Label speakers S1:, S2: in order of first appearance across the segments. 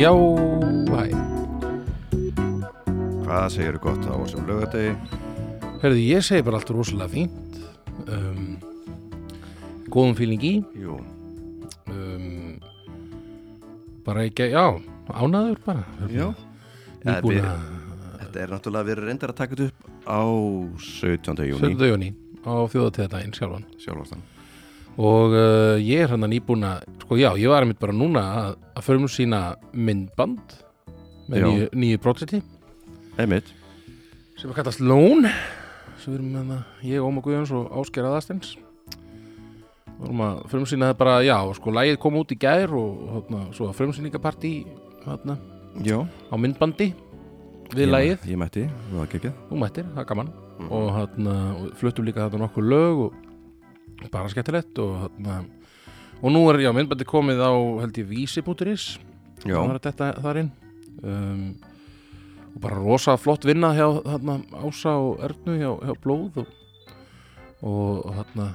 S1: Já, hæ
S2: Hvað segir þú gott á þessum lögadegi?
S1: Herðu, ég segi bara allt rosalega fínt um, Góðum fíling í
S2: Jú,
S1: um, Bara ekki, já, ánaður bara
S2: já Eða
S1: Nýbúin
S2: við-
S1: að
S2: Þetta er náttúrulega, við erum reyndar að taka þetta upp á 17. júni
S1: 17. júni á þjóðatíðardaginn sjálfan
S2: Sjálfastan
S1: og uh, ég er hann að nýbúna sko já, ég var einmitt bara núna að, að förum sína myndband með
S2: Já.
S1: nýju, nýju projekti
S2: Einmitt
S1: sem er kallast Lón sem við erum með það, ég, Óma Guðjóns og Ásker Aðastins vorum að frumsýna það bara, já, sko, lægið kom út í gær og hátna, svo að frumsýningapartí hátna,
S2: Já
S1: á myndbandi við
S2: Ég-
S1: lægið,
S2: Ég mætti, það var ekki ekki
S1: þú mættir, það er gaman og hátna, og fluttum líka þarna nokkur lög og bara skemmtilegt og hátna, og nú er, já, myndbandi komið á, held ég, vísi.is
S2: Já,
S1: það var þetta þar inn um, og bara rosa flott vinna hjá þarna, Ása og Ernu hjá, hjá Blóð og, og þarna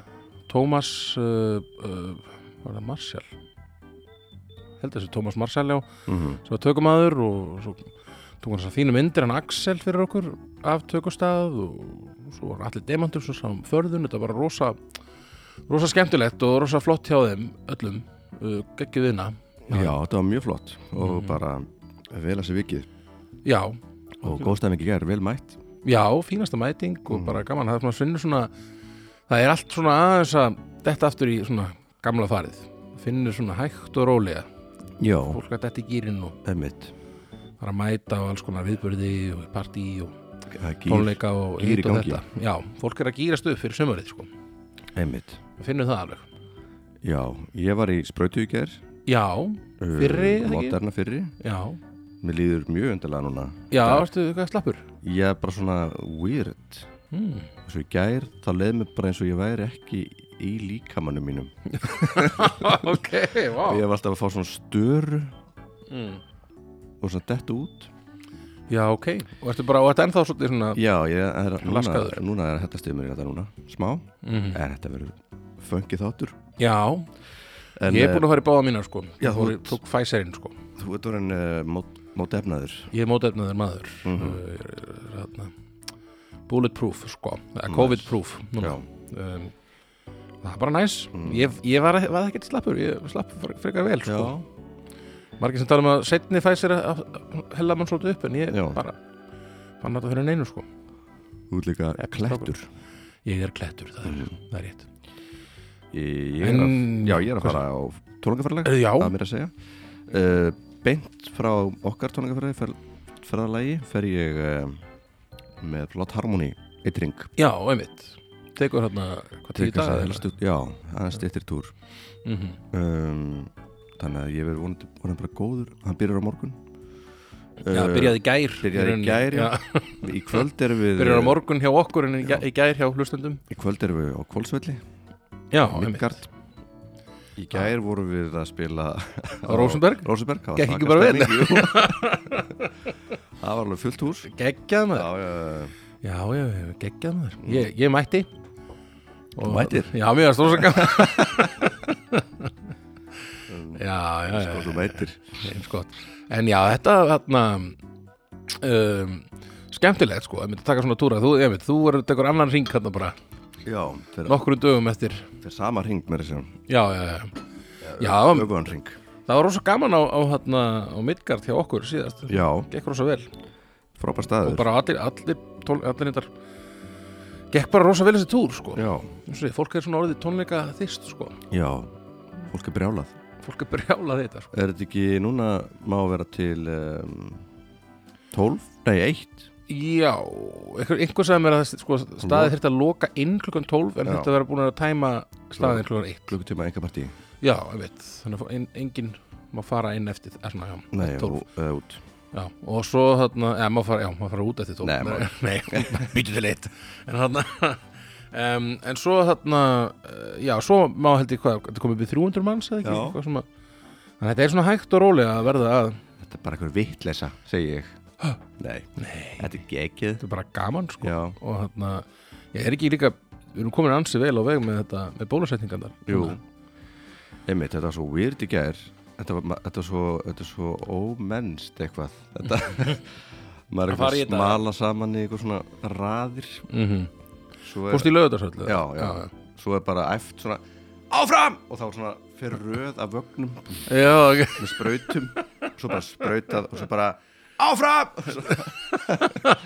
S1: Tómas uh, uh, var það Marshall held þessi Tómas Marshall já
S2: mhm,
S1: sem var tökumadur og svo tók hann þess að fínu myndir hann Axel fyrir okkur af tökustað og svo var allir demantur sem sá um förðun þetta var bara rosa rosa skemmtilegt og rosa flott hjá þeim öllum uh, geggjuð vinna
S2: já þetta var mjög flott Og
S1: Mhm.
S2: bara vel að sér vikið
S1: já,
S2: Og góðstæðum ekki gær, vel mætt
S1: Já, fínasta mæting og
S2: Mm.
S1: bara gaman það er svona finnur svona það er allt svona aðeins að þetta aftur í svona gamla farið finnur svona hægt og rólega
S2: Já,
S1: fólk að þetta í gýrin og
S2: einmitt
S1: bara að mæta og alls konar viðbörði og partí og
S2: Það er gýr,
S1: tónleika og
S2: gýr í
S1: hitt og
S2: gangi.
S1: þetta Já, fólk er að gýrast upp fyrir sömarið sko
S2: einmitt
S1: við finnum það alveg
S2: Já, ég var í sprautu í gær
S1: Já,
S2: uh,
S1: Fyrri, eða ekki?
S2: Moderna fyrri
S1: já,
S2: Mér líður mjög undarlega núna
S1: já,
S2: Dag.
S1: ertu eitthvað slappur
S2: Ég er bara svona weird
S1: hmm.
S2: Svo í gær, það leið mér bara eins og ég væri ekki í líkamannum mínum
S1: Ok, vá
S2: Ég var alltaf að fá svona störu Hmm.
S1: mm.
S2: og svona dett út
S1: Já, ok, og ertu bara, og ertu ennþá svolítið svona
S2: Já, ég er núna,
S1: Ah. Laskaður.
S2: núna er þetta stöðum mér í þetta núna smá,
S1: mm.
S2: en þetta verður fengið þáttur
S1: Já,
S2: en, eh,
S1: ég er búin að fara í báða mínar sko
S2: Já, þú-
S1: Fór- Tók Pfizerinn sko
S2: eh, Þú ert orðin uh, mót, Mm-hmm. mót efnaður
S1: Ég er mótefnaður maður mm
S2: Mhm.
S1: -hmm. Bulletproof sko eða COVID-proof núna.
S2: Já. Mm.
S1: um, Það er bara næs Ég, ég var, var ekkert slappur, ég slapp fre- frekar vel sko. Margir sem tala um að setni fæsir að að hella mann svolítið upp en ég
S2: Já.
S1: bara fann þetta fyrir neinu sko
S2: Þú ert líka
S1: Ekki
S2: klettur Mhm.
S1: Ég er klettur, það er, það er rétt
S2: ég, ég er að,
S1: En-
S2: Já, ég er að fara á tónleikaferðalag
S1: Eh, Já,
S2: að mér að segja uh, Beint frá okkar tónleikaferðalagi fer ég uh, með Plot Harmony eitt ring
S1: já, einmitt Tekur hérna, hvað tíu
S2: Tekur það
S1: dag?
S2: helstu- Já, aðeins stýttir túr
S1: Mm -hmm.
S2: um, Þannig að ég verður vonandi, vonandi bara góður Hann byrjar á morgun
S1: Já,
S2: Uh,
S1: byrjaði í gær
S2: byrjaði í
S1: rauninni.
S2: gær, já.
S1: já.
S2: Um, Í kvöld erum við
S1: Byrjaði á morgun hjá okkur en í gær-
S2: Já.
S1: í gær hjá hlustendum
S2: Í kvöld erum við á Kvolsvelli
S1: Já,
S2: Midgard Í gær vorum við að spila
S1: Á Rósenberg?
S2: Rósenberg það var
S1: Gekk ekki
S2: svaka
S1: bara
S2: stemning, jú. Það var alveg fullt hús Já,
S1: Geggjað maður
S2: já,
S1: Já, já, já, geggjað maður Ég, ég mætti
S2: Þú mættir?
S1: Já, mér varst rosa gaman Já, já,
S2: já
S1: já,
S2: Sko, Þú meitir
S1: eins gott En já, þetta, þarna um, Skemmtilegt, sko, ég myndi taka svona túra Þú, ég myndi, þú verður tekur annan ring hérna bara
S2: Já, þeir,
S1: Nokkrum dögum eftir
S2: þeir sama ring með þessum
S1: Já, já, já Já, það var-
S2: Öfgan ring
S1: það var rosa gaman á, á, þarna, á Midgard hjá okkur síðast
S2: Já,
S1: Gekk rosa vel
S2: frábær staður
S1: Og bara allir, allir, tól, allir nýttar Gekk bara rosa vel þessi túr, sko
S2: Já,
S1: Eins og því, fólk er svona orðið tónleika þýst sko.
S2: já Fólk er brjálað
S1: fólk er brjálað í þetta sko.
S2: Er þetta ekki núna má vera til um, 12? Nei, 1
S1: já, einhver, einhver sagði mér að það, sko, staðið þurfti að loka inn klukkan 12 en
S2: Já.
S1: þetta verið búin að tæma staðið klukkan 1
S2: klukkutíma enga partí
S1: já, ég veit, þannig að en, enginn má fara inn eftir er, svona, já,
S2: Nei,
S1: eftir 12
S2: og, eða út
S1: já, og svo þarna, eða má fara, já, má fara út eftir 12
S2: Nei, má-
S1: nei býtu til eitt en þarna Um, en svo þarna eh, já, svo má held ég hvað, þetta komið við 300 manns eða ekki,
S2: Já.
S1: Eitthvað svona- þannig að þetta er svona hægt og rólega að verða að
S2: Þetta er bara eitthvað vitleysa, segi ég Nei. Nei, þetta er gekkið
S1: þetta er bara gaman sko
S2: Já,
S1: og þarna, ég er ekki líka við erum komin ansi vel á veg með þetta með bólusetningarnar Hérna.
S2: jú Einmitt, þetta var svo weird í gær þetta, var, ma- þetta, er svo, þetta er svo ómennst eitthvað þetta, maður er
S1: Að
S2: eitthvað
S1: fara
S2: að
S1: í þetta.
S2: smala saman í eitthvað svona raðir
S1: mm -hmm.
S2: svo er,
S1: Fórst í lögutarsöldu?
S2: já, já, svo er bara æft svona áfram og þá svona fyrir röð af vögnum
S1: já. já ok.
S2: með sprautum svo bara sprautað og svo bara áfram svo,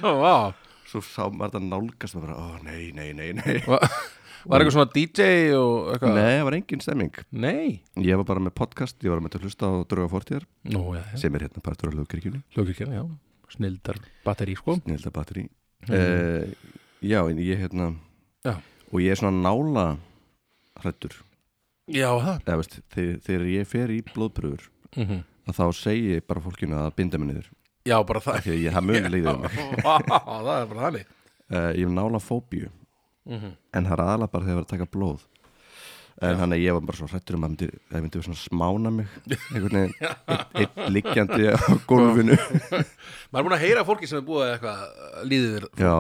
S1: Vá.
S2: svo sá maður þetta nálgast maður bara, ó nei, nei, nei, nei
S1: Va- Var eitthvað svona DJ og eitthvað?
S2: Nei, það var engin stemming
S1: Nei.
S2: Ég var bara með podcast, ég var með til að hlusta á Drauga Fortíðar
S1: Nú, já, já.
S2: sem er hérna partur á hlugkirkjunni
S1: Ljókirkjan, já. Snildar batteri, sko.
S2: Nilda Batteri mm. Já, en ég hérna
S1: Já.
S2: og ég er svona nála hrættur
S1: Já, það.
S2: eða veist, þegar, þegar ég fer í blóðpröfur
S1: Mm
S2: að þá segi ég bara fólkinu að binda mig niður
S1: Já, bara það.
S2: því að ég haf mjög leiðið um mig
S1: Vá, það er bara þannig.
S2: uh, Ég hef nála fóbíu
S1: Mm -hmm.
S2: en það er aðalega bara þegar ég var að taka blóð en þannig að ég var bara svo hrættur um að myndi, það myndi svona smána mig einhvern veginn, eitt, eitt liggjandi á gólfinu
S1: Maður er búin að heyra fólki sem er búið að eitthvað uh, líður.
S2: já,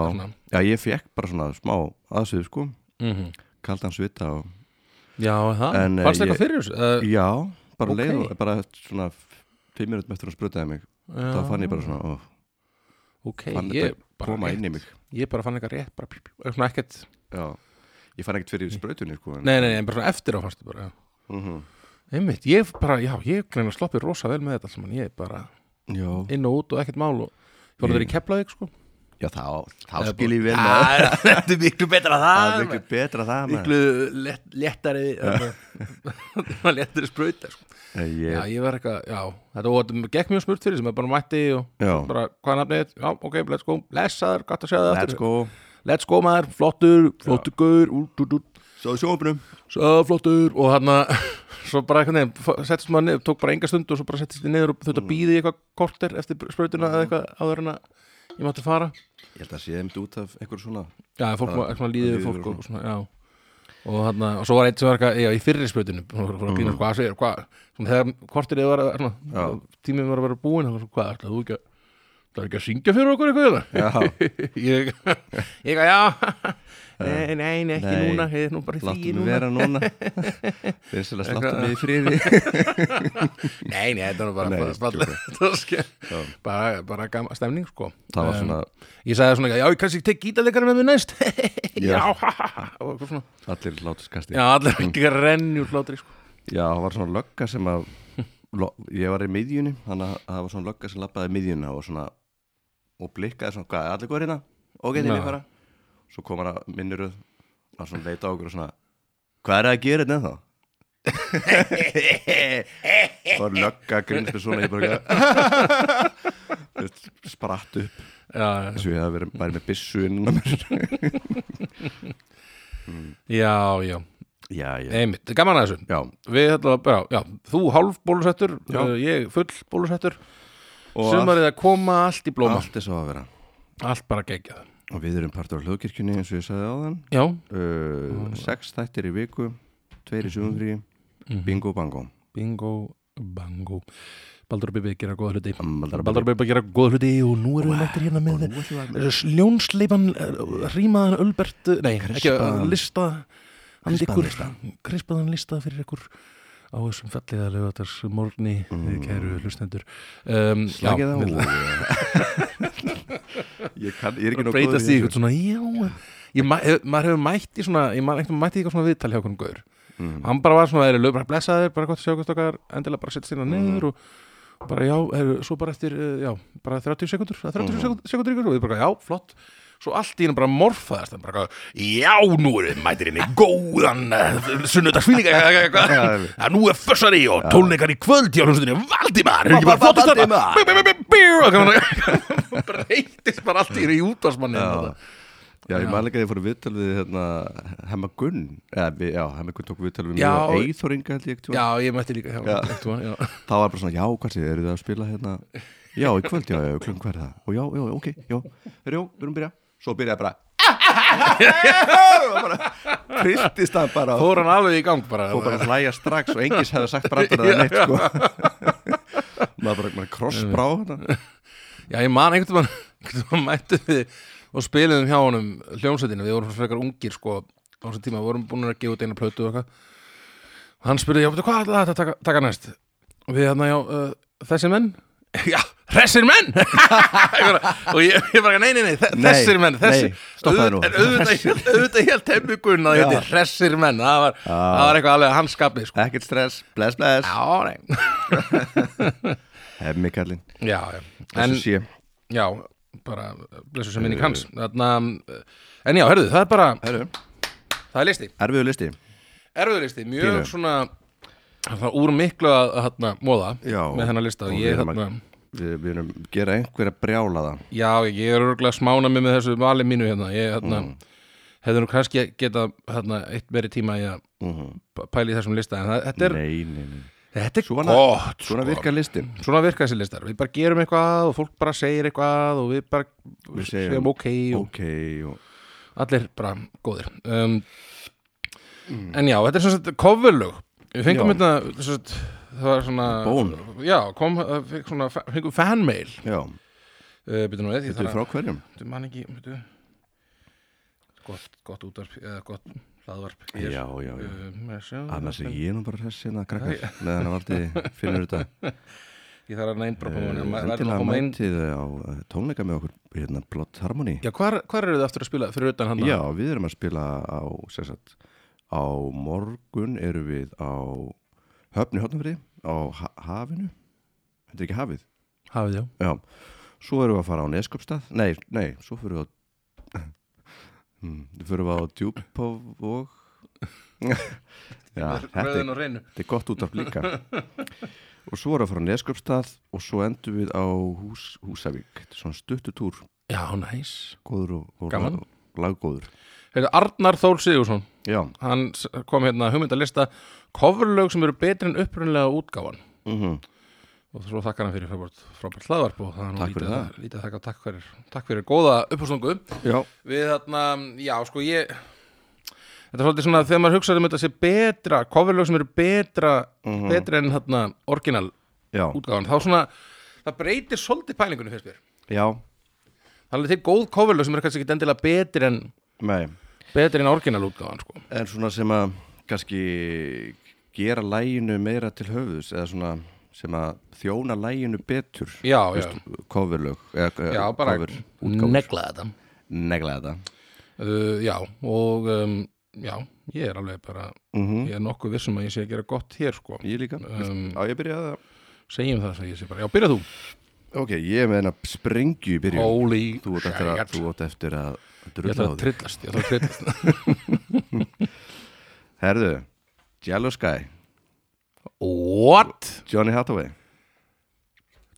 S2: já, ég fekk bara svona smá aðsöðu sko,
S1: Mm
S2: kaldan svita og
S1: Já, það.
S2: En, eh,
S1: Fannst eitthvað
S2: ég-
S1: fyrir þessu? Uh,
S2: Já, bara
S1: Ok.
S2: okay. leið og bara svona fimm minútum eftir að sprutaði mig þá fann ég bara svona, ó,
S1: Ok,
S2: fann
S1: ég
S2: þetta
S1: bara,
S2: koma inn
S1: rétt,
S2: í mig
S1: ég bara fann eitthvað rétt, bara pjú, pjú, eitthvað svona ekkert.
S2: Já, ég fann ekkert fyrir sprautunni sko en,
S1: Nei, nei, nei, bara svona eftir á fannst ég bara, já.
S2: Mhm.
S1: Einmitt, ég bara, já, ég greina sloppið rosa vel með þetta allt saman, ég bara
S2: Já,
S1: inn og út og ekkert mál og ég fór að vera í Keflavík, sko.
S2: já, þá, þá
S1: Eða
S2: skil ég vel maður.
S1: Já, Þetta er miklu betra en
S2: Það er
S1: það
S2: miklu betra það Ah, maður.
S1: Miklu lett, léttari þarna, Léttari sprauta sko.
S2: Eh,
S1: Já,
S2: ég-
S1: ég var eitthvað, já Þetta og þetta gekk mjög smurt fyrir sem ég bara mætti og
S2: Já.
S1: bara, hvað er nafnið? Já, ok, let's go Lesaður, gott að sjá það
S2: Let's
S1: aftur
S2: go
S1: Let's go maður, flottur, flottur gaur út, út, út,
S2: Svo sjófnum
S1: svo flottur og hann svo bara einhvern veginn, settist maður niður tók bara enga stund og svo bara settist ég niður og þurfti að býða í eitthvað korter eftir sprautuna eða eitthvað áður en að ég mátti fara
S2: Ég held að sé einmitt út af einhverju svona
S1: Já, fólk var svona líðið
S2: líður
S1: við fólk
S2: og
S1: og svona, já Og þarna, og svo var einn sem var eitthvað, já, í fyrri spjötinu og fór að grína, hvað segir, hvað svona þegar kortir eða var að, svona,
S2: Já.
S1: tímið var að vera búin, þá var svona, hvað, ætlaðu þú ekki að Það er ekki að syngja fyrir okkur eitthvað hérna? Ég, ég eitthvað, já, nei, nei, nei, ekki
S2: Nei.
S1: núna, ég er nú bara í því
S2: Láttu mig
S1: núna.
S2: vera núna Vinsilega sláttu
S1: Eitthvað.
S2: mig í friði
S1: Nei, nei, þetta var bara,
S2: Nei,
S1: bara,
S2: ég
S1: bara,
S2: skil
S1: bara, bara, bara, bara gama, stemning, sko.
S2: Það var svona,
S1: Ég sagði svona, já, ég kannski tek gítarleikar með mér næst.
S2: Já.
S1: já, ha, ha, ha, og eitthvað svona.
S2: allir látuskasti
S1: Já, allir ekki að renni úr hlátri, sko.
S2: Já, það var svona lögga sem að lo, ég var í miðjunni, þannig að það var svona lögga sem lappaði í miðjunna og svona og blikkaði svona, hvað, er allir góður hérna? Ok, þeir
S1: Já.
S2: ég fara Svo kom hann að minniruð var svona að leita á okkur og svona Hvað er það að gera þetta ennþá? Það var lögga grins með svona, ég bara Þú veist, spratt upp
S1: Já,
S2: eins og ég hafði verið væri með byssu innan á mér
S1: já, já,
S2: Já, já,
S1: einmitt, þetta er gaman að þessu
S2: já
S1: Við ætla bara, já, þú hálf bólusettur
S2: Já.
S1: uh, Ég full bólusettur
S2: Og allt,
S1: Sumarið að koma allt í blóma
S2: allt er svo að vera
S1: Allt bara geggjað
S2: Og við erum partur á hlugkirkjunni eins og ég sagði á þann
S1: Já,
S2: uh, sex þættir í viku tveir
S1: Mhm.
S2: í sumumfrí bingo bango
S1: bingo, bango Baldur og Bibi gera góða hluti
S2: Baldur og
S1: Baldur og Bibi gera góða hluti og nú erum við mættir hérna með Ljónsleipan, rýmaðan Ölbert Nei, ekki,
S2: Krispaðan-
S1: uh, lista handi
S2: Krispaðan
S1: ykkur,
S2: lista.
S1: Krispaðan lista fyrir ykkur á þessum fallega lögatars morgni, mm. kæru hlustendur um, já,
S2: slagið á
S1: við-
S2: ég, kann, ég er ekki
S1: að
S2: nóg
S1: breytast
S2: góður
S1: í eitthvað svona, já ég, ma hef, maður hefur mætt í svona ég man eitthvað mætti í eitthvað svona viðtal hjá hvernig gaur
S2: Mhm.
S1: hann bara var svona, er lög, bara blessaðir bara gott að sjá hvað stokkar, endilega bara setja sérna
S2: Mm.
S1: niður og, og bara já, er, svo bara eftir eh, já, bara 30 sekundur, það er 30 mm -hmm. sekundur ykkur og ég bara, já, flott svo allt í hennu bara morfaðast hann bara, eitthvað, já, nú er mætir henni góðan sunnudagsfílinga
S2: Já,
S1: eitthvað, að nú er fössari og tólneikar í kvöld hjá hljómsutinni Valdimar, er ekki bara flott að
S2: Valdimar.
S1: það breytist bara allt í því útvarsmanni
S2: já. já, ég man ekki að ég fór að viðtal við hérna, hemma Gunn eða, við, já, hemma Gunn tók viðtal við
S1: Já,
S2: mjög
S1: og-
S2: eithóringa held ég já.
S1: já, ég mætti líka hjá,
S2: Já.
S1: einhvern tímann, já.
S2: þá var bara svona, já, hvað séð, eru þið að spila hérna já, í kvöld, já, já, klung hvað er það og já, já, ok, já, herjó, við erum að byrja svo byrjaði bara og bara kristist hann bara á-
S1: fór hann alveg í gang bara,
S2: og bara hlæja strax og engis hefði sagt brandar eða neitt sko maður bara maður krossbrá hérna
S1: já, ég man einhvern tímann einhvern tímann mættum við og spiliðum hjá honum hljómsveitina, við vorum frekar ungir sko, á þessum tíma, við vorum búin að gefa út eina plötu og eitthvað og hann spurði, já, veitu, hvað ætlaði þetta að taka, taka næst við hérna, já, uh, þessir menn já, þessir menn Bara- og ég, ég bara, nei, nei, nei, þe-
S2: Nei,
S1: þessir menn þessir,
S2: nei, stoppaðu nú.
S1: Auð- en auðvitað hélt- auðvitað hélt hemmigun að
S2: Já.
S1: þetta er þessir menn það var, það var eitthvað alveg hans skapið sko.
S2: Ekkert stress, bless, bless
S1: já, nei,
S2: Hemmi kallinn,
S1: já, já en,
S2: þessu sé
S1: já, bara blessu sem
S2: Eh,
S1: minni kanns þarna, uh, en já, herðu, það er bara
S2: Herru,
S1: það er listi,
S2: erfiðu listi
S1: erfiður listi mjög
S2: Pínu.
S1: svona það er úr miklu að, að hérna, móða
S2: Já,
S1: með þennan lista
S2: og
S1: og
S2: við
S1: ég,
S2: erum að-
S1: hérna,
S2: Við við erum að gera einhverja brjálaða
S1: Já, ég er örgulega smána mig með þessu vali mínu hérna Ég hérna,
S2: Mm.
S1: hefði nú kannski geta hérna, eitt meiri tíma í að p- pæla í þessum lista En það, þetta er,
S2: Mhm. Nei, nei, nei
S1: þetta er
S2: Svona-
S1: gott
S2: Svona
S1: sko.
S2: virkar listin
S1: Svona virka þessi listar Við bara gerum eitthvað og fólk bara segir eitthvað og við bara
S2: Við
S1: segjum,
S2: segjum-
S1: ok og
S2: Ok, og
S1: allir bara góðir um, En já, þetta er svona sett coverlög Við fengum
S2: Mm. Já.
S1: hérna sem sagt, það var svona
S2: Bón.
S1: Já, kom, það fekk svona, fengum fanmail
S2: já,
S1: uh, Býtum nú við, ég
S2: þetta
S1: þarf
S2: er
S1: að
S2: frá hverjum
S1: Þetta man ekki, veitu Gott, gott útarp, eða gott hlaðvarp hér.
S2: Já, já, já
S1: Uh, með sjá,
S2: Annars er ég nú bara hress hérna krakkar meðan að valdi finnur þetta
S1: Ég þarf að neinn bara koma inn, maður verður að
S2: Eh, Endilega
S1: koma inn
S2: mætið á eh, tónleika með okkur hérna Blott Harmony
S1: Já, hvar, hvar eru þið aftur að spila fyrir utan hann?
S2: Já, við erum að spila á sem sagt, á morgun erum við á höfni hotnafri á ha hafinu Þetta er ekki hafið
S1: Hafið, já
S2: Já, svo erum við að fara á Neskjöpstað Nei, nei, svo fyrir við á Hmm, fyrir við á Djúpov og Já, þetta er
S1: Röðin og reynu
S2: Þetta er gott út af líka Og svo erum við að fara á Neskjöpstað og svo endum við á Hús, Húsavík Þetta er svona stuttutúr,
S1: Já, næs
S2: góður og, og
S1: Gaman.
S2: lag- laggóður
S1: Heiðu, Arnar Þór Sigursson
S2: Já,
S1: Hann s- kom hérna hugmyndalista Coverlög sem eru betri en upprunlega útgáfan
S2: mm
S1: Mhm. Og svo þakkar hann fyrir frábært frábært hlaðvarp og það er nú
S2: Takk fyrir
S1: lítið að- lítið að þakka takk fyrir, takk fyrir góða upphústungu
S2: já,
S1: við þarna, já sko ég þetta er svolítið svona þegar maður hugsaði um þetta sé betra, coverlög sem eru betra
S2: Mhm.
S1: betra en þarna orginal
S2: já,
S1: útgáðan, þá svona það breytir svolítið pælingunum fyrst mér
S2: já
S1: það er alveg til góð coverlög sem eru kannski ekki endilega betri en
S2: Nei,
S1: betri en orginal útgáðan sko.
S2: en svona sem að kannski gera læginu meira til höfðus eða svona sem að þjóna læginu betur
S1: já, já,
S2: coverlög eða,
S1: já bara
S2: cover, útgáfur.
S1: negla þetta
S2: negla þetta
S1: uh, já, og um, já, ég er alveg bara
S2: mm
S1: ég er nokkuð vissum að ég sé að gera gott hér sko.
S2: Ég líka,
S1: Um,
S2: á ég byrjaði það
S1: segjum það sem ég sé bara, já, byrja þú
S2: Ok, ég er með hennar sprengju í byrjun
S1: Holy
S2: Þú átt eftir að,
S1: shit.
S2: þú átt eftir að
S1: Ég
S2: drulla
S1: ætla
S2: á
S1: að
S2: þig.
S1: trillast, ég ætla að trillast
S2: Herðu, Yellow Sky,
S1: What?
S2: Johnny Hathaway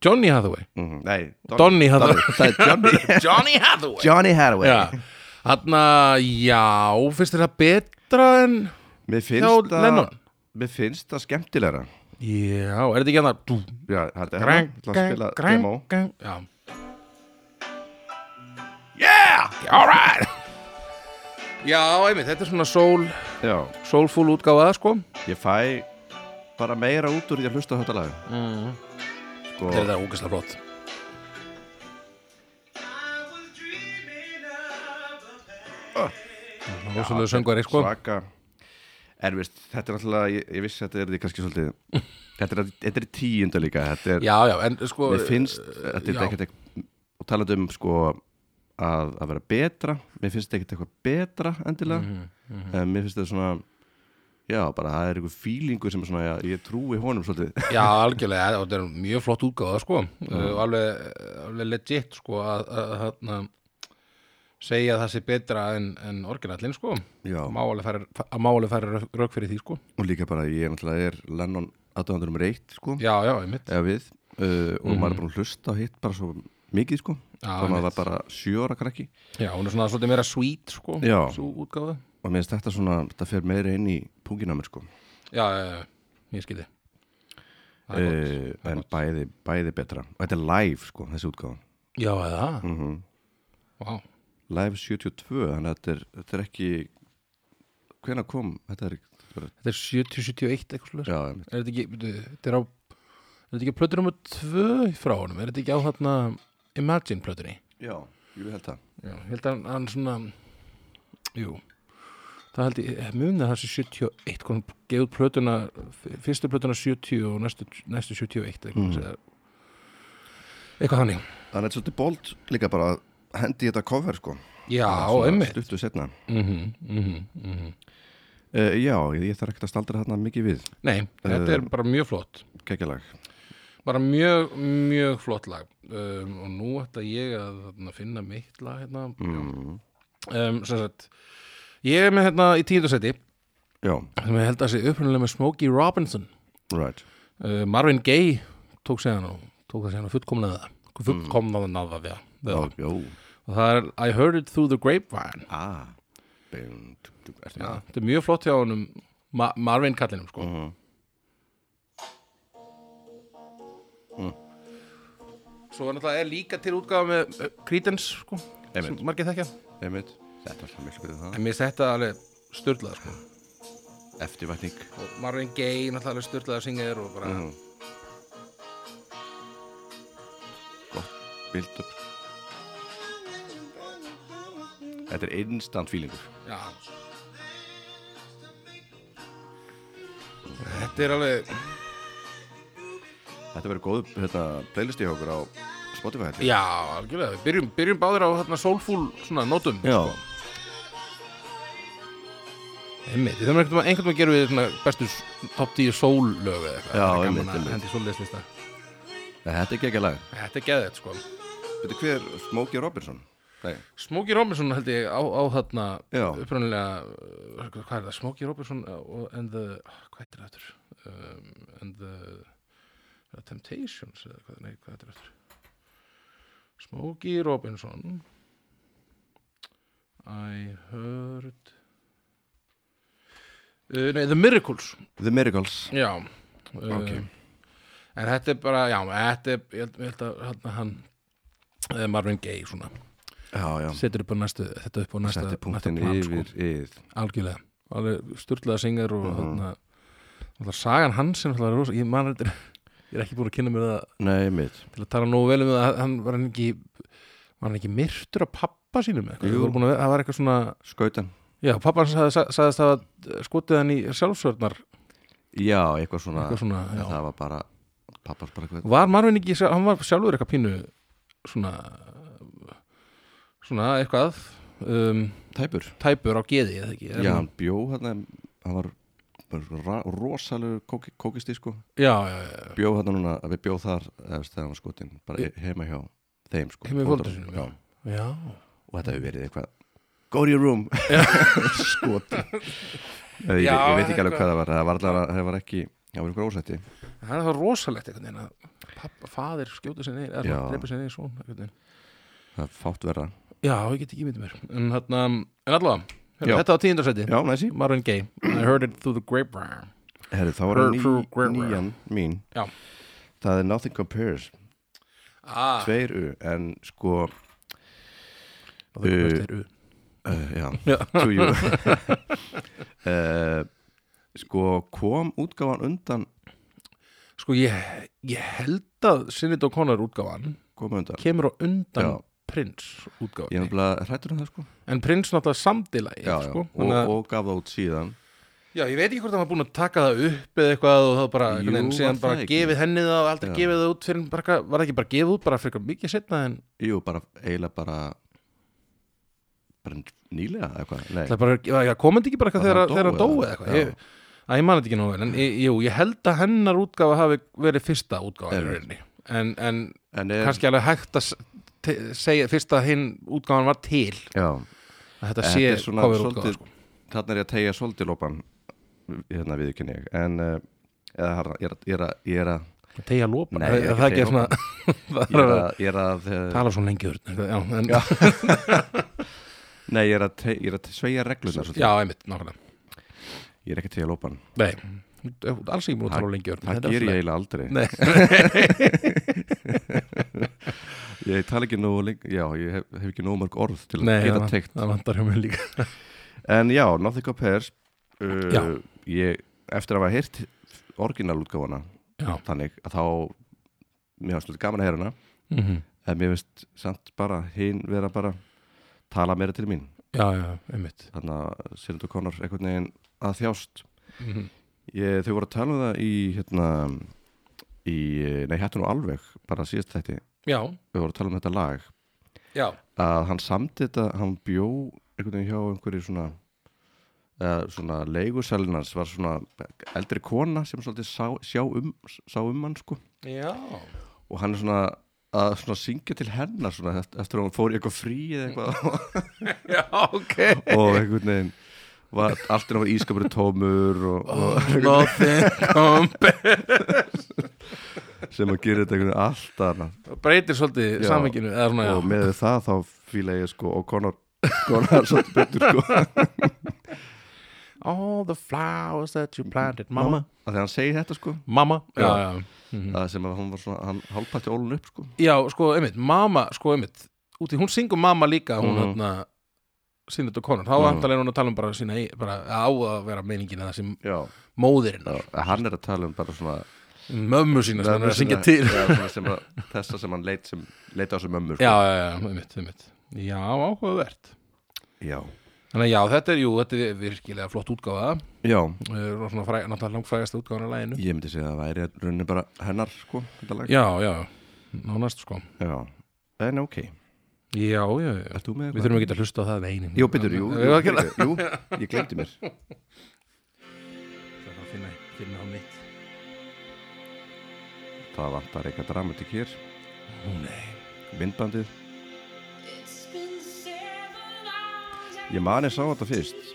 S1: Johnny Hathaway
S2: mm -hmm. Nei,
S1: Donny Hathaway
S2: Það er Johnny,
S1: Johnny Hathaway
S2: Johnny Hathaway
S1: Já, þarna, já, finnst þér það betra en
S2: Mér
S1: hjá
S2: finnst að
S1: Lennon?
S2: Mér finnst það skemmtilegra
S1: Já, er þetta ekki hann að
S2: Já, hætti hérna,
S1: Græn,
S2: ætla að spila
S1: græn,
S2: demo
S1: græn Já Yeah, all right Já, einmitt, þetta er svona soul,
S2: Já,
S1: soulful útgáfaða, sko
S2: ég fæ bara meira út úr því að hlusta á þetta lag
S1: mm.
S2: sko,
S1: Þetta er þetta ógæslega flott Rósulega söngvari, sko
S2: Svaka En veist, þetta er alltaf, ég, ég vissi að þetta er því kannski svolítið Þetta er, þetta er í tíunda líka Þetta er,
S1: Já, já, en sko
S2: mér finnst Þetta er
S1: já.
S2: ekkert ekkert Og talað um sko að, að vera betra Mér finnst þetta ekkert eitthvað betra endilega
S1: Mhm,
S2: En mér finnst þetta svona Já, bara það er einhver fílingur sem er svona, ég, ég trúi honum svolítið
S1: Já, algjörlega, og þetta er mjög flott útgáða sko, mm. og alveg, alveg legit sko að, að, að, að segja að það sé betra en, en orginallinn sko
S2: Já,
S1: Má alveg færa- að má alveg færa rök- rök fyrir því sko
S2: og líka bara ég náttúrulega er Lennon 1800 um reitt sko
S1: Já, já, einmitt
S2: eða við uh, og maður er búin að hlusta á hitt bara svo mikið sko þá
S1: Já,
S2: maður
S1: einmitt.
S2: var bara sjö ára krakki
S1: Já, hún er svona svolítið meira sweet sko,
S2: Já.
S1: svo útgáða
S2: og mér finnst þetta svona, þetta fer meira inn í pungina á mér sko
S1: Já, já, já, ég skildi Það er gott.
S2: uh, en bæði, bæði betra og þetta er live sko, þessi útgáfa
S1: Já, eða það mm
S2: Mhm.
S1: -hmm. Vá,
S2: live 72, þannig að þetta er, þetta er ekki hvenær kom þetta er, þetta er,
S1: þetta er 70-71 eitthvað slúður
S2: já, einmitt.
S1: Er þetta ekki, byrju, þetta er á Er þetta ekki plötur nummer tvö frá honum? Er þetta ekki á þarna Imagine plötunni?
S2: já, ég held það
S1: Já, ég held að hann, hann svona Jú það held ég, eh, munið að það sé 71 hvernig gefið út plötuna fyrstu plötuna 70 og næstu, næstu 71 eitthvað,
S2: Mm.
S1: mm. eitthvað þannig
S2: Þannig að þetta er svolítið bold líka bara að hendi í þetta cover sko
S1: já,
S2: Svona
S1: emmitt
S2: Stuttu setna
S1: mm -hmm, mm -hmm.
S2: uh, Já, ég, ég þarf ekkert að staldra þarna mikið við
S1: nei, þetta er bara mjög flott
S2: Kekjalag
S1: bara mjög, mjög flott lag um, og nú ætla ég að þarna, finna mitt lag hérna
S2: mm.
S1: um, sem sagt ég er með hérna í tíðarsæti
S2: Já,
S1: sem ég held að sé upprunalega með Smokey Robinson
S2: right
S1: uh, Marvin Gaye tók séðan og tók það séðan og fullkomnaði það fullkomnaði naða við við
S2: Já,
S1: það.
S2: já
S1: og það er I Heard It Through the Grapevine
S2: Ah Bum, tum, tum, ertu með
S1: Já, þetta er mjög flott hjá honum Ma Marvin kallinum sko
S2: Mhm.
S1: Mm. Svo er náttúrulega er líka til útgáfa með uh, Creedence sko sem
S2: Einmitt.
S1: margir þekkja
S2: það? Einmitt Þetta var svo miklu betur það
S1: En mér setja alveg styrlað sko
S2: Eftirvætning
S1: og Marvin Gaye náttúrulega alveg styrlað að syngja þér og bara
S2: mm. Gott Build up Þetta er instant feelingur
S1: Já Þetta er alveg
S2: Þetta verður góð hérna, playlisti hjá okkur á Spotify held ég.
S1: Já, algjörlega, við byrjum, byrjum báðir á þarna soulful svona nótum
S2: Já,
S1: Einmitt, við þurfum einhvern veginn einhvern veginn að gera við svona bestu s- top 10 soul lög eða eitthvað
S2: Já,
S1: Það er
S2: einmitt,
S1: gaman að
S2: einmitt.
S1: hendi soullislista
S2: Nei, þetta er ekki ekki lag
S1: Þetta er geðið sko
S2: Þetta hver Smokey Robinson Nei,
S1: Smokey Robinson held ég á, á þarna
S2: Já.
S1: upprunalega, uh, hvað er það, Smokey Robinson uh, and the, hvað heitir það aftur? Um, and the uh, Temptations eða hvað, nei, hvað heitir það aftur? Smokey Robinson I heard uh, Nei, The Miracles
S2: The Miracles
S1: Já okay. En þetta er bara, já, þetta er ég held, ég held að hérna, hann eh, Marvin Gaye svona
S2: Já, já
S1: setur upp á næstu, þetta upp á næsta,
S2: Þetta er
S1: næsta
S2: punktin
S1: plan,
S2: Sko. yfir Mhm.
S1: sko,
S2: yð
S1: algjörlega alveg sturlaða syngar og hérna, alltaf sagan hans sem alltaf rosa, ég man þetta ég er ekki búin að kynna mér það
S2: Nei, mitt
S1: til að tala nógu vel um það, að hann var hann ekki var hann ekki myrtur af pappa sínum eða eitthvað,
S2: Jú.
S1: Þau voru búin að vera- það var eitthvað svona
S2: Skautan
S1: já, pappa hans hafði sa- sagðist að skotið hann í sjálfsvörnar
S2: Já, eitthvað svona,
S1: Eitthvað svona, já.
S2: Ah. Það var bara Pappars bara eitthvað
S1: var Marvin ekki, sjálf- hann var sjálfur eitthvað pínu svona svona eitthvað um,
S2: Tæpur
S1: tæpur á geði eða ekki Er
S2: Já,
S1: hann-
S2: hann bjó hérna Hann var bara svona ra- rosalegur kóki, kókisti sko
S1: já, já, já, já.
S2: Bjó hérna núna Við bjó þar eða, veist, Þegar hann var skotin Bara
S1: Ég-
S2: he- heima hjá þeim sko
S1: Heima í
S2: Foreldrar-
S1: foreldrum sínum,
S2: Já
S1: já. já.
S2: Og þetta hefur verið eitthvað Go to your room Skotin Nei, ég,
S1: Já,
S2: ég veit ekki alveg hvað
S1: eitthvað.
S2: það var Það var allavega Það var ekki Það var einhver ósætti
S1: það er það rosalegt einhvern veginn að pappa, fadir skjóta sér neyri
S2: Já.
S1: eða drepa sér neyri svona einhvern veginn
S2: Það er fátt verra
S1: já, ég get ekki myndið mér en, þarna, en allavega,
S2: Já.
S1: hérna, þetta á tíundarsæti
S2: Já, næsí
S1: Marvin Gaye, I heard it through the grapevine
S2: Herri, þá var
S1: Her-
S2: ný,
S1: her- her-
S2: nýjan mín
S1: Já.
S2: Það er Nothing Compares
S1: ah,
S2: Tveir u En sko
S1: og það
S2: uh,
S1: er u
S2: uh, Já,
S1: Já.
S2: to you uh, Sko kom útgáfan undan
S1: sko, ég, ég held að Sinnit og Conor útgáfan
S2: Kom undan
S1: kemur á undan
S2: Já.
S1: prins
S2: Ég er
S1: útgáfinni
S2: nefnilega hrættur um það sko
S1: en prins náttúrulega samdilagi
S2: Já, já
S1: sko.
S2: og,
S1: Þannig að-
S2: og gaf það út síðan
S1: já, ég veit ekki hvort það var búin að taka það upp eða eitthvað og það bara,
S2: Jú,
S1: Jú, en,
S2: var
S1: síðan
S2: það
S1: bara
S2: ekki?
S1: gefið henni það og aldrei
S2: Já.
S1: gefið það út fyrir en bara, eitthvað- var það ekki bara gefið út bara fyrir eitthvað mikið setna en
S2: Jú, bara eiginlega bara bara nýlega eða eitthvað Nei,
S1: það bara, já, komandi ekki bara eitthvað
S2: Bara
S1: þegar
S2: hann
S1: þegar hann
S2: dó eða?
S1: dói eða eitthvað
S2: Já.
S1: Ég- að ég mani þetta ekki nógu vel en ég- jú, ég held að hennar útgáfa hafi verið fyrsta útgáfa í
S2: Einmitt.
S1: rauninni en, en
S2: en er
S1: kannski alveg hægt að s- te- segja fyrst að hinn útgáfan var til
S2: Já,
S1: að þetta
S2: Þetta
S1: sé
S2: er svona
S1: cover
S2: svolítið-
S1: útgáfa sko.
S2: þarna er ég að tegja svolítið lópan hérna viðkynni ég en uh, eða, hérna, ég er að- ég er að ég er að
S1: tegja
S2: Nei,
S1: lópa það
S2: ekki
S1: það ekki
S2: teygja
S1: er svona
S2: ég er að, ég er að, uh,
S1: tala svo lengi úr já, en, já.
S2: Já. nei, ég er að, te, ég er að te- sveigja reglunar svolítið.
S1: einmitt, nákvæmlega
S2: ég er ekki að tegja lópan
S1: Nei, þú ert alls ekki múið að tala of lengi úr
S2: það ger ég eiginlega aldrei
S1: Nei,
S2: ég tala ekki nógu lengi já, ég hef, hef ekki nógu mörg orð til
S1: nei
S2: að
S1: það,
S2: geta teikt
S1: það vantar hjá mér líka
S2: en já, Nothing Compares uh,
S1: Já.
S2: ég, eftir að hafa heyrt orginalútgáfana
S1: Já,
S2: þannig að þá mér var svolítið gaman að heyra hana
S1: mm -hmm.
S2: en mér finnst samt bara hinn vera bara tala meira til mín
S1: já, já, einmitt
S2: þannig að Sérnd og Conor einhvern veginn að þjást
S1: Mhm.
S2: ég, þau voru að tala um það í hérna í, nei hættu nú alveg bara síðast þætti,
S1: Já,
S2: þau voru að tala um þetta lag
S1: já,
S2: að hann samti þetta, hann bjó einhvern veginn hjá einhverju svona eða svona leigusalinans var svona eldri kona sem svolítið sá, sjá um, sá um hann sko
S1: já
S2: og hann er svona að svona syngja til hennar svona eft- eftir að hún fór í eitthvað frí eða eitthvað
S1: Já, ok
S2: og einhvern veginn var, allt er að var ískapur tómur og, og
S1: Nothing compares
S2: sem að gera þetta einhvern veginn allt annað
S1: Breytir svolítið
S2: Já.
S1: saminginu Eða svona,
S2: og
S1: já,
S2: með það þá fíla ég sko og konar konar svolítið betur sko
S1: all the flowers that you planted Mama,
S2: að þegar hann segi þetta sko
S1: mama Já,
S2: Já.
S1: já, Mhm.
S2: að sem að hann var svona, hann hálpætti ólun upp sko
S1: já sko, einmitt, mama, sko, einmitt Úti, hún syngur mama líka Hún,
S2: Mhm.
S1: hérna, sínir þetta konur Þá
S2: Mhm.
S1: mm. er hún að tala um bara sína eigin- bara, Á að vera meiningin að það sem
S2: já,
S1: móðirinn
S2: já, að hann er að tala um bara svona
S1: Mömmu sína sem hann er að syngja
S2: svona-
S1: til
S2: já, svona sem að, þessa sem hann leit sem leit á sem mömmur sko.
S1: Já, já, já, einmitt, einmitt Já, áhugavert
S2: já,
S1: Þannig að já, þetta er, jú, þetta er virkilega flott útgáfa
S2: já
S1: Eh, og svona fræ, náttúrulega langfrægast útgáðan af læginu
S2: ég myndi segja að það væri rauninni bara hennar sko þetta lag
S1: Já, já, nánast sko
S2: já, en ok
S1: Já, já, já
S2: Ert þú með
S1: Við þurfum ekki að hlusta á það einin
S2: Jú, betur, jú,
S1: Við
S2: jú,
S1: þurfum
S2: jú, jú, ég glemdi mér
S1: að finna, finna á mitt
S2: Það vantar eitthvað dramatik hér
S1: Ó nei
S2: Myndbandið,
S3: Ég man ég sá þetta fyrst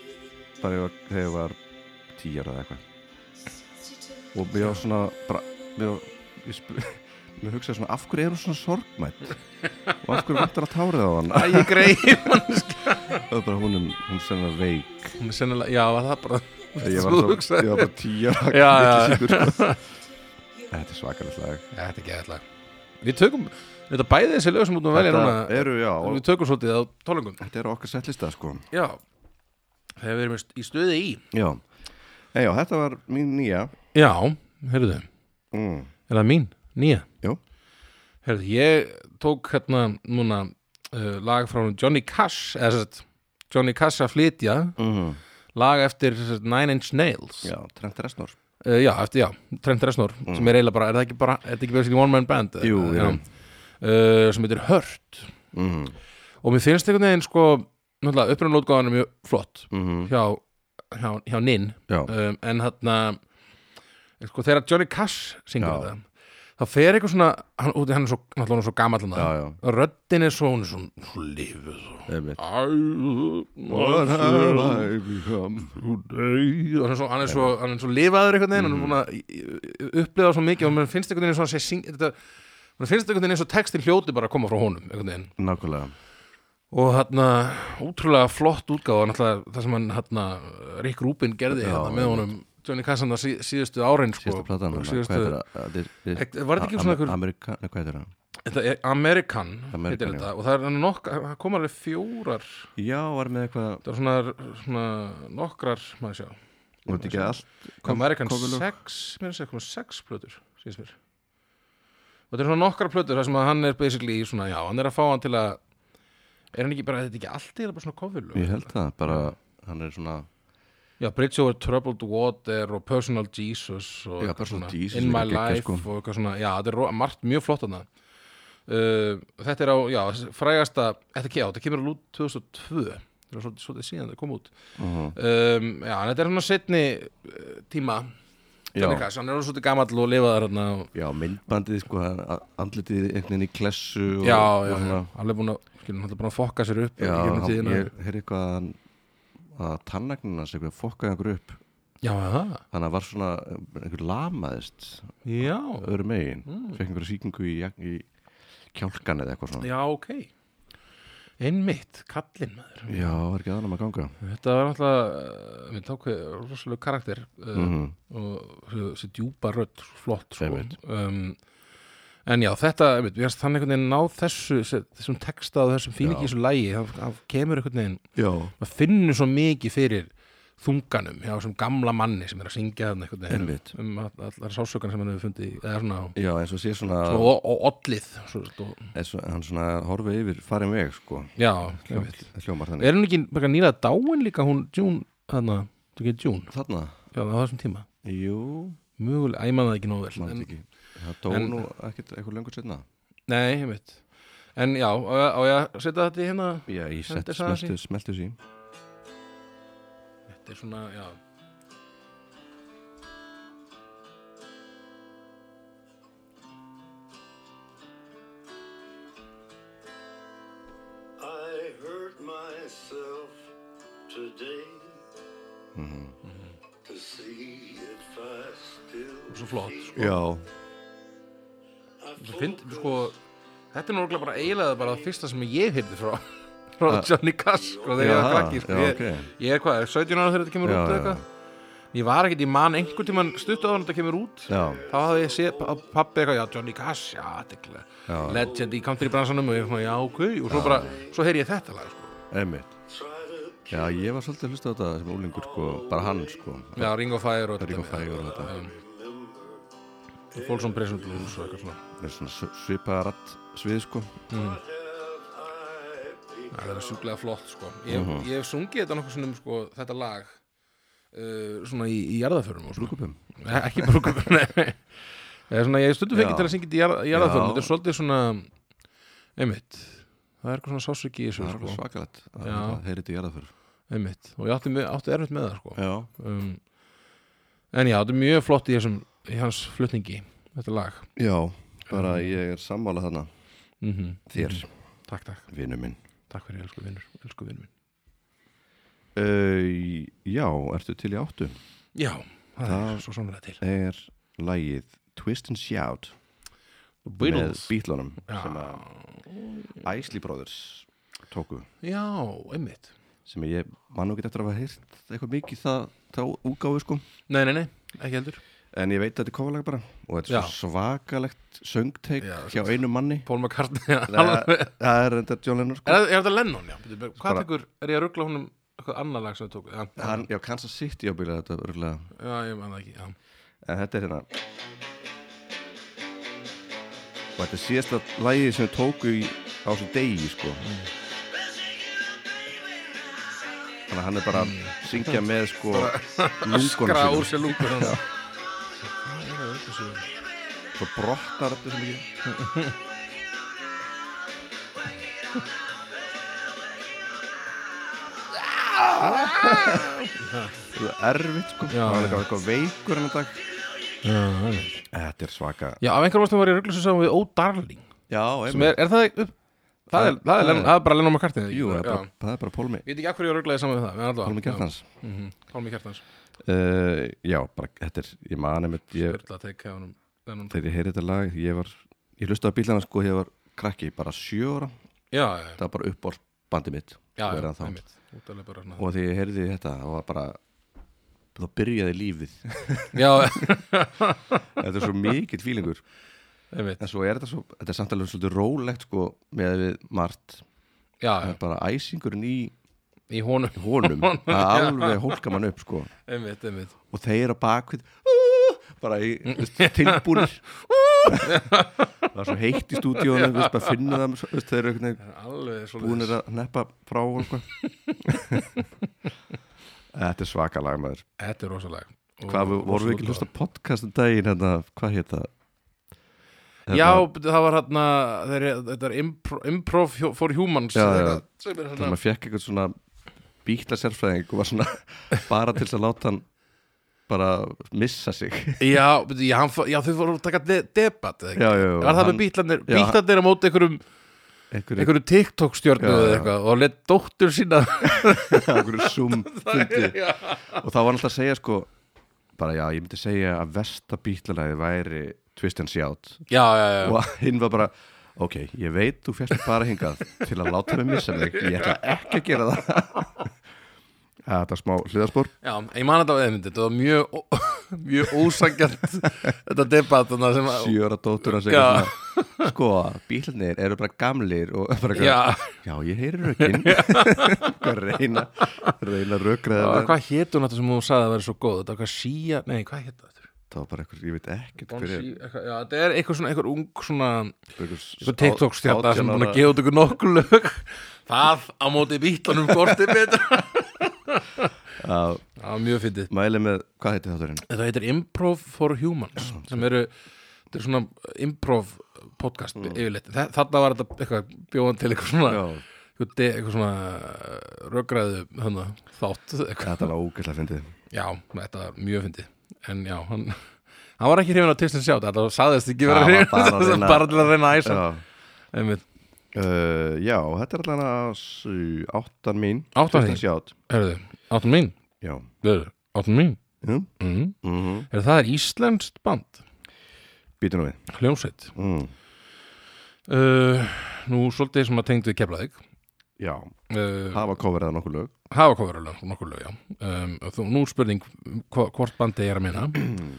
S2: bara ég var, þegar ég var tíjar eða eitthvað Og mér var svona, bara, mér var, ég sp Mér hugsaði svona, af hverju er hún svona sorgmætt? Og af hverju vantar að tárið á hann?
S1: Æ, ég greið
S2: Það var bara hún, er- hún sem var veik
S1: Hún er sennilega, já, var það bara
S2: Ég
S1: Þú
S2: var, svo,
S1: hugsaðir.
S2: ég var bara tíjar
S1: Já, já.
S2: sko. Þetta er svakalegt lag
S1: Já, þetta er geðið lag Við tökum, þetta bæði þessi lög sem út að velja núna
S2: eru, já, og
S1: Við tökum svolítið á tólingum
S2: þetta eru okkar settlista, sko
S1: Já Þegar við erum í stuði í
S2: Já, en já, þetta var mín nýja
S1: Já, heyrðu
S2: mm.
S1: Er það mín? Nýja?
S2: Jú.
S1: Herðu, ég tók hérna núna uh, lag frá honum Johnny Cash eða sem sagt, Johnny Cash að flytja
S2: Mm.
S1: Mhm. lag eftir sem sagt, Nine Inch Nails
S2: Já, Trent Reznor
S1: uh, já eftir, já, Trent Reznor sem er eiginlega bara, er það ekki bara, er það ekki bara sinni One Man Band?
S2: Jú,
S1: Eh,
S2: jú.
S1: Uh, sem heitir Hurt
S2: mm.
S1: Mhm, og mér finnst einhvern veginn sko náttúrulega upprunalótgáðan er mjög flott
S2: Mm.
S1: hjá, hjá, hjá Nin
S2: Já,
S1: um, en þarna sko, þegar Johnny Cash syngur
S2: Já.
S1: þetta þá fer eitthvað svona hann, út í- hann er svo, náttúrulega hann er svo gamall hann
S2: já, já
S1: röddin er svo, hún er svo, svo lifuð og
S2: einmitt. What have
S1: Æ,
S2: I become?
S1: today. hann er svo, hann er svo, hann er svo lifaður einhvern
S2: Mm.
S1: veginn, hann er búin að upplega svo mikið og mér finnst einhvern veginn svo að sé syng þetta, mér finnst einhvern veginn eins og textin hljóti bara að koma frá honum einhvern veginn
S2: Nákvæmlega
S1: og þarna útrúlega flott útgáfa náttúrulega það sem hann þarna Rick Rubin gerði
S2: Já,
S1: hérna, með honum Johnny Kassan það síðustu árin sko,
S2: Sérsta platan hana,
S1: síðustu-
S2: Hvað heitir það? Þið- þið-
S1: Ek- var þetta ekki svona
S2: Am-
S1: einhver-
S2: Amerika, nei, hvað heitir það?
S1: Þetta er eh, American, heitir
S2: American,
S1: þetta og það er nokk, það koma alveg fjórar
S2: Já, var með eitthvað
S1: það er svona, svona nokkrar maður sjá,
S2: Var þetta ekki allt kom-
S1: American
S2: kóngulög?
S1: 6 mér er sér, sex plötur, síðast mér og þetta er svona nokkrar plötur þar sem að hann er basically í svona, já, hann er að fá hann til að er hann ekki bara, þetta er ekki allt eða bara svona kofilug
S2: Ég held það, bara Hann er svona
S1: Já, Bridge Over Troubled Water og Personal Jesus og
S2: Já,
S1: eitthvað
S2: Personal
S1: svona,
S2: Jesus
S1: In
S2: er
S1: My
S2: geggjað,
S1: Life
S2: sko.
S1: og eitthvað svona, já, þetta er ro- margt mjög flott þarna uh, Þetta er á, já, frægasta þetta, ke- já, þetta kemur alveg út 2002 þetta er svolítið, svolítið síðan þetta kom út
S2: Mhm.
S1: um, Já, en þetta er hann á setni uh, tíma
S2: Já.
S1: Johnny Cash, hann er orðinn svolítið gamall og lifaðar hérna og,
S2: Já, myndbandið, sko hann- a- Andlitið einhvern veginn í klessu og,
S1: Já,
S2: og
S1: já, já,
S2: svona-
S1: hann er búin að, skilur, hann er búin að fokka sér upp
S2: Já,
S1: í gegnum
S2: hann-
S1: tíðina.
S2: ég heyrði eitthvað að hann- að tannagnina sem eitthvað fokkaði einhver upp
S1: Já, er það,
S2: þannig að var svona einhver lamaðist
S1: já,
S2: öðru megin,
S1: Mm.
S2: fekk einhverja sýkingu í, jak- í kjálkan eða eitthvað svona
S1: já, ok Einmitt, kallinn maður
S2: Já, var ekki aðnum að ganga
S1: Þetta var náttúrulega eh, minn tók rosalega karakter uh,
S2: Mhm.
S1: og þessi djúpa rödd svo flott sko.
S2: Einmitt.
S1: um, en já, þetta einmitt, við erum þannig einhvern veginn náð þessu se- þessum texta og þessum fílingi í þessu lægi það, það kemur einhvern veginn
S2: Já,
S1: maður finnur svo mikið fyrir þunganum hjá þessum gamla manni sem er að syngja þarna einhvern veginn
S2: Einmitt.
S1: um, um all- allar sásökan sem hann hefur fundið í- eða svona,
S2: Já, eins og sé svona,
S1: svona og, og ollið svo, og,
S2: eins og hann svona horfið yfir farin veg, sko.
S1: já,
S2: Hljó-
S1: einmitt.
S2: Hljómar þannig.
S1: er hún ekki bara nýlega dáin líka hún June, þarna, þú getur June
S2: Þarna?
S1: já, á þessum tíma,
S2: Jú,
S1: mögulega, æ, ég man það ekki nóg vel
S2: maður
S1: en,
S2: ekki. Það dó
S1: en-
S2: nú ekkert eitthvað lengur setna.
S1: nei, einmitt en já, á, ég- á ég að setja þetta í hérna
S2: Já, ég
S1: Þetta
S2: sett
S1: er sagan
S2: smeltu, smeltu sí.
S1: þetta er svona, já
S4: I hurt myself today to see if I still
S1: Svo flott, sko.
S2: Já,
S1: Svo Find, sko, þetta er náttúrulega bara eiginlega bara það fyrsta sem ég heyrði frá frá Johnny Cash sko, þegar ég
S2: Ah.
S1: var
S2: Jaha,
S1: krakki sko.
S2: já,
S1: ég,
S2: ok.
S1: ég er hvað, er 17 ára þegar þetta kemur
S2: Já,
S1: út
S2: já.
S1: eða eitthvað ég var ekkert, ég man einhvern tímann stutt á þetta kemur út
S2: Já.
S1: þá hafði ég séð pa- pabbi eitthvað, já Johnny Cash já, þetta er
S2: Já.
S1: glæð, legend í countrybransanum og ég fann, já, ok, og svo bara svo heyri ég þetta lag, sko,
S2: einmitt. Já, ég var svolítið að hlusta á þetta sem úlingur, sko, bara hann, sko.
S1: já, Ring of Fire og
S2: Ring of Fire og þetta.
S1: Folsom
S2: um
S1: Prison Blues og eitthvað svona
S2: Það er svona sv- svipaða ratt svið, sko.
S1: Já, það er sjúklega flott sko Ég,
S2: Mhm.
S1: ég hef sungið þetta nokkuð svona um sko, þetta lag uh, svona í, í jarðaförum og svona
S2: Brúkupum.
S1: Nei, ekki brúkup eða svona ég stundum fengið
S2: Já.
S1: til að syngja þetta í jarð- í jarðaförum
S2: Já.
S1: þetta er svolítið svona einmitt það er eitthvað svona sásöki í þessu
S2: Það er alveg
S1: sko
S2: svakalegt.
S1: Já.
S2: Það heyrði þetta í jarðaför.
S1: einmitt og ég átti, mjög- átti erfitt með það sko
S2: Já.
S1: um, en já, þetta er mjög flott í, þessum, í hans flutningi þetta lag
S2: Já, bara ég er sammála þarna.
S1: mm
S2: Þér,
S1: Takk, takk,
S2: vinnu minn.
S1: takk fyrir elsku vinnur elsku vinnur minn
S2: Uh, já, ertu til í áttu?
S1: Já, það,
S2: Það-
S1: er svo sannlega til
S2: Er lægið Twist and Shout með Beatlunum sem að Isley Brothers tóku
S1: Já, einmitt
S2: sem ég mann og get eftir að hafa heyrt eitthvað mikið það, þá úgáðu sko
S1: Nei, nei, nei, ekki heldur
S2: en ég veit að þetta er kofalega bara og þetta er svo svakalegt söngteik
S1: Já,
S2: hjá einu manni
S1: Paul McCartney
S2: það
S1: alveg.
S2: er- það er enda John Lennon
S1: Er
S2: sko
S1: það- er þetta Lennon, já Bíddu, bíddu, Hvað
S2: Bara-
S1: tekur, er ég að ruggla honum eitthvað annað lag sem þau tóku? Já,
S2: Hann, já, Kansas City á bíla þetta örgulega
S1: já ég man það ekki já.
S2: en þetta er hérna og þetta er síðasta lægið sem þau tóku í, á þessum degi sko þannig að hann er bara að syngja
S1: Mm.
S2: með sko lungunum
S1: Skra
S2: sínum
S1: úr sér lungur hann um?
S2: svo brotnar þetta sem ekki Það er erfitt sko
S1: Já,
S2: Það var
S1: já.
S2: eitthvað- eitthvað veikur hennar dag
S1: Já,
S2: Þetta er svaka
S1: já, af einhverjum ástum var ég ruggla sem sagði við Oh Darling
S2: Já,
S1: sem er, er það ekki upp Það er, það er, Lennon, það er bara Lennon McCartney
S2: Jú, það er bara,
S1: Já.
S2: það er bara Pólmi
S1: Ég veit ekki af hverju ég rugglaði saman við það en allavega.
S2: Pálmi Kjartans
S1: Já, mhm, Pálmi Kjartans
S2: uh, Já, bara, þetta er, ég mani með ég,
S1: Örla teik hjá honum Lennon
S2: Þegar ég heyri þetta lag, ég var Ég hlustaði á bílana sko, ég var krakki Bara sjö ára,
S1: Já, já,
S2: það var bara uppbólt Bandi mitt,
S1: já,
S2: og
S1: já,
S2: er ennþá.
S1: einmitt Útalega bara svona
S2: Og þegar ég heyrði þetta, það var bara Það byrjaði lífið
S1: Já,
S2: Þetta er svo mikill fílingur
S1: einmitt
S2: En svo er þetta svo, þetta er samtalið svolítið rólegt sko Með við margt
S1: Já,
S2: Það
S1: já,
S2: er bara æsingurinn í
S1: í honum
S2: honum Það alveg hólka mann upp sko
S1: Einmitt, einmitt
S2: Og þeir á bakvið Bara í tilbúnir Það er svo heitt í stúdíónu Við bara finna það þú veist, Þeir eru einhvern veginn
S1: Alveg svo
S2: búinir að neppa frá og eitthvað. Þetta er svaka lag maður
S1: Þetta er rosalega Og-
S2: Hvað, við- vorum við ekki að hlusta á podcast um daginn hérna, hvað hétt það? Hérna,
S1: Já, það var hérna þeir, þetta er improv, improv for humans
S2: Já,
S1: eða
S2: já.
S1: eitthvað, sem er
S2: þegar
S1: hérna
S2: maður fekk eitthvað svona bíkla sérfræðing og var svona bara til þess að láta hann bara missa sig
S1: já, byrju, já, hann, fó- já, þau voru að taka de debat eða ekki?
S2: Já, já, já,
S1: Var það
S2: hann-
S1: með bítlandir
S2: já, hann-
S1: Bítlandir á móti einhverjum,
S2: einhverju, einhverju,
S1: einhverjum TikTok stjórnu
S2: Já,
S1: eða
S2: já.
S1: eitthvað og let dóttur sína
S2: einhverju zoom fundi og þá var hann alltaf að segja sko bara já, ég myndi segja að versta bíklalæði væri Twist and Shout
S1: Já, já, já
S2: og hinn var bara ok, ég veit þú fjast bara hingað til að láta mig missa mig, ég ætla ekki að gera það að þetta er smá hliðarspor
S1: Já, ég man þetta á einmitt, þetta var mjög, ó- mjög ósangjant þetta debat þarna sem að
S2: sjöra dóttur að
S1: Já.
S2: segja svona, sko, bílarnir eru bara gamlir og bara eitthvað,
S1: Já.
S2: já, ég heyri rökin reyna reyna rökraða
S1: Hvað- Hvað hétt hún þetta sem þú sagði að vera svo góð? Þetta var hvað síja, nei, hvað hétt þetta?
S2: það var bara eitthvað, ég veit ekkert
S1: Bon
S2: hver er
S1: sí, eitthvað, já, þetta er eitthvað svona, eitthvað ung svona, eitthvað
S2: eitthvað
S1: TikTok-stjarta sem er búin að gefa út ykkur nokkur lög Það á móti bílunum kortið betur
S2: að
S1: Það var mjög fyndið
S2: mæli með, hvað heiti þátturinn?
S1: Þetta heitir Improv for Humans sem eru, þetta er svona improv podcast yfirleitt Þa- Þarna var þetta eitthvað bjóðan til eitthvað svona
S2: Já.
S1: eitthvað, de, eitthvað svona röggræðu hana, þátt eitthvað.
S2: þetta var ógæslega fyndið
S1: Já, þetta var mjög fyndið en já, hann, hann var ekki hrifin að tilstum sjátt þetta sagðist ekki vera
S2: Það var
S1: hrifin
S2: bara að reyna-
S1: bara til að reyna að æsa
S2: já.
S1: Einmitt.
S2: Uh, já, þetta er allan að s- áttan mín
S1: Áttan
S2: Fyrsta
S1: þín?
S2: sjátt.
S1: Herðu, áttum mín
S2: Já
S1: Herðu, áttum mín
S2: mm?
S1: mm.
S2: Mm -hmm.
S1: Herðu, það er íslenskt band
S2: Býtum við
S1: hljómsveit
S2: mm.
S1: uh, Nú, svolítið sem að tengdu í keflaðik
S2: Já,
S1: uh,
S2: hafa kofverið að nokkuð lög
S1: hafa kofurulög, nokkur lög, já um, og þú, nú er spurning hva, hvort bandi ég er að minna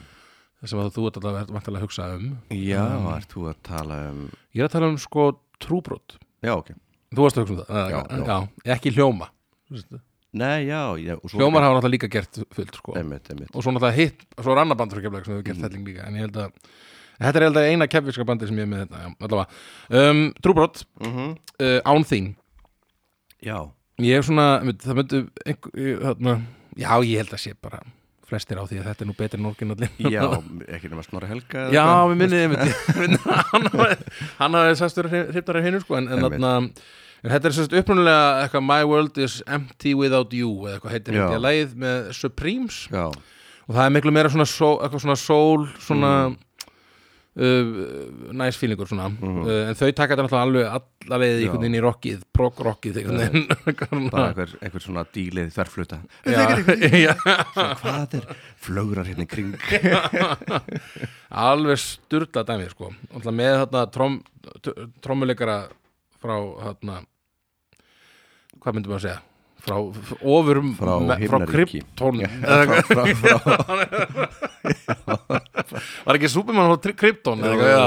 S1: sem að þú ert alltaf vantilega að hugsa um
S2: Já, ert þú að tala um
S1: Ég er að tala um sko trúbrot
S2: Já, ok
S1: Þú varst að hugsa um það?
S2: Já, já.
S1: Ekki hljóma Vistu?
S2: Nei, já, já og svo-
S1: Hljómar hafa náttúrulega líka gert fullt sko.
S2: Einmitt, einmitt
S1: og svo náttúrulega hitt, svo er annar band frá keflag sem hefur
S2: Mhm.
S1: gert helling líka, en ég held að þetta er held að eina keflagska bandi sem ég er með þetta já, allavega, um, trúbrot
S2: mm
S1: uh, án þín,
S2: Já
S1: ég er svona einmitt, það myndu, einhver, ég- þarna já, ég held að sé bara flestir á því að þetta er nú betri en orgin allir
S2: Já, ekki nema snorri helga eða
S1: já,
S2: eitthvað.
S1: við minnið einmitt, ég minni að hann hafi- hann hafði sæstur hriftar af hinu sko, en, en
S2: Einmitt.
S1: þarna En þetta er sérst upprunalega eitthvað My World is Empty Without You eða eitthvað heitir
S2: Já.
S1: held ég að leið með Supremes
S2: Já,
S1: og það er miklu meira svona sól, eitthvað svona sól svona
S2: Mm.
S1: uh, næs fílingur svona
S2: Mhm.
S1: uh, en þau taka þetta náttúrulega alveg alla leið einhvern veginn í rockið, prog-rockið einhvern veginn Hvernig-
S2: bara einhver, einhver svona dílið þverfluta
S1: já, já,
S2: Hvað er flögrar hérna í kring
S1: alveg styrla dæmi sko, alltaf með þarna trom, t- trommuleikara frá þarna hvað myndum maður að segja frá f- ofur
S2: Frá
S1: me- frá
S2: himnaríki.
S1: kryptón
S2: frá, frá, frá,
S1: var ekki Superman frá kryptón
S2: Jú, jú.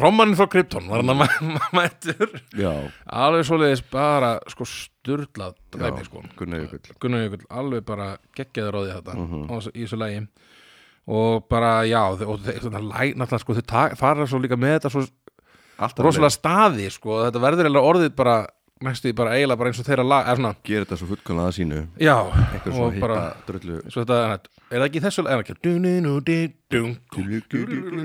S1: trommaninn frá kryptón var hann að mæ- mættur
S2: Já,
S1: alveg svoleiðis bara sko styrlað
S2: já
S1: dæmi sko
S2: Gunnar Jökull
S1: Gunnar Jökull alveg bara geggjaður á því þetta
S2: Mhm.
S1: mm í þessu lægi og bara já þau- og þeir, svona, læg, náttúrulega sko þau ta- fara svo líka með þetta svo
S2: Alltaf
S1: rosalega staði sko og þetta verður eiginlega orðið bara næstu því bara eiginlega bara eins og þeirra lag eða svona
S2: Gerir þetta svo fullkomlega að sínu
S1: já
S2: Einhver
S1: og
S2: svona
S1: bara
S2: hýpa drullu
S1: svo þetta er, er það ekki í þessu er það ekki dun-dun-dun, dun-dun.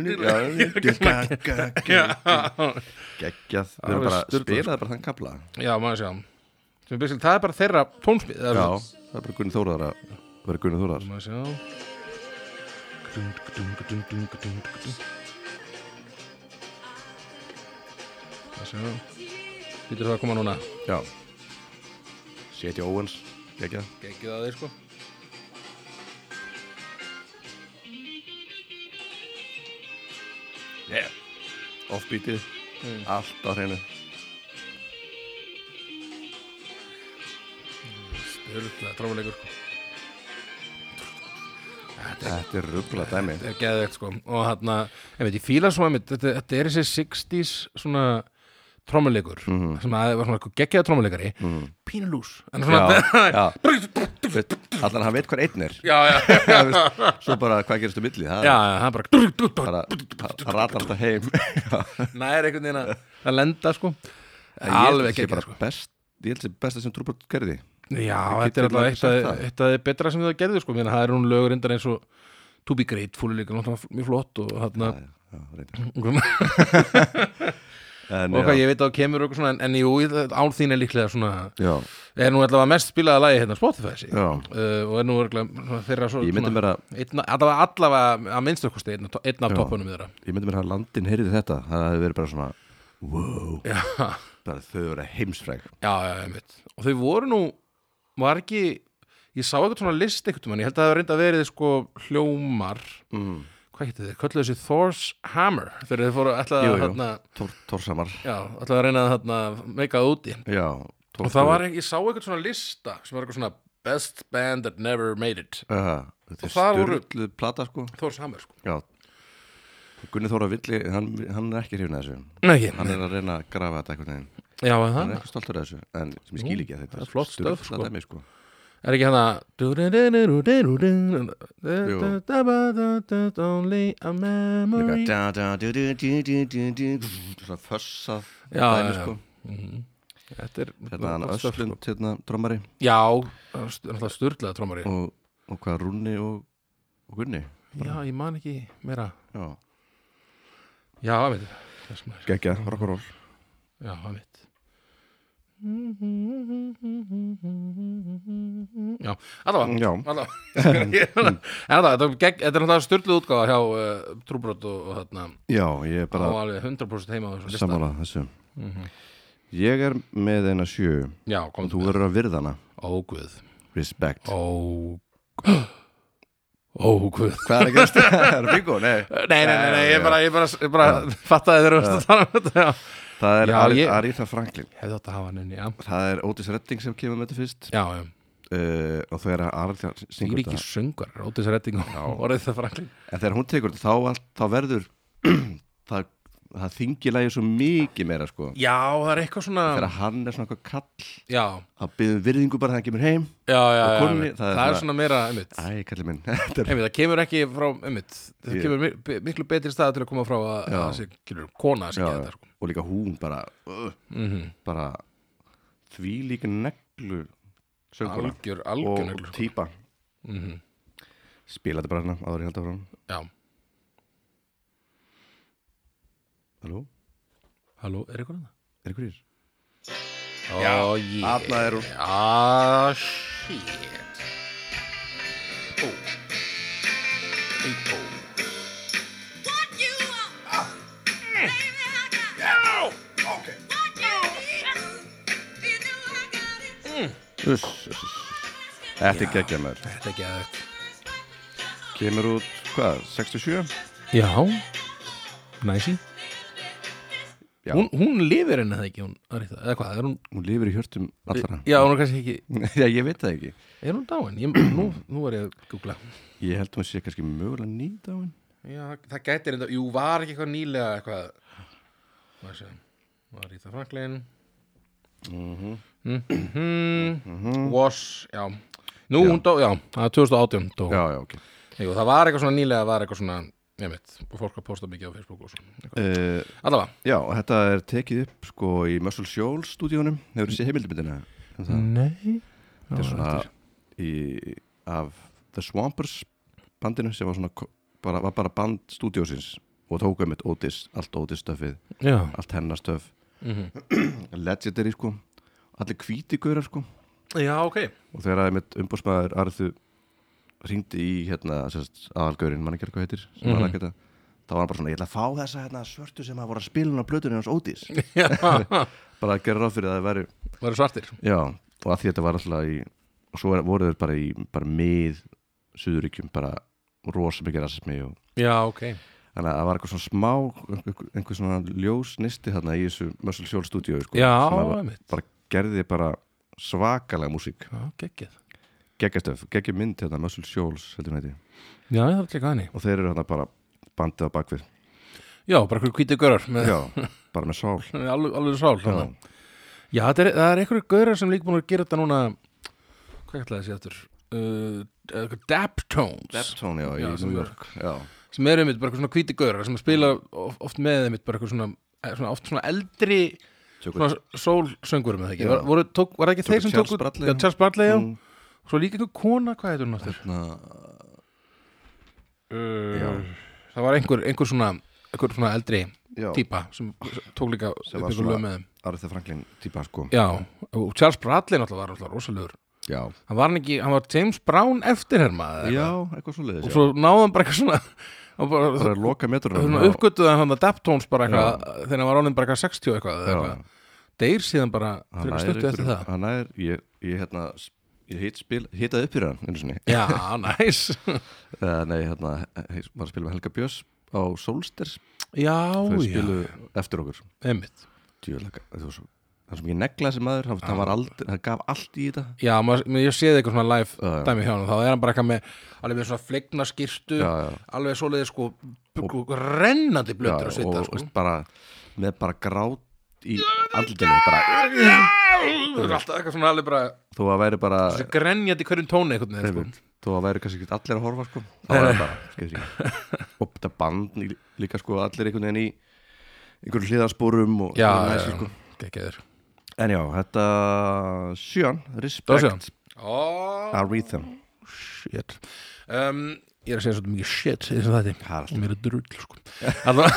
S2: geggjað við
S1: Alveg
S2: erum bara
S1: sturlað,
S2: spilaði bara þann kapla
S1: já maður sjá Sem er basically- það er bara þeirra tónsmið það er
S2: já,
S1: svona-
S2: það er bara Gunni Þóraðar að vera Gunni Þóraðar
S1: maður sjá Dun-dun-dun-dun-dun-dun-dun-dun. maður sjá Þetta það að koma núna
S2: já Setja Owens, geggjað
S1: Gekkið að þeir sko
S2: yeah. offbeatið, allt á hreinu
S1: Stjörnlega trómuleikur sko
S2: þetta er ruggla dæmi
S1: Þetta er geðvegt sko Og hann ég veit, ég fíla svo að mitt þetta, þetta er þessi 60s svona trómuleikur Sem að það var svona eitthvað geggjaða trómuleikari mm. Pínulús En svona
S2: já, já allan hann veit hvað einn er
S1: Já, já, já,
S2: Já, veist, svo bara hvað gerist um milli það
S1: já, það er bara
S2: bara það rata alltaf heim Já.
S1: Nær einhvern veginn að- að lenda sko
S2: Ég held að
S1: Alveg
S2: sé
S1: geggjað
S2: bara
S1: sko
S2: best ég held að sé besta sem Trúbjörn gerði
S1: Já,
S2: Ég
S1: þetta
S2: get
S1: er
S2: eiginlega ekki
S1: alltaf eitt
S2: sagt
S1: af-
S2: það.
S1: eitt af því betra sem það gerðu sko, Mér, það er hún lögur reyndar eins og To Be Grateful er líka náttúrulega mjög flott og hérna
S2: Já, já, reyndar.
S1: og
S2: En
S1: hvað
S2: já,
S1: ég veit að það kemur okkur svona en, en jú, ég- án þín er líklega svona
S2: já,
S1: er nú allavega mest spilaða lagi hérna á Spotify sí. uh,
S2: já.
S1: og er nú allavega þeirra svo
S2: Ég myndi mér að-
S1: einna, allavega, allavega að minnstakosti einn, af to- einn af
S2: Já.
S1: toppunum þeirra
S2: ég myndi mér að landin heyrði þetta það hefði verið bara svona wow,
S1: Já,
S2: bara þau verið heimsfræg
S1: já, já, ég veit og þau voru nú, var ekki ég sá eitthvað svona list eitthvað mann ég held að það hafa reynda verið sko hljómar
S2: mm.
S1: hvað getur þeir, kölluðu þessi Thor's Hammer þegar þeir fóru ætlaði
S2: Jú,
S1: að
S2: jú.
S1: hérna,
S2: Tór, Tórsamar
S1: já, ætlaði að reyna að hérna, meika það úti
S2: já,
S1: og það var, ekki- ég sá eitthvað svona lista sem var eitthvað svona Best band that never made it
S2: Aha, Þetta er
S1: Og þar voru-
S2: styrluð plata sko
S1: Þór Sammer sko
S2: Já Gunni Þóra Villi, hann, hann er ekki hrifin að þessu
S1: Nei, ekki,
S2: Hann er að reyna að grafa þetta einhvern veginn
S1: já, er
S2: Hann
S1: það
S2: er ekki stoltur að þessu En sem ég skil ekki að þetta
S1: það er flott stöf,
S2: sturlað
S1: sko.
S2: dæmi, sko
S1: Er ekki hann að Only a memory
S2: Líka da, da, du, du, du, du, du, du, Svona fössa
S1: Já,
S2: dæmi
S1: já,
S2: sko
S1: Þetta er
S2: Hérna hann
S1: gott stöf, sko.
S2: Östlund, hérna drömmari
S1: Já, það er st- náttúrulega styrlaða trómari
S2: og, og hvað Rúni og, og Gunni
S1: Já, ég man ekki meira
S2: Já
S1: Já, það veit það er sem er-
S2: Gekja, rock'n'roll
S1: Já, það veit Já, allavega
S2: Já,
S1: allavega. Ég- En allavega, þetta er gegn- þetta er náttúrulega styrluð útgáfa hjá uh, Trúbrot og, og þarna
S2: já, ég er
S1: Bara
S2: bara
S1: alveg 100% heima á þessum lista Mhm.
S2: sammála þessu Ég er með eina sjö
S1: Já,
S2: og
S1: komum
S2: þú verður að virða hana
S1: Ó, guð
S2: Respect
S1: Ó Ó, guð
S2: Hvað er að gerast? Það er bingo, nei
S1: Nei, nei, nei, nei, ég bara, ég bara, ég bara fattaði þegar við varst að tala um þetta já.
S2: Það er
S1: Já,
S2: Ari,
S1: ég-
S2: Aretha Franklin
S1: Hefði átt að hafa hann inni, já
S2: Það er Otis Redding sem kemur með þetta fyrst
S1: Já, já,
S2: uh, og það er að Aretha
S1: ég
S2: syngur
S1: er ekki
S2: þetta
S1: söngar Rótis redding og orðið það franklin
S2: En þegar hún tekur þetta þá, allt- þá verður það, það þingir lægir svo mikið meira sko
S1: Já, það er eitthvað svona
S2: Þegar hann er svona eitthvað kall
S1: Já,
S2: þá byggðum virðingu bara þegar hann kemur heim
S1: já, já, já
S2: konunni,
S1: einmitt.
S2: það er
S1: Það er
S2: svona-
S1: svona meira, einmitt
S2: Æ, kallir minn Þetta er
S1: Einmitt, það kemur ekki frá, einmitt Það
S2: Ég-
S1: kemur mi- be- miklu betri stað til að koma frá að að
S2: Já.
S1: það sé, skilur, kona að
S2: Já,
S1: segja þetta sko. Mhm.
S2: og líka hún bara uh, bara því líka neglu sönguna
S1: Algjör,
S2: og
S1: algjör neglu, sko. Mhm.
S2: típa spila þetta bara hérna áður í held af frá hann
S1: Já,
S2: Halló,
S1: halló, er eitthvað annað?
S2: er ykkur hér?
S1: Já, ég
S2: Þarna er hún
S1: Ah, shit. Oh. Hey, oh.
S2: Uss, uss, uss. Þetta er geggja maður
S1: Þetta er geðvægt.
S2: Kemur út, hvað, 67?
S1: Já, næsi.
S2: Já.
S1: Hún, hún lifir henni það ekki, hún, Aritha, eða hvað, er hún,
S2: Hún lifir í hjörtum allra
S1: já, hún er kannski ekki,
S2: Já, ég veit það ekki
S1: er hún dáin? Ég, nú, nú er ég að googla.
S2: Ég held hún sé kannski mögulega nýta á henn
S1: Já, það gæti reynda, jú, var ekki eitthvað nýlega eitthvað, hvað sé, Aritha Franklin, mhm, mhm, was, já, nú, hún dó, já, það er 2018, dó.
S2: Já, já, ok
S1: Jú, það var eitthvað svona nýlega, það var eitthvað svona, ég veit, og fólk að posta mikið á Facebook og svona. eitthvað.
S2: uh,
S1: Allavega.
S2: Já, og þetta er tekið upp sko í Muscle Shoals stúdíunum Hefur þessi heimildmyndina um það?
S1: Nei.
S2: Þetta er svona í, af The Swampers bandinu sem var svona ko- bara, var bara band stúdíósins og tók um eitt Otis, allt Otis stöfið
S1: Já.
S2: allt hennar stöf Mhm. legendary sko, allir hvíti gaurar sko
S1: Já, ok.
S2: og þegar að mitt umbúrsmaður Arðu ringdi í hérna aðalgaurinn, mann ekki alveg hvað heitir sem var að geta, þá var hann bara svona, ég ætla að fá þessa hérna, svörtu sem að voru að spila hún á plötunni hans Otis bara að gera ráð fyrir að það væri
S1: Það eru svartir.
S2: Já, og að því þetta var alltaf í og svo er- voru þeir bara í bara mið Suðuríkjum bara rosa mikið rasismi og
S1: Já, ok.
S2: þannig að það var eitthvað svona smá einhver, einhver svona ljós nisti þarna í þessu Muscle Shoals stúdíu sko,
S1: Já,
S2: sem að var-
S1: einmitt.
S2: bara gerði bara svakalega músík
S1: Já, geggjað.
S2: geggjastöf, geggjum mynd hérna Muscle Shoals heldur hún heiti
S1: Já, það er klikkað henni.
S2: og þeir eru þarna bara bandið á bakvið
S1: Já, bara hverju hvítið görar með
S2: Já, bara með sál
S1: alveg, alveg sál.
S2: Já,
S1: þarna. Já, það er, það er einhverju görar sem líka búin að gera þetta núna, hvað ætlaði þessi aftur? Uh, eitthvað Daptones.
S2: Deptone, já,
S1: Já,
S2: í
S1: sem
S2: New
S1: er-
S2: York Já,
S1: sem eru einmitt bara eitthvað svona hvíti gaurar sem spila of- oft með einmitt bara eitthvað svona, eh, svona oft svona eldri
S2: Tjókur-
S1: svona sólsöngur með það ekki
S2: Já.
S1: var, voru, tók, var það ekki
S2: Tóku
S1: þeir sem
S2: Charles
S1: tóku
S2: Bradley.
S1: já, Charles Bradley já.
S2: Mm.
S1: svo líka einhver kona, hvað heitur hún aftur
S2: na,
S1: uh, það var einhver, einhver svona einhver svona eldri
S2: já
S1: típa sem tók líka
S2: Sem
S1: upp
S2: var
S1: einhver
S2: svona-
S1: lög með þeim
S2: Arthur Franklin típa sko
S1: já, og Charles Bradley náttúrulega var náttúrulega rosalegur
S2: Já,
S1: hann var, hann ekki, hann var James Brown eftirherma eða eitthvað.
S2: já eitthvað svo
S1: og svo náðan bara eitthvað svona og bara,
S2: bara að loka metrunum
S1: Þannig að uppgötuða hann að Daptones bara eitthvað þegar hann var ánum bara eitthvað 60 eitthvað, eða
S2: Já.
S1: eitthvað. deyr síðan bara
S2: hann
S1: fyrir
S2: nær
S1: stuttu
S2: upp
S1: eftir
S2: fyrir-
S1: það
S2: hann nær, ég, ég hérna s- ég heit spil, hitaði upp fyrir hann einu sinni,
S1: Já, næs
S2: uh, nei hérna heit, var að spila með Helga Björns á Solsters
S1: Já,
S2: þau
S1: já,
S2: spilu eftir okkur
S1: einmitt
S2: Djöfull, það- það var svo- það sem ég negla þessi maður hann, hann, var aldrei, hann gaf allt í þetta
S1: Já, maður, mér- ég séð eitthvað svona live
S2: Já, já.
S1: dæmi hjá hann þá er hann bara eitthvað með alveg með svona flegna skýrtu
S2: Já, já.
S1: alveg svoleiði sko b- og, rennandi blöður
S2: og,
S1: að sita
S2: og
S1: sko.
S2: veist, bara með bara grát í andlutinu bara,
S1: Það er alltaf eitthvað svona alveg bara
S2: þó að væri bara
S1: þessi grenjandi í hverjum tóni einhvern veginn sko.
S2: einmitt, þó að væri kannski ekki allir að horfa sko þá væri bara, skeitir ekki og þetta band í- líka sko allir einhvern veginn í einhverjum hliðarspórum og
S1: Já,
S2: og
S1: já,
S2: næsi,
S1: já,
S2: sko.
S1: geggjaður
S2: en já, þetta sjön,
S1: Það
S2: respect
S1: séðan Ó,
S2: Aretha
S1: Ah, shit um, Ég er að segja svolítið mikið shit í þessum þætti
S2: Það er alltaf.
S1: Mér er drull sko Alla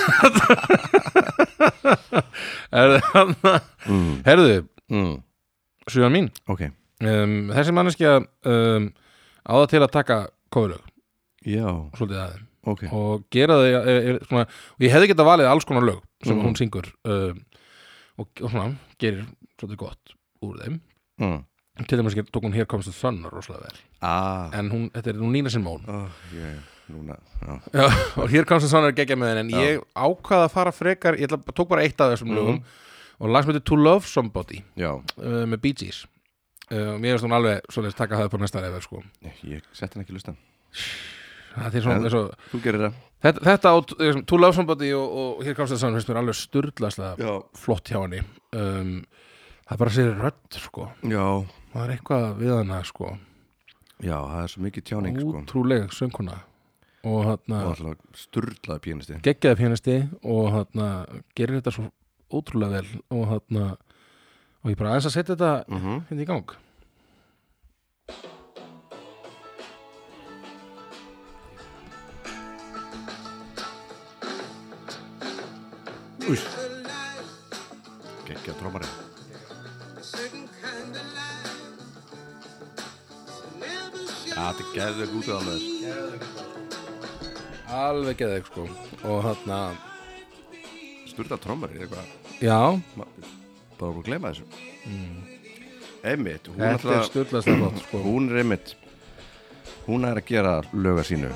S1: Herðu,
S2: mm.
S1: sjöðan mín
S2: ok,
S1: um, Þessi manneskja um, áða til að taka kofurlög
S2: já,
S1: svolítið aðeins
S2: ok
S1: og gera þau e, e, svona, og ég hefði geta valið alls konar lög sem
S2: Mhm.
S1: hún syngur um, og, og svona, gerir svolítið gott úr þeim
S2: mm.
S1: til dæmis ger- tók hún Here Comes the Sun rosalega vel,
S2: ah,
S1: en hún, þetta er nú Nína sinn món
S2: oh, yeah, núna já.
S1: Já, og Here Comes the Sun er geggja með henn en ég ákvaða að fara frekar, ég ætla, tók bara eitt
S2: Mhm.
S1: af þessum lögum og lagsmyndi To Love Somebody
S2: já,
S1: uh, með Bee Gees uh, og mér finnst hún alveg svolítið taka það upp á næsta level sko.
S2: ég sett hann ekki í listan
S1: það er svona,
S2: En-
S1: svo,
S2: þú gerir það
S1: þetta, þetta á eh, To Love Somebody og, og Here Comes the Sun finnst mér alveg sturdlaslega
S2: já,
S1: flott hjá henni um, það er bara sér rödd sko
S2: já,
S1: það er eitthvað við hana sko
S2: já, það er svo mikið tjáning sko.
S1: útrúleg sönguna og
S2: og
S1: hann
S2: alltaf sturlaði pínisti
S1: geggjaði pjanisti og hann gerir þetta svo ótrúlega vel og hann og ég bara aðeins að setja þetta
S2: Mhm.
S1: hérna í gang
S2: geggja trómari já, þetta er geðveg út af þess
S1: alveg geðið sko og hann
S2: sturla trómari, eitthvað
S1: já,
S2: Ma- bara voru að gleyma þessu Emmitt, hún
S1: Mm. þetta er
S2: alltaf
S1: stjórnlega flott sko
S2: hún er Emmitt hún er að gera löga sínu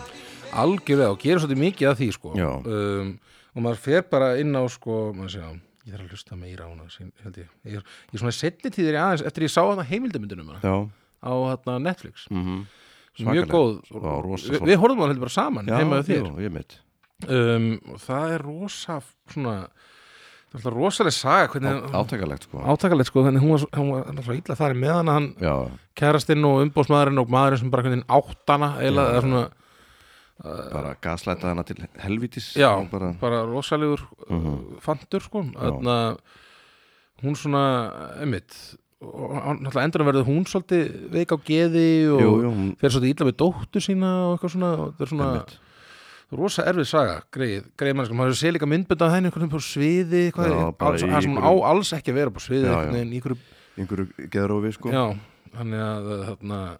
S1: algjörlega og gerir svolítið mikið af því sko.
S2: Já.
S1: um, og maður fer bara inn á sko, maður sé á, ég þarf að hlusta meira á hana sín, held ég, ég er, ég er svona setni tíðir aðeins eftir ég sá hana heimildamundunum hana,
S2: já,
S1: á hana Netflix
S2: mm
S1: mjög góð,
S2: Já, rosa
S1: Vi,
S2: flott.
S1: við horfum hana heldur bara saman
S2: já,
S1: heimaðu þér
S2: jú, Emmitt
S1: um, og það er rosa svona, það er alltaf rosalega saga hvernig,
S2: átakalegt sko
S1: átakalegt sko, þannig hún var, hún var, hún var svo illa þar með hana hann
S2: já,
S1: kærastinn og umbóðsmaðurinn og maðurinn sem bara hvernig átt hana eða svona,
S2: bara gaslæta hana til helvitis
S1: Já,
S2: og bara, Mhm.
S1: bara, rosalegur uh fantur sko Þarna, hún svona einmitt og hann- náttúrulega endur að verða hún svolítið veik á geði og
S2: jú, jú, hún
S1: fer svolítið illa við dóttur sína og eitthvað svona og þetta er svona
S2: Einmitt.
S1: rosa erfið saga greið, greið mannskum, maður sé líka myndbönd af henni einhvern veginn á sviði hvað,
S2: Já, bara
S1: alls,
S2: í
S1: það sem hún á
S2: einhverju-
S1: alls ekki að vera upp á sviði
S2: Já,
S1: einhvern
S2: já.
S1: veginn í einhverju
S2: einhverju geðrófi sko
S1: Já, þannig að þarna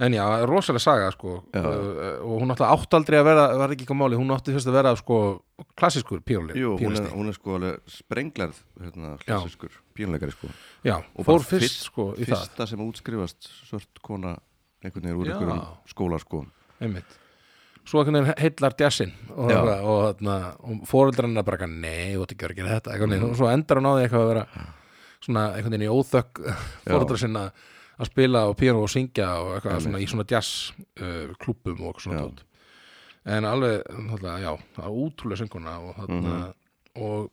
S1: En já, rosalega saga sko
S2: Já.
S1: Uh, og hún átti áttaldri að vera, var ekki eitthvað máli hún átti fyrst að vera sko klassískur píóli,
S2: Jú, hún er,
S1: píólisti.
S2: hún er sko alveg sprenglarð hérna,
S1: Já.
S2: klassiskur pínuleikari sko
S1: Já,
S2: Og
S1: fór
S2: bara
S1: fyrst,
S2: fyrst-
S1: sko í
S2: Fyrsta sem útskrifast svört kona einhvern veginn úr
S1: Já.
S2: einhverjum skóla sko
S1: það, einmitt Svo einhvern veginn heillar jazzin og,
S2: Já.
S1: og, og, þarna, og foreldrar hennar bara eitthvað, nei, þú átti ekki að vera að gera þetta eitthvað, mm. og svo endar hún á því eitthvað að vera svona einhvern veginn í óþökk foreldrar sinna að spila og píano og syngja og eitthvað svona í svona jazz uh, klúbbum og eitthvað svona
S2: Já.
S1: tótt en alveg, náttúrulega, já, það er útrúlega sönguna og þarna
S2: Mhm.
S1: og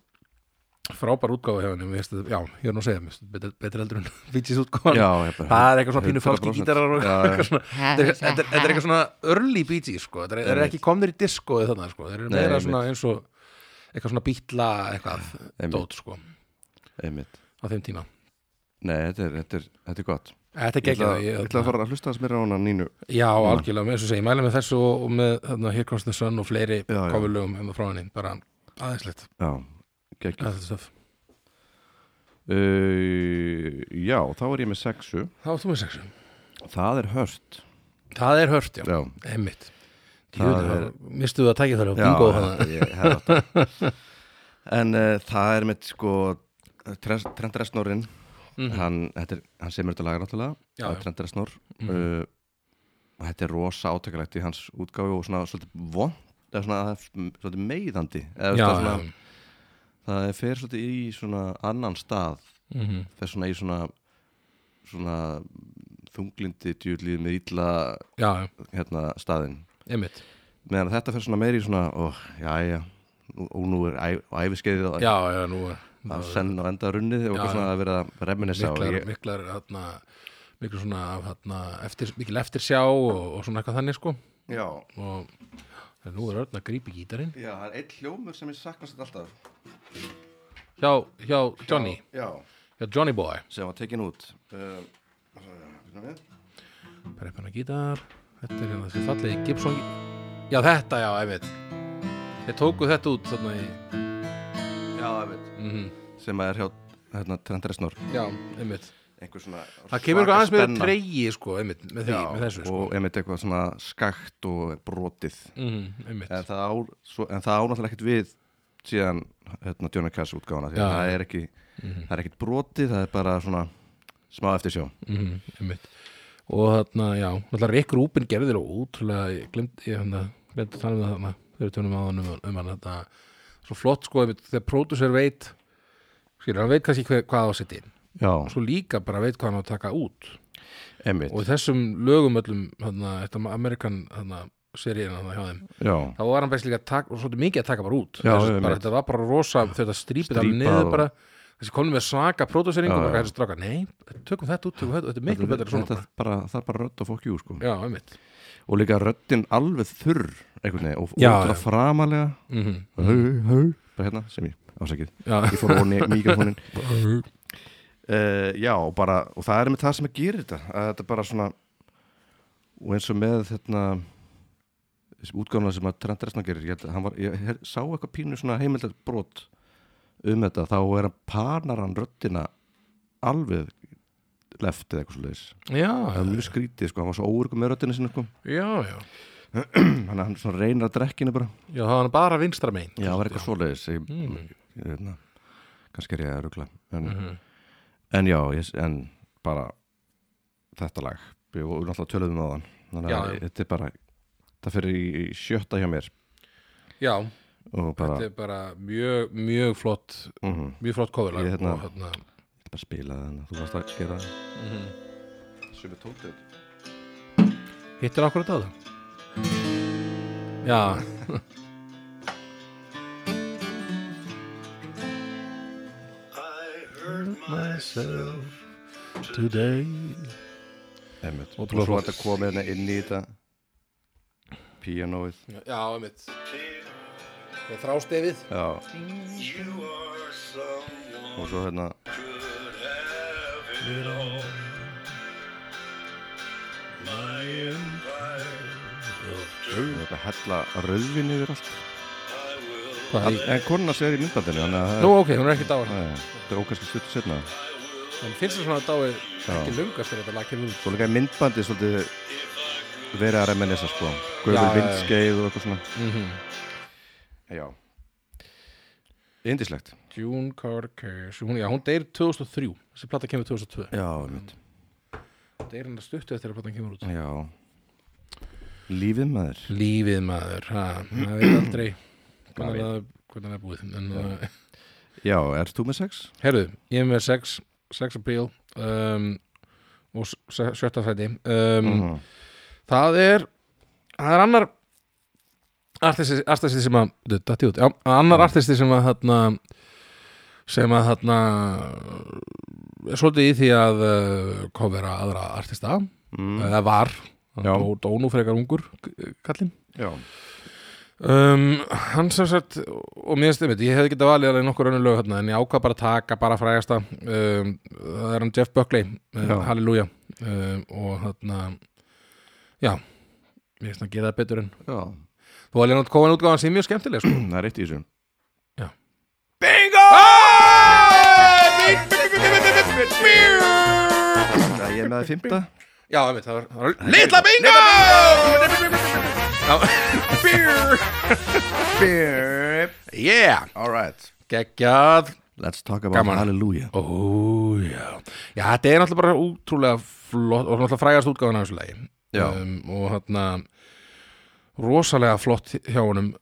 S1: frábær útgáfa hjá henni mér finnst þetta- já, ég er nú að segja, mér finnst þetta betri, betri eldur en Beaches útgáfan,
S2: Já, ég bara-
S1: það er eitthvað svona pínu falski
S2: 100%.
S1: gítarar og
S2: Já, já.
S1: eitthvað svona þetta er- þetta er þetta er eitthvað svona early Beaches sko, þetta er, þeir eru ekki komnir í disco þannig, sko, þeir eru
S2: Nei,
S1: meira
S2: einmitt.
S1: svona eins og eitthvað svona bítla eitthvað
S2: Einmitt.
S1: dót sko,
S2: Einmitt
S1: á þeim tíma
S2: Nei, þetta er, þetta er, þetta er gott
S1: Þetta er
S2: Ég ætla, ég
S1: geggjað
S2: ætla að fara að hlusta þess meira á hana nínu
S1: Já, algjörlega, með þessu segi, ég mæli með þessu og og með þarna, Here Comes the Sun og fleiri
S2: Já, já.
S1: kofurlögum hérna frá henni, bara aðeinslegt
S2: Já, geggjum
S1: Þá
S2: uh, Já, þá er ég með sexu
S1: áttu með sexu
S2: Það er hört
S1: Það er hört, já,
S2: Já,
S1: emmitt
S2: Það er-
S1: Mistuðu að tækja þar á
S2: já
S1: bingo
S2: þetta-
S1: hana.
S2: ég hefði átt að En uh, það er með sko Trent Trent Reznor-inn hann, þetta er, hann semur þetta lagar náttúrulega
S1: Mhm. Já, Mhm.
S2: það
S1: já.
S2: er Trent Reznor uh, og þetta er rosa átökulegt í hans útgáfi og svona svolítið von eða svona, það er m- svolítið meiðandi eða
S1: Já,
S2: það, svona,
S1: já,
S2: það er fer svolítið í svona annan stað
S1: mm -hmm.
S2: fer svona í svona svona þunglindi djúlið með illa
S1: Já, já,
S2: hérna staðinn
S1: einmitt
S2: meðan að þetta fer svona meiri í svona og já, já, og nú er æ- og æfiskeiðið að-
S1: Já, já, nú er
S2: að senn og enda runnið og
S1: Já,
S2: eitthvað svona að vera að reminissa og
S1: miklar,
S2: ég,
S1: miklar, hérna miklu svona, af, hérna, eftir, mikil eftir sjá og, og svona eitthvað þannig, sko
S2: já,
S1: og en nú er öll að grípi gítarinn
S2: já, það er einn hljómur sem ég saknast alltaf
S1: hjá, hjá Johnny,
S2: já,
S1: hjá Johnny Boy
S2: sem var tekin út uh, við
S1: Preppana gítar, þetta er hérna þessi fallegi Gibson Já, þetta, já, einmitt Þeir tóku þetta út þarna í
S2: já, ég veit sem að er hjá hérna, Trent Reznor
S1: Mhm. Já, einmitt
S2: einhver svona
S1: Það kemur eitthvað aðeins
S2: svaka
S1: með
S2: spenna.
S1: treyji, sko, einmitt, með því,
S2: já,
S1: með þessu, sko
S2: og einmitt eitthvað svona skakt og brotið
S1: mm, Einmitt,
S2: en það, á, svo, en það ánáttúrulega ekkert við síðan hérna, Johnny Cash útgána því
S1: Já. Mhm.
S2: að það er ekki það er ekkert brotið, það er bara svona smá eftir sjó
S1: mm, einmitt Og þarna, já, náttúrulega Rick Rubin gerði þér útrúlega, ég glemt, ég hann glemt að tala um það þarna, þegar við tjónum áðan um, um hann þetta, svo flott, sko, einmitt, þegar pródusser veit skilur, hann veit kannski hver, hvað á að setja inn
S2: Já,
S1: svo líka bara veit hvað hann á að taka út
S2: einmitt
S1: og í þessum lögum öllum hana, þetta Amerikan hana, seríin hana, hjá þeim
S2: Já,
S1: þá var hann best líka að taka, svolítið mikið að taka bara út
S2: Já,
S1: Þessu,
S2: einmitt.
S1: bara, þetta var bara rosa, þetta strípið alveg
S2: Strípað
S1: niður
S2: og-
S1: bara þessi konum við svaka pródúseringu
S2: Já,
S1: og
S2: já.
S1: bara þessi stráka, nei, tökum þetta út tökum þetta, þetta er miklu betra svona
S2: þetta er bara, það er bara rödd og fokk jú sko
S1: já, einmitt
S2: og líka röddin alveg þurr einhvern veginn og
S1: Já,
S2: útra
S1: já.
S2: framalega
S1: mm -hmm.
S2: hau, hau, bara hérna sem ég ásækið ég fór onni mikrofónin uh, já, og bara, og það er með það sem að gera þetta að þetta er bara svona og eins og með þetta þessi útgáfna sem að Trent Reznor gerir ég, held að hann var, ég hel- sá eitthvað pínu svona heimildar brot um þetta þá er hann panar hann röddina alveg left eða eitthvað svo leiðis
S1: já,
S2: það var mjög skrítið sko, hann var svo óurku með röddina sinna sko.
S1: já, já
S2: hann, hann svona reynir að drekkinu bara
S1: já, það var hann bara vinstra megin
S2: Já, það var eitthvað svoleiðis ég,
S1: Mm.
S2: ég, ég, veit það. kannski er ég að rugla en,
S1: Mhm.
S2: en já, ég, en bara þetta lag Ég- og náttúrulega töluðum á þann þannig
S1: Já,
S2: að
S1: já.
S2: þetta er bara það fyrir í í sjötta hjá mér
S1: já,
S2: og bara,
S1: þetta er bara mjög, mjög flott
S2: mm
S1: mjög flott kofurlag
S2: Ég, hérna-
S1: og, hérna,
S2: bara spila þannig þú varst að gera mm
S1: Mhm.
S2: -hmm. sem er tótið
S1: hittir akkurat á það já
S4: I hurt
S1: myself today
S2: og svo
S1: Ótrúlega flott.
S2: er þetta komið hérna inn í þetta píanóið
S1: Já, einmitt
S4: myself.
S1: Með þrástefið
S2: já,
S4: You are someone
S2: og svo hérna
S4: could have it all. My empire of dirt,
S2: þetta hella rölvin yfir allt
S4: I will,
S1: Hvað er í?
S2: en konuna sér í myndbandinu þannig að það er-
S1: Nú, ok, hún er ekki dáin
S2: Nei, Þetta er ókvæmst stuttu setna
S1: Hún finnst þess svona að dáið ekki lungast þegar þetta lag kemur út
S2: Svo líka í myndbandi svolítið verið að reminissa sko Guður
S1: Já, já, já.
S2: vindskeið og eitthvað svona
S1: mm -hmm.
S2: Já Indislegt
S1: June Carcass hún, Já, hún deyr 2003 Þessi plata kemur 2002
S2: Já, mitt
S1: Deyr hennar stuttu eftir að platan kemur út
S2: Já Lífið maður
S1: Lífið maður ha, Það veit aldrei
S2: Hvað
S1: hvernig það hvernig það er búið en, uh,
S2: Já, ert þú með sex?
S1: Herðu, ég er með sex Sex appeal um, Og s- s- sjötta sæti um,
S2: Mhm.
S1: Það er Það er annar artisti, artisti sem að Duh, datti út, já, annar artisti sem að þarna, sem að þarna er svolítið í því að uh, kofera aðra artista
S2: Mm.
S1: eða var
S2: Já.
S1: og dónu frekar ungur k- kallinn
S2: Já
S1: um, hann sem sagt og mér stemmit, ég hefði getað valið alveg nokkur önnur lög hérna, en ég ákvað bara að taka bara frægasta um, það er hann Jeff Buckley
S2: Já.
S1: uh, Halleluja um, og þarna já, mér finnst hann gera það betur en
S2: Já
S1: þú var Leonard Cohen útgáðan sem er mjög skemmtileg sko.
S2: Það er eitt í þessu
S1: Já. Ah!
S2: Bingo! Já, Ég er með það fymta
S1: já, einmitt, það var, það var litla bingo Já. yeah
S2: All right
S1: geggjað
S2: Let's talk about
S1: Gaman.
S2: Hallelujah
S1: Ó, já. Já, þetta er náttúrulega bara útrúlega flott og náttúrulega frægast útgáðan af þessu lagi
S2: Já.
S1: um, og hérna rosalega flott hjá honum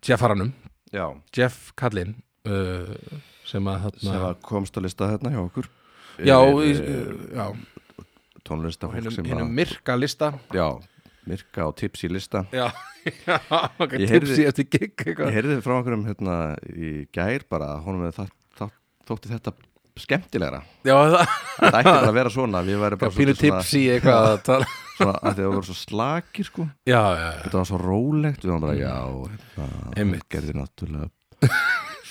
S1: Jeff Haranum,
S2: Já
S1: Jeff Kallinn uh, sem að þarna
S2: sem að komst að lista hérna hjá okkur
S1: já, í,
S2: Er,
S1: já,
S2: eh, tónlistafólk
S1: hinnum,
S2: sem að
S1: hinnum myrka lista
S2: já, myrka og tips í lista
S1: já, já, okkar
S2: Ég heyrði-
S1: tipsi eftir gig
S2: ég
S1: eitthvað
S2: heyrði frá einhverjum hérna í gær bara að honum hefði það, það, þótti þetta skemmtilegra
S1: já, það
S2: þetta ætti bara að vera svona við væri bara
S1: er pínu
S2: svolítið
S1: tipsi eitthvað að tala
S2: svona, svona að þið voru svo slakir sko
S1: já, já, já,
S2: þetta var svo rólegt við varum bara já, hérna,
S1: Einmitt.
S2: gerði náttúrulega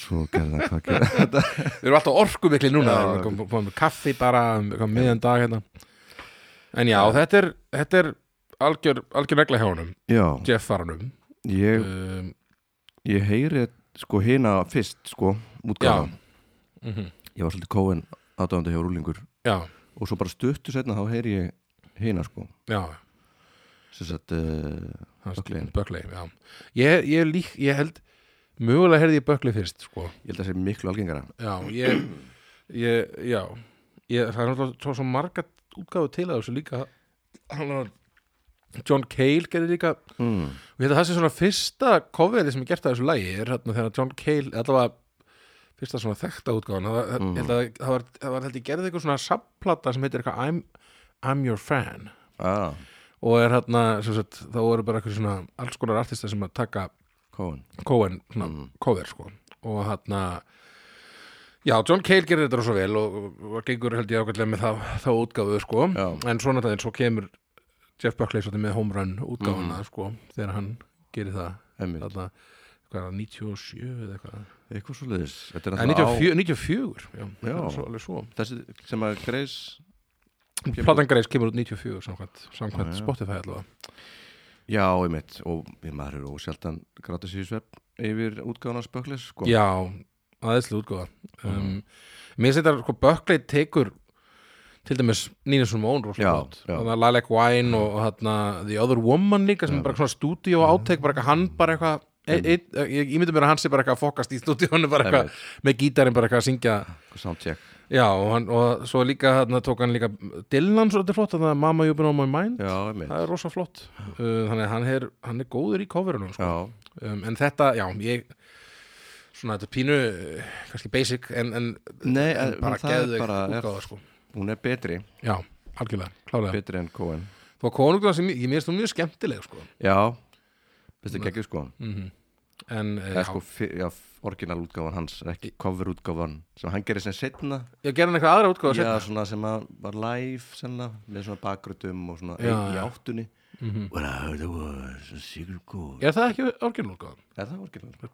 S2: svo gerði hann hvað gerði þetta
S1: við erum alltaf orkumikli núna
S2: Já.
S1: við erum kom- komum með kaffi bara um, kom miðan dag hérna en já, þetta er, þetta er algjör, algjör regla hjá honum
S2: já,
S1: Jeff Farnum
S2: ég,
S1: um,
S2: ég heyri sko hina fyrst sko
S1: já,
S2: útgáðan,
S1: mm
S2: ég var svolítið kóin aðdáðandi hjá rúlingur
S1: já,
S2: og svo bara stuttu setna þá heyri ég hina sko
S1: já
S2: sem sagt uh,
S1: hans-
S2: Buckley.
S1: Buckley, já ég, ég, lík, ég held mögulega heyrði ég Buckley fyrst sko.
S2: ég held að það sé miklu algengara
S1: já, ég, ég, já ég, það er náttúrulega svo, svo marga útgáðu til að þessu líka hann var John Cale gerði líka
S2: mm.
S1: og hérna það sé svona fyrsta coverið sem er gert að þessu lagi er hérna þegar John Cale allavega fyrsta svona þekkta útgáðan það, það, mm. það, það var, það var held ég gerði eitthvað svona subplata sem heitir eitthvað I'm, I'm your fan
S2: ah,
S1: og er hérna sem sagt þá voru bara eitthvað svona alls konar artista sem að taka
S2: kóin
S1: Cohen svona, cover sko og hann já, John Cale gerir þetta svo vel og, og gengur held ég ákveðlega með það, þá útgáfu sko,
S2: Já.
S1: en svona þetta en svo kemur Jeff Buckley svolítið með home run útgáfuna sko, þegar hann gerir það
S2: Einmitt.
S1: þarna, hvað er það, 97 eða eitthvað,
S2: eitthvað svo leiðis þetta er
S1: Nei,
S2: náttúrulega á
S1: 94, 94 já,
S2: Já.
S1: það er svo, alveg svo
S2: þessi sem að Greis Kemur-
S1: Platangareis kemur út 94 samkvæmt, samkvæmt
S2: Já, já.
S1: Spotify allavega
S2: já, ég mitt og ég maður eru ósjaldan gratis í svepp yfir útgáðan spöklis sko
S1: Já, aðeinslu útgóða
S2: Mhm.
S1: um, Mér finnst þetta hvað Buckley tekur til dæmis Nina Simone
S2: Já,
S1: rosalega
S2: já.
S1: Þannig að Lilac Wine og, og þarna, The Other Woman líka sem er bara svona
S2: Mhm.
S1: stúdíu og áttek bara eitthvað hann bara eitthvað ein- einn- ég ímyndi mér að hann sé bara eitthvað að fokast í stúdíónu bara eitthvað með gítarinn bara eitthvað að syngja
S2: soundcheck
S1: já og, hann, og svo líka þarna tók hann líka Dylan svolítið flott þannig að Mama You've Been On My Mind
S2: já, ég mitt
S1: það er rosa flott uh, þannig að hann er, hann er góður í coverunum sko
S2: já,
S1: um, en þetta, já, ég svona þetta er pínu eh, kannski basic en, en
S2: nei, en,
S1: bara
S2: það er
S1: geðveik
S2: bara er,
S1: útgáfa sko.
S2: hún er betri,
S1: já, algjörlega, klálega
S2: betri en kóin
S1: þá konunglega sem ég, ég minnst þú mjög skemmtileg sko.
S2: já, veist ekki ekki sko
S1: en eh,
S2: það
S1: Mm. já,
S2: er sko, fyr- já, orginal útgáðan hans er ekki cover útgáðan sem hann gerir sem setna
S1: ég gerði hann eitthvað aðra útgáfa
S2: sko- Já,
S1: seinna.
S2: svona sem að var live senna, með svona bakgrötum og svona
S1: Já,
S2: í
S1: já.
S2: áttunni When I heard there was a secret code
S1: er það ekki orginal útgáfa
S2: Er það orginal?
S1: það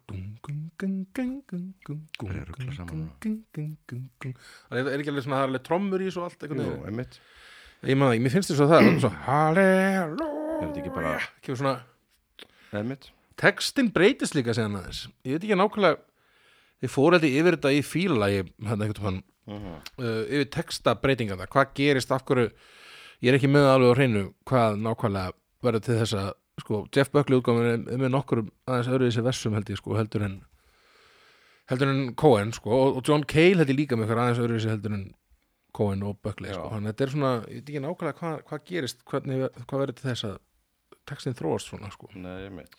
S2: Þeir eru að rugla saman núna.
S1: er ekki alveg svona það er alveg trommur í svo allt einhvern
S2: Jú,
S1: veginn.
S2: einmitt
S1: ég maður, mér finnst þér svo það svo, halleluja
S2: Er þetta ekki bara-
S1: kemur svona
S2: Einmitt
S1: textin breytist líka segðan aðeins ég veit ekki nákvæmlega ég fór held ég yfir þetta í fíla ég, hann, hann, uh, yfir texta breytingana hvað gerist, af hverju ég er ekki með það alveg á hreinu hvað nákvæmlega verður til þess að sko, Jeff Buckley útgáfum er, er með nokkur aðeins öðru þessi versum held ég sko, heldur en heldur en Cohen sko, og, og John Cale held ég líka með hver aðeins öðru þessi heldur en Cohen og Buckley sko.
S2: Já.
S1: hann þetta er svona, ég veit ekki nákvæmlega hvað, hvað gerist hvernig, hvað verður til þess að textin þróast svona sko
S2: Nei, einmitt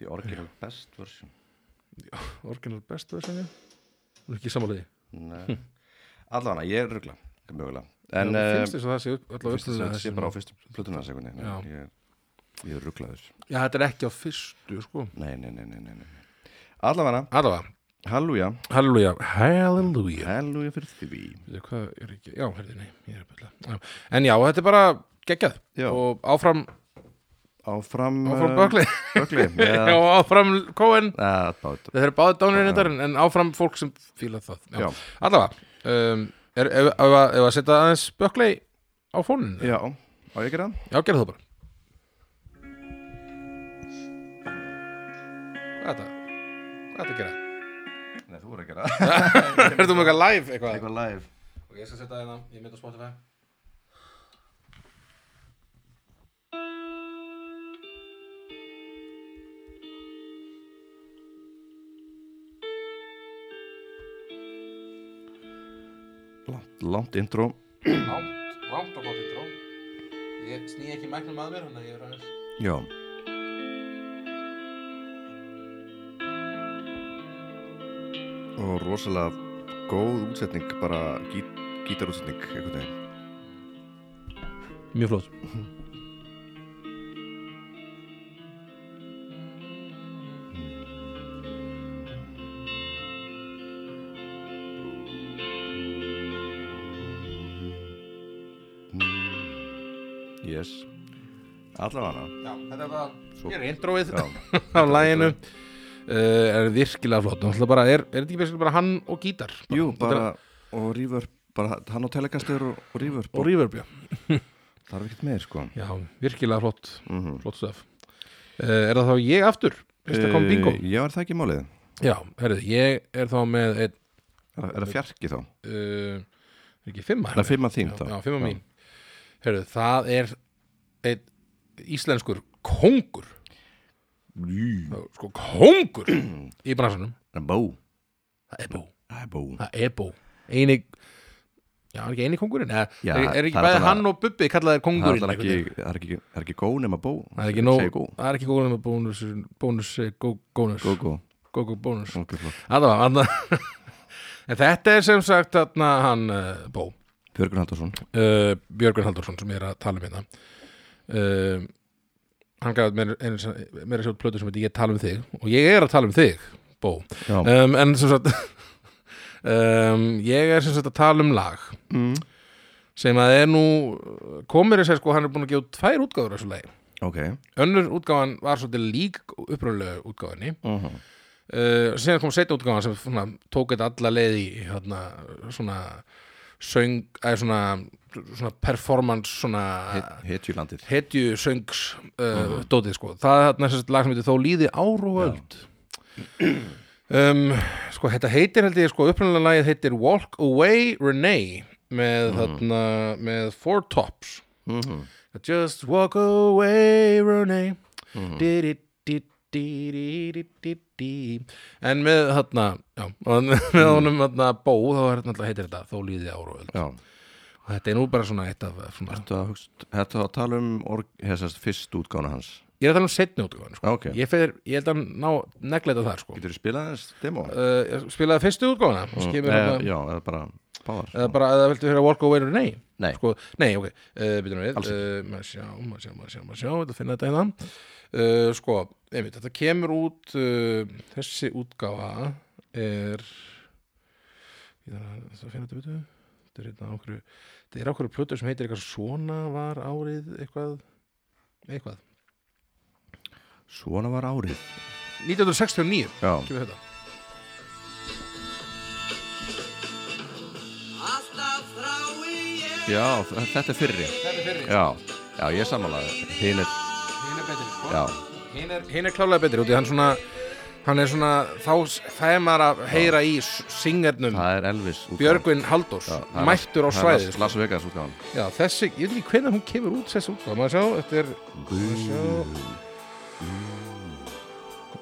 S2: The original best version
S1: Orginal best version Þú er ekki samanlega
S2: Nei Allana, ég er rugla, mögulega En
S1: En
S2: eh,
S1: finnst þess að það sé upp- öll á
S2: fyrst
S1: uppstöðuna
S2: þetta sé
S1: þessi
S2: bara á
S1: svona-
S2: fyrstu plötuna þessi einhvern
S1: Já.
S2: veginn Ég- Ég er ruglaður
S1: Já, þetta er ekki á fyrstu sko
S2: Nei, nei, nei, nei, nei, nei. Allavega,
S1: Allavega,
S2: halleluja
S1: halleluja Halleluja
S2: Halleluja fyrir því
S1: Veitu Hvað er ekki, já, herði, nei, ég er að byrja Já. En já, þetta er bara geggjað
S2: Já.
S1: Og áfram,
S2: Áfram eh,
S1: áfram Bökli
S2: Bökli
S1: Já, áfram Cohen
S2: Já, bát
S1: Þeir eru báðið dánirindar en, en áfram fólk sem fíla það Já,
S2: Já.
S1: allavega um, er, ef, ef, að- ef að setja aðeins Bökli á fóninu
S2: Já, á ég að gera það?
S1: Já, gerðu það bara Hvað er þetta? Hvað er þetta að gera?
S2: Nei, þú er að gera það
S1: Er þú með eitthvað live eitthvað?
S2: Eitthvað live
S1: Ok, ég skal setja það hérna, ég mynd á Spotify
S2: Langt, langt intro
S1: Langt, langt og gott intro Ég sný ekki mæknum að mér, þannig að ég er aðeins
S2: Já og rosalega góð útsetning bara gít, gítarútsetning einhvern veginn
S1: mjög flott
S2: yes allavega
S1: Já, þetta er bara
S2: Svo-
S1: Hér er introið
S2: já,
S1: á læginu uh, er virkilega flott Náttúrulega bara, er, er þetta ekki virkilega bara hann og gítar
S2: jú bara og reverb bara hann og telecaster og, og reverb
S1: og reverbja
S2: þarf ekkert meir sko
S1: Já, virkilega flott,
S2: mm -hmm.
S1: flott stöf Er það þá ég aftur? Fyrst að kom bingo
S2: Eh, já er það ekki málið
S1: Já, herrðu, ég er þá með einn
S2: er, er það fjarki þá
S1: uh, er ekki fimma
S2: það er fimm að þín þá
S1: já, já, fimm að mín Herru, það er einn íslenskur kóngur
S2: mín
S1: sko kóngur í bransanum
S2: það er bó
S1: það er bó,
S2: það er bó
S1: það er bó eini, já, er ekki eini kóngurinn Eða,
S2: Já,
S1: er, er ekki
S2: það er
S1: bæði
S2: allavega-
S1: hann og Bubbi kallaðir
S2: það er
S1: kóngurinn
S2: allan ekki
S1: einhvern veginn?
S2: það er ekki það er ekki gó nema bó
S1: það er ekki nóg,
S2: Segir gó
S1: það er ekki góður með bónus bónus, eh, gó- gónus
S2: gó gó
S1: góð bónus
S2: ok flott
S1: Alla, alla. en þetta er sem sagt þarna hann eh, bó
S2: Björgun Haldursson
S1: uh, Björgun Haldursson sem ég er að tala um hérna uh, hann gaf mér, einu sinni- mér að sjá út plötu sem heitir ég tala um þig og ég er að tala um þig bó,
S2: já
S1: um, en sem sagt um, ég er sem sagt að tala um lag
S2: mm.
S1: sem að er nú komir þess að sko hann er búin að gefa út tvær útgáður þessu lagi
S2: ok
S1: önnur útgáfan var svolítið lík uppröðlega útgáfinni
S2: uh
S1: uh, síðan kom setja útgáfan sem svona, tók þetta alla leið í hérna, svona söng, eða svona, svona performance svona
S2: hetjulandið
S1: hetju söngs uh, dótið sko, það er næstast lag sem heitir þó líði ár og öld um, sko þetta heitir held ég sko upprunalega lagið heitir Walk Away Renee með þarna með Four Tops
S2: mm -hmm.
S1: Just walk away Renee di di di di di di di en með þarna já, og með honum þarna bó þá er þarna heitir þetta þó líði ár og öld
S2: já
S1: og þetta er nú bara svona eitt af svona,
S2: Ertu að, hugst, ertu að tala um org, hessast fyrst útgána hans?
S1: ég er að tala um setni útgáfan sko.
S2: Já, ok.
S1: ég, fer, ég held að ná negleita þar sko.
S2: Getur þú spilað þess demo?
S1: uh, ég spilaði fyrstu útgáfana og
S2: Mm,
S1: skemur
S2: eh,
S1: hérna
S2: já, eða bara báðar
S1: eða bara eða viltu hérna Walk Away or Nei
S2: Nei.
S1: sko, nei ok, uh, byrjum við
S2: Alls
S1: uh, maður sjá, maður sjá, maður sjá, maður sjá þetta finna þetta hérna uh, sko, einmitt, þetta kemur út uh, þessi útgáfa er ég þarf að það finna þetta byrju þetta er hérna okkur þetta er okkur plötur sem heitir eitthvað svona var árið eitthvað eitthvað,
S2: Svona var árið
S1: 1969
S2: Já,
S1: kemur þetta
S2: já þ- þetta er fyrri
S1: þetta er fyrir
S2: Já, já ég er samanlega Hinn er,
S1: Hinn er betri, sko.
S2: já,
S1: Hinn er, hin er klálega betri, út í hann svona, hann er svona, þá, það er maður að heyra í s- singernum
S2: það er Elvis útgáfan.
S1: Björgvin Halldórs,
S2: Já, það er-
S1: mættur á
S2: það er
S1: svæðið.
S2: Las-
S1: sko.
S2: Las Vegas útgáðan
S1: Já, þessi, ég veit ekki hvernig hún kemur út þessi útgáð, maður sjá, þetta er, maður sjá,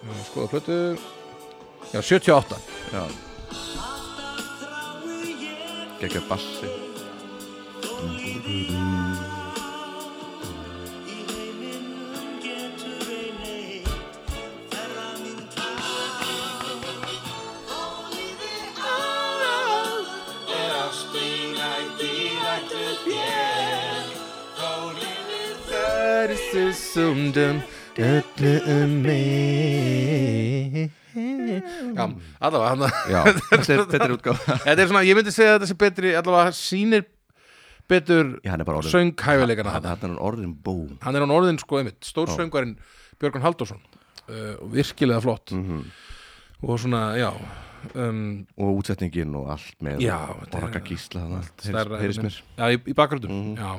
S1: Já, skoða plötu, já, 78.
S2: Já Gekka bassi
S1: Það er svo sumdum öllu um mig Já, allavega, hann
S2: Já, þetta er, þetta er útgáð
S1: Þetta er svona, ég myndi segja að þetta sé betri allavega sýnir betur
S2: Já, hann er bara orðin
S1: sönghæfileikana
S2: Hann
S1: hann,
S2: hann er orðin bó
S1: hann er án orðin sko einmitt, stór söngvarinn Björgun Halldórsson uh, og virkilega flott
S2: Mhm.
S1: og svona, já um,
S2: og útsetningin og allt með
S1: Já, þetta er-
S2: orga gísla þannig
S1: stærra-
S2: að heyrist mér Mhm.
S1: Já, í, í bakgröndum, já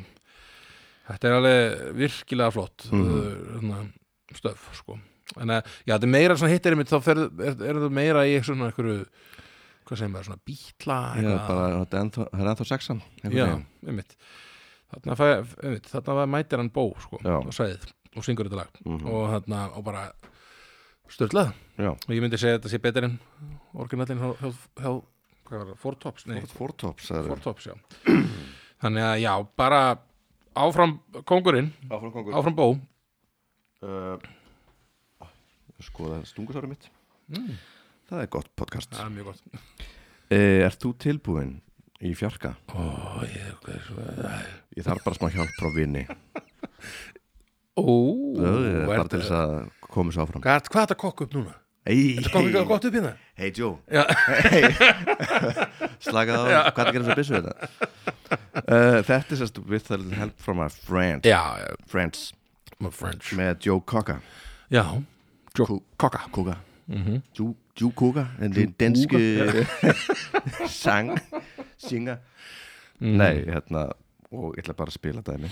S1: Þetta er alveg virkilega flott
S2: Mhm.
S1: mm uh, stöf, sko En að, já, þetta er meira svona hittir einmitt, þá fer, er, er þetta meira í svona einhverju hvað segir maður, svona bítla
S2: Já,
S1: eitthvað-
S2: bara, þetta er ennþá- það er ennþá sexan einhvern
S1: Já,
S2: veginn.
S1: einmitt Þarna, fæ, einmitt, þarna var- mætir hann bó sko,
S2: Já. Mhm.
S1: og sæðið og syngur þetta lag og, þarna, og bara störlað
S2: já.
S1: og ég myndi segja að þetta sé betur en orginallin hjá, hjá, hjá hvað var það, Four Tops, nei,
S2: Fór- Four Tops
S1: Four Tops já. þannig að já, bara áfram kongurinn,
S2: Áfram kongur
S1: áfram bó
S2: Uh,
S1: Mm.
S2: Skoða stungusárum mitt það er gott podcast
S1: það er mjög gott
S2: e, Ert þú tilbúin í fjarka?
S1: Ó, ég er svo
S2: Ég þarf bara smá hjálp frá vini
S1: Ó,
S2: Ö,
S1: er
S2: Bara til þess að koma svo áfram
S1: Gat, hvað er þetta kokk upp núna?
S2: Hey,
S1: Þetta kokk upp gott upp hérna?
S2: hey Joe
S1: Já,
S2: hey. Slakað á, hvað er að gera þess að byssu þetta? Uh, þetta er sérst With a little help from a friend
S1: já, já,
S2: Friends
S1: my French
S2: með Joe Cocker
S1: Já,
S2: Joe Cocker Cocker
S1: Mhm.
S2: Joe, Joe Cocker En það er danske Sang Singer
S1: Mhm.
S2: Nei, hérna Og ég ætla bara að spila dæmi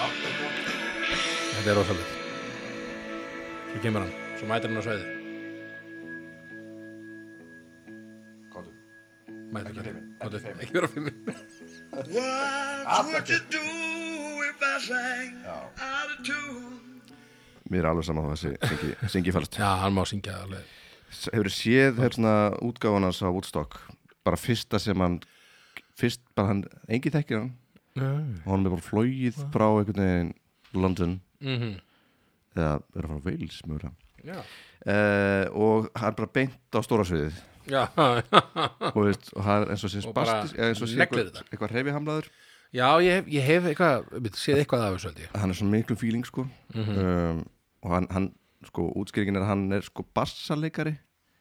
S1: þetta er rosalega Svo kemur hann, svo mætir hann á sveiði Mætir hann, Komdu, ekki vera fyrir mig
S4: What would you do if I sang out of tune?
S2: Mér er alveg saman hvað þessi syngi, syngi fælst
S1: Já, hann má syngja alveg
S2: Hefur séð hérna útgáfan hans á Woodstock bara fyrsta sem hann fyrst bara hann, engi þekkir hann
S1: Nei.
S2: og hann er bara flóið frá einhvern veginn London
S1: Mhm.
S2: eða er að fara Wales mjög uh,
S1: Já,
S2: Eh, og hann er bara beint á stóra sviðið
S1: já,
S2: og, veist, og hann er eins og sé
S1: Og bara
S2: spastis eða eins og sé
S1: neglir
S2: eitthvað, eitthvað reyfihamlaður
S1: já ég, hef, ég hef eitthvað, við séð eitthvað af þessu held ég
S2: hann er svona miklu fíling sko
S1: Mhm.
S2: um, og hann, hann sko útskýringin er að hann er sko bassaleikari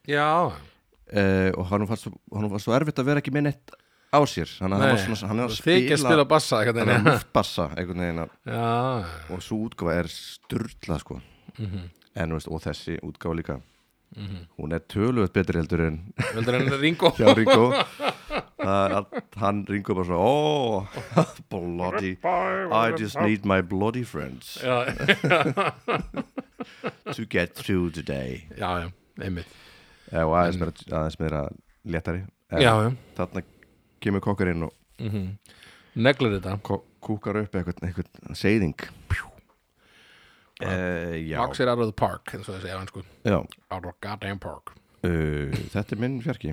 S1: Já,
S2: uh, og hann var, svo, hann var svo erfitt að vera ekki með neitt á sér hann, hann var svona, hann er að spila,
S1: Þykja að spila bassa
S2: hann
S1: eitthvað
S2: er að
S1: neina
S2: múfbassa einhvern veginn að-
S1: Já,
S2: og svo útgáfa er styrla sko en þú veist, og þessi útgáfa líka hún er tölvöld betri heldur en
S1: veldur hann Ringo
S2: hjá Ringo Það er allt- hann Ringo bara svona oh, bloody I just need my bloody friends
S1: Já,
S2: to get through the day
S1: já, já, einmitt
S2: Eh, og aðeins meira, aðeins meira léttari En
S1: Já, já.
S2: þarna kemur kokkarinn og
S1: Neglir þetta
S2: ko- kúkar upp eitthvað, eitthvað seyðing uh, já,
S1: Box it out of the park, eins og það segja hann sko
S2: já.
S1: Out of goddamn park
S2: Uh, þetta er minn fjarki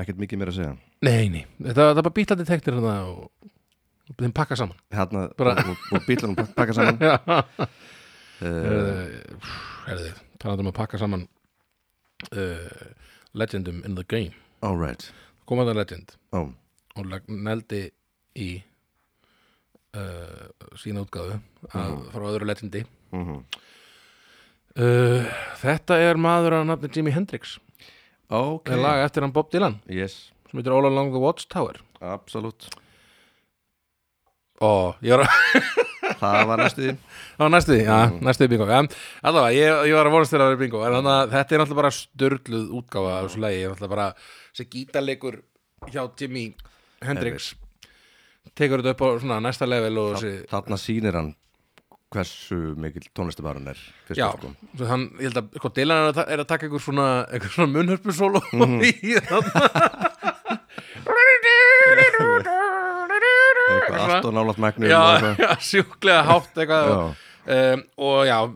S2: ekkert mikið meira að segja
S1: Nei, nei, þetta var bara bítlandi teknir hérna og og þeim pakka saman
S2: hérna
S1: Bara-
S2: og, og, og bílanum pakka saman uh,
S1: Herði, talaðum um að pakka saman uh, Legendum in the game
S2: all right
S1: Komaðan legend
S2: oh.
S1: og lag- neldi í uh, sína útgáðu að, frá öðru legendi
S2: mm
S1: Mhm. uh, Þetta er maður að nafni Jimi Hendrix
S2: ok,
S1: Það er laga eftir hann Bob Dylan
S2: yes,
S1: sem heitir All Along the Watchtower
S2: absolutt
S1: Ó, ég var Mhm. að
S2: það var næstu því
S1: á næstu því, já, næstu því bingo ja, allavega, ég, ég var að vonast til að vera bingo en þannig að þetta er náttúrulega bara störluð útgáfa af þessu lagi, ég er náttúrulega bara þessi gítarleikur hjá Jimi Hendrix tekur þetta upp á svona næsta level og þessi
S2: þarna sýnir hann hversu mikil tónlistabarun er fyrst
S1: Já,
S2: og sko.
S1: svo hann, ég held að sko, Dylan er að, ta- er að taka einhver svona, einhver svona munnhörpusólu
S2: Mhm.
S1: í þarna
S2: eitthvað allt og nálaðt megnum og
S1: já,
S2: eitthvað.
S1: já, sjúklega hátt eitthvað
S2: Já.
S1: og, um, og já, uh,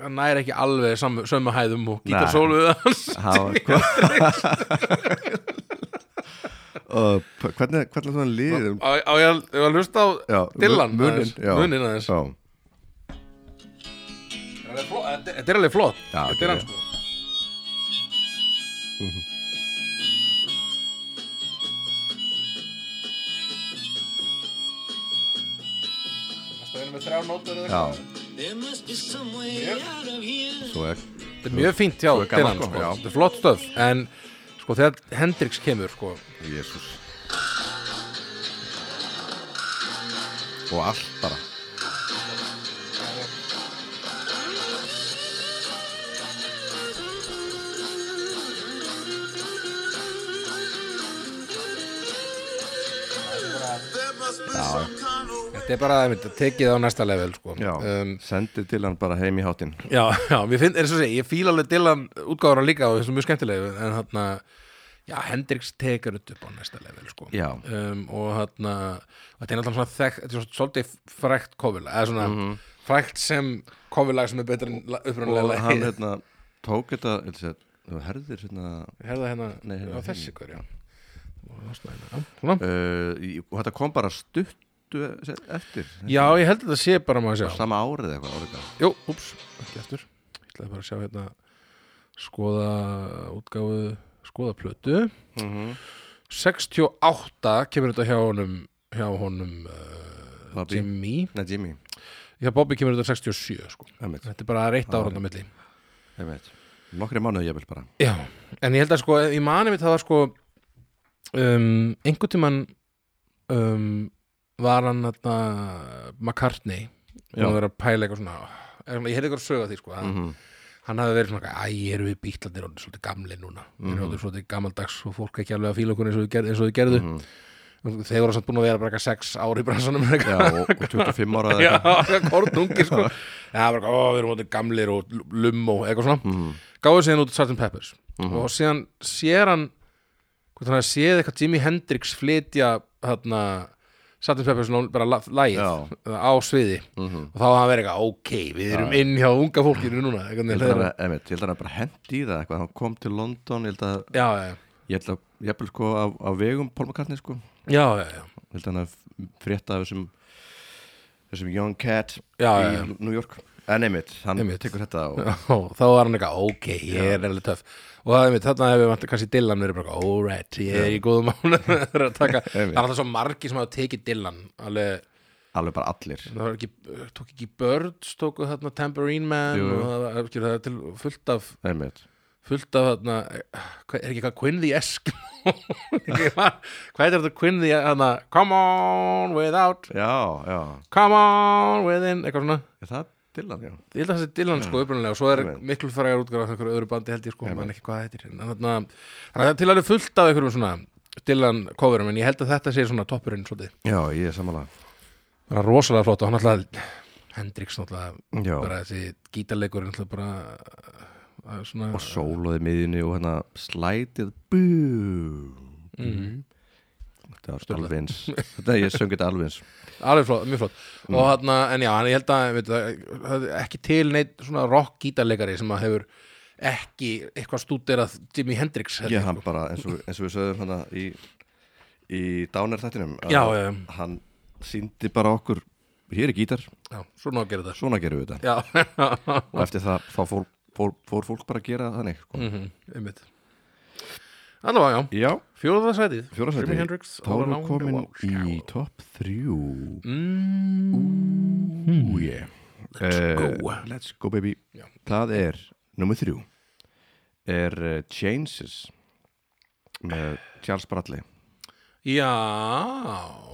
S1: hann næri ekki alveg sam, sömu hæðum og
S2: Nei.
S1: gítarsóluð hans
S2: Hafa, hva? uh, p- hvernig, hvernig þú hann liðið
S1: á, á ég að- ég var að hlusta á
S2: Já,
S1: Dylan
S2: mu- muninn,
S1: aðeins,
S2: já.
S1: muninn aðeins
S2: Já,
S1: Þetta er fló- Þetta þetta er alveg flott
S2: Já,
S1: Þetta er
S2: þetta
S1: hann
S2: er-
S1: sko Varstu að vinna með þrjár nótur eða
S2: já,
S1: eitthvað?
S2: svo er
S1: Þetta er mjög fínt hjá
S2: Svo er gaman,
S1: Dylan
S2: sko,
S1: sko.
S2: já.
S1: Þetta er flott stöf En sko þegar Hendrix kemur sko
S2: Jésús Og allt bara Já,
S1: Þetta er bara einmitt, tekið á næsta level sko.
S2: já,
S1: um,
S2: sendið til hann bara heim í hátinn
S1: já, já mér finn, eins og segi, ég fíla alveg Dylan útgáður hann líka og þessum mjög skemmtilegu en hann, já, Hendrix tekur þetta upp á næsta level sko.
S2: Já.
S1: um, og hann þetta er náttúrulega svona þekkt, þetta er svona svolítið frækt kofulag, eða svona frækt sem kofulag sem er betur en la-
S2: Mhm. og
S1: upprunalega
S2: hann
S1: lagið.
S2: hérna tók þetta eða sér, þú herðir hérna
S1: Herða hérna,
S2: Nei, hérna
S1: á
S2: hinn.
S1: þessi hver, já Og losna hérna, já, svona
S2: uh, í- og þetta kom bara stuttu sér, eftir
S1: Já, ég held að þetta sé bara maður að sjá
S2: sama árið eða eitthvað árið
S1: Jú, úps, ekki eftir Ég ætlaði bara að sjá hérna skoða útgáfu skoða plötu
S2: mm -hmm.
S1: 68 kemur þetta hjá honum hjá honum uh,
S2: Bobby.
S1: Jimmy
S2: Nei, Jimmy,
S1: Já, Bobby kemur þetta 67 sko
S2: einmitt,
S1: Þetta er bara reitt áranda milli
S2: einmitt nokkri mánuði ég vil bara
S1: Já, en ég held að sko, ég mani mitt það var sko um, einhvern tímann um, var hann þarna McCartney og
S2: Já.
S1: hann verið að pæla eitthvað svona ég heyrði eitthvað sög að því sko að
S2: Mhm.
S1: hann hafði verið svona, æ, erum við bítlandir og svolítið gamli núna, mm
S2: Mhm.
S1: -hmm. erum svolítið gammaldags og fólk ekki alveg að fíla okkur eins og þau gerðu, eins og þau gerðu.
S2: Mhm.
S1: þeir voru samt búin að vera bara eitthvað sex ári í bransanum eða eitthvað
S2: já, og, og 25 ára eða
S1: Já,
S2: eitthvað
S1: kornungir sko Já, það var eitthvað, ó, við erum orðnir gamlir og lumm og eitthvað svona mm.
S2: Mhm.
S1: Gáðu síðan út Sgt. Peppers og síðan sér hann hvort hann hafi séð eitthvað Jimi Hendrix flytja þarna Sgt. Peppers lón- bara la- lagið
S2: Já. Mhm.
S1: eða á sviði og þá hafði hann verið eitthvað, ok, við erum inn hjá unga fólkinu núna eitthvað,
S2: Ég
S1: þeir,
S2: held að hann- einmitt, ég held að hann bara hendi í það eitthvað hann kom til London, ég held að
S1: já, já, já,
S2: ég held að, ég held sko á, á vegum Paul McCartney sko,
S1: já, já, já.
S2: ég held að hann að frétta af þessum þessum Young Cat
S1: Já,
S2: í
S1: já, já.
S2: New York en einmitt, hann
S1: Einmitt.
S2: tekur þetta og,
S1: Ó, þá var hann eitthvað, ok, ég er alveg töff og það er mitt, þarna hefur vantur kannski Dylan verið bara, eitthvað, alright, ég er í góðum mánu það er alltaf svo margi sem hafa tekið Dylan alveg,
S2: alveg bara allir
S1: það var ekki, tók ekki Birds tóku þarna Tambourine Man
S2: Jú, jú.
S1: og það var ekki, það er til fullt af
S2: einmitt,
S1: fullt af þarna, hvað- er ekki eitthvað Quinn the Eskimo Ekki, hvað hvað er þetta Quinn the, þarna come on without,
S2: já, já
S1: come on within eitthvað svona
S2: er það til hann, já
S1: ég held að það sé Dylan sko upprunalega og svo er
S2: Einmitt.
S1: miklu frægar útgáfa af einhverju öðru bandi held ég sko, mann ekki hvað það heitir en þannig að þannig að það er til alveg fullt af einhverjum svona Dylan coverum en ég held að þetta sé svona toppurinn svolítið,
S2: já, ég er samanlega
S1: það er rosalega flott og hann alltaf, Hendrix náttúrulega
S2: Já.
S1: bara þessi gítarleikur náttúrulega bara uh, svona,
S2: og sóloði miðjunni og hérna slætið bú
S1: Mhm.
S2: mm. þetta var alveg eins þetta ég söng þetta alveg eins
S1: alveg flott, mjög flott og hann, en já, en ég held að veit, það- það er ekki til neitt svona rock gítarleikari sem að hefur ekki eitthvað stúderað Jimi Hendrix held
S2: ég
S1: ég, sko.
S2: hann bara, eins og, eins og við sögum hana í, í Downer þættinum að
S1: Já, já.
S2: hann síndi bara okkur hér er gítar,
S1: já, svona á að gera þetta
S2: svona gerum við þetta
S1: já,
S2: og eftir það þá fór, fór, fór fólk bara að gera þannig sko.
S1: Mhm, einmitt Allavega, já,
S2: já,
S1: fjóraða sætið
S2: fjóra
S1: Jimi
S2: sæti
S1: Hendrix
S2: þá erum við komin í top 3
S1: mm,
S2: Ooh, yeah. let's,
S1: go.
S2: let's go baby
S1: Já.
S2: það er, nummer 3 er uh, Changes með Charles Bradley
S1: Já,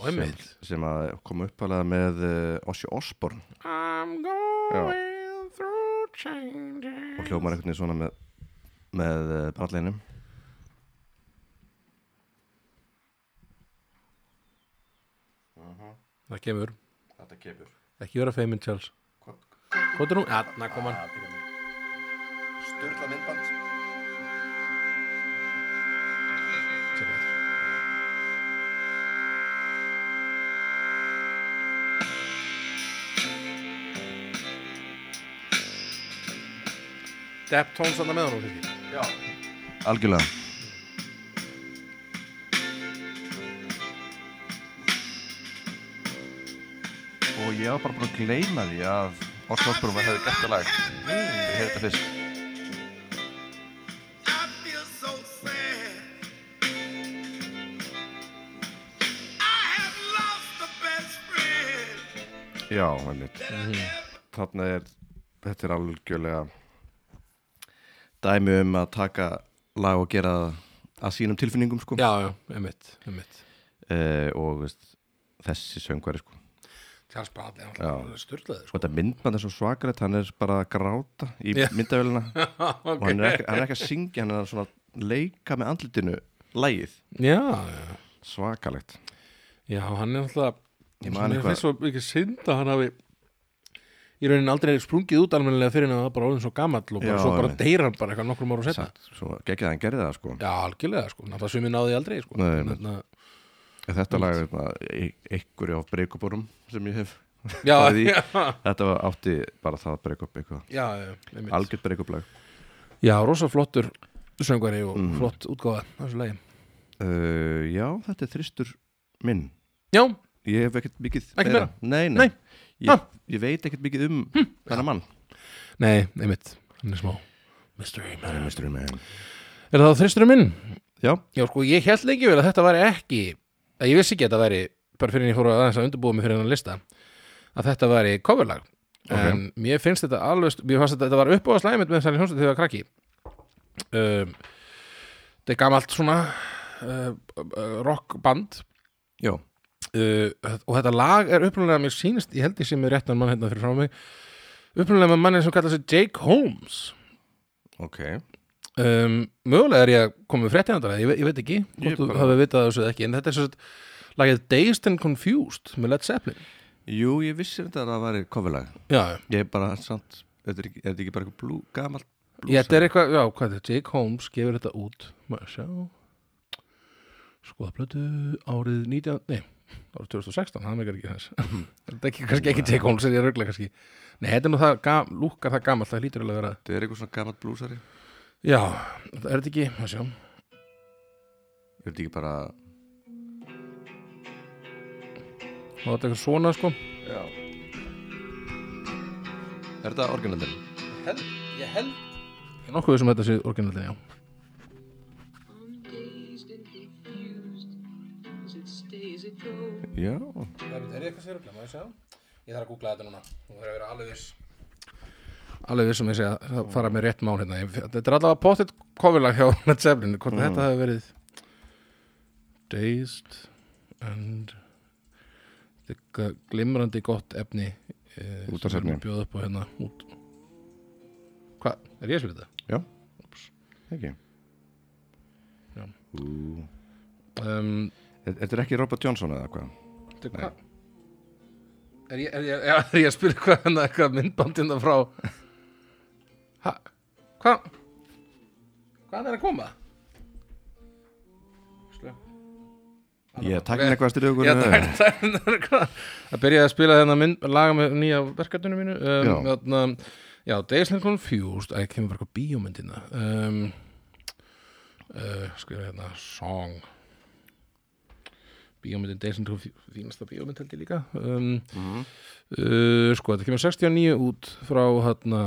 S2: sem,
S1: einmitt
S2: sem að kom uppalega með uh, Ossi Osborn
S1: I'm
S2: going
S1: through changes
S2: og hljómar einhvern veginn svona með með uh, brallinum
S1: Það kemur,
S2: Þetta kemur
S1: ekki vera feiminn Charles Hvað er hún? Þarna kom hann
S2: Sturla myndband
S1: Tjekka þetta. Deptones þarna með honum fyrir
S2: Algjörlega Og ég var bara búin að gleyma því að Orson Osborn var hefði gett að lag Ég hefði þetta fyrst
S4: I feel so sad. I have lost the best friend.
S2: Já, einmitt Þarna er, þetta er algjörlega dæmi um að taka lag og gera það að sínum tilfinningum sko
S1: Já, já, einmitt, einmitt
S2: uh, og veist, þessi söngvari sko.
S1: Charles Bradley, hann sko. var alveg styrlaði
S2: og þetta myndband er svo svakarett hann er bara að gráta í
S1: Já.
S2: yeah. myndavélina og hann
S1: okay.
S2: er, ekki, hann er ekki að syngja hann er svona að leika með andlitinu lægið
S1: já, já,
S2: svakalegt
S1: já, hann er náttúrulega
S2: Ég man
S1: Mér finnst
S2: eitthvað
S1: svo mikið synd að hann hafi í raunin aldrei sprungið út almennilega fyrir en það var bara orðin svo gamall og bara,
S2: Já,
S1: svo bara
S2: einmitt.
S1: deyr hann bara eitthvað nokkrum ára setna
S2: satt, Svo geggjað að hann gerði það sko
S1: Já, algjörlega sko, náttúrulega sumið náði því aldrei sko
S2: Nei,
S1: En
S2: nei.
S1: þarna-
S2: Þetta lag er bara e- einhverju á breykubórum sem ég hef
S1: Já,
S2: farið í.
S1: já,
S2: Þetta var átti bara það að breykup eitthvað
S1: já, já, einmitt.
S2: Algjörð breykuplag
S1: já, rosa flottur söngveri og
S2: Mhm.
S1: flott útgáfa af þessu lagi
S2: uh, Já, þetta er þristur minn
S1: Já,
S2: Ég hef ekkert mikið
S1: Ekki meira?
S2: Nei, nei,
S1: Nei. Ah. Ha.
S2: Ég, ég veit ekkert mikið um hm. þennan mann
S1: nei, einmitt, hann er smá Mystery man
S2: Mr. Man
S1: Er það þristurinn minn?
S2: Já,
S1: Já, sko, ég held lengi vel að þetta væri ekki að ég vissi ekki að þetta væri bara fyrir en ég fór að aðeins að undirbúa mig fyrir hennan lista að þetta væri coverlag en mér finnst þetta alveg mér fannst að þetta var uppbúið að slæmið með þessari hljómsveit þegar ég var krakki um, þetta er gamalt svona uh, rockband
S2: já,
S1: uh, og þetta lag er upprunalega mér sýnist, ég held ég sé með réttan mann hérna fyrir frá mig upprunalega með manni sem kallar sig Jake Holmes
S2: ok
S1: um, mögulega er ég að koma með fréttinandara ég, ve- ég veit ekki,
S2: Ég
S1: hvort þú
S2: bara-
S1: hafi vitað þessu eða ekki en þetta er svo að lagið Dazed and Confused með Led Zeppelin
S2: Jú, ég vissi þetta að það væri kofurlag
S1: já,
S2: Ég er bara samt Þetta er ekki, er þetta ekki bara eitthvað blú, gamalt
S1: ég, þetta er eitthvað, já, hvað er þetta Jake Holmes gefur þetta út, maður sjá skoða blötu árið 19, nei árið 2016, það megar ekki þess þetta er ekki, kannski ekki Jake Holmes, er ég röglega kannski nei, þetta er nú það, ga, lúkar það gamalt það lítur alveg að vera,
S2: Þetta er eitthvað svona gamalt blúsari
S1: já, þetta er þetta ekki maður sjá,
S2: Er þetta ekki bara
S1: þá er þetta eitthvað svona sko
S2: Já Er þetta orginalinn?
S1: ég held ég er nokkuð sem þetta sé orginalin, já
S2: Já
S1: Er það eitthvað sér að glemma þessu? Ég þarf að googla þetta núna Þú verður að vera alveg viss Alveg viss sem ég segja að fara með rétt mál hérna Ég- Þetta er allavega pottitt kofurlag hjá Led Zeppelin Hvort að þetta hefur verið Dazed and Þetta er g- glimrandi gott efni eh, sem
S2: Útvarpsefni.
S1: við erum að Bjóða upp á hérna út Hvað? Er ég að spila þetta?
S2: Já Ekki
S1: Já.
S2: Ú.
S1: Um,
S2: E- Þetta er ekki Robert Johnson eða hvað?
S1: Þetta er hvað? Er ég, er, ég, er, er ég að spyrja hvað hennar eitthvað myndbandina frá ha, Hvað? Hvað er að koma? Slökk.
S2: Ég er takkin eitthvað að styrja okkur
S1: Já, það, það, það, það, það byrjaði að spila þennan mynd, laga með nýja verkefninu mínu um,
S2: Já.
S1: þarna, já Days Land Confused að ég kemur bara eitthvað bíómyndina um, uh, skrifa hérna song bíómyndin Days Land Confused fínasta bíómynd held ég líka um,
S2: Mhm.
S1: uh, sko þetta kemur 69 út frá hérna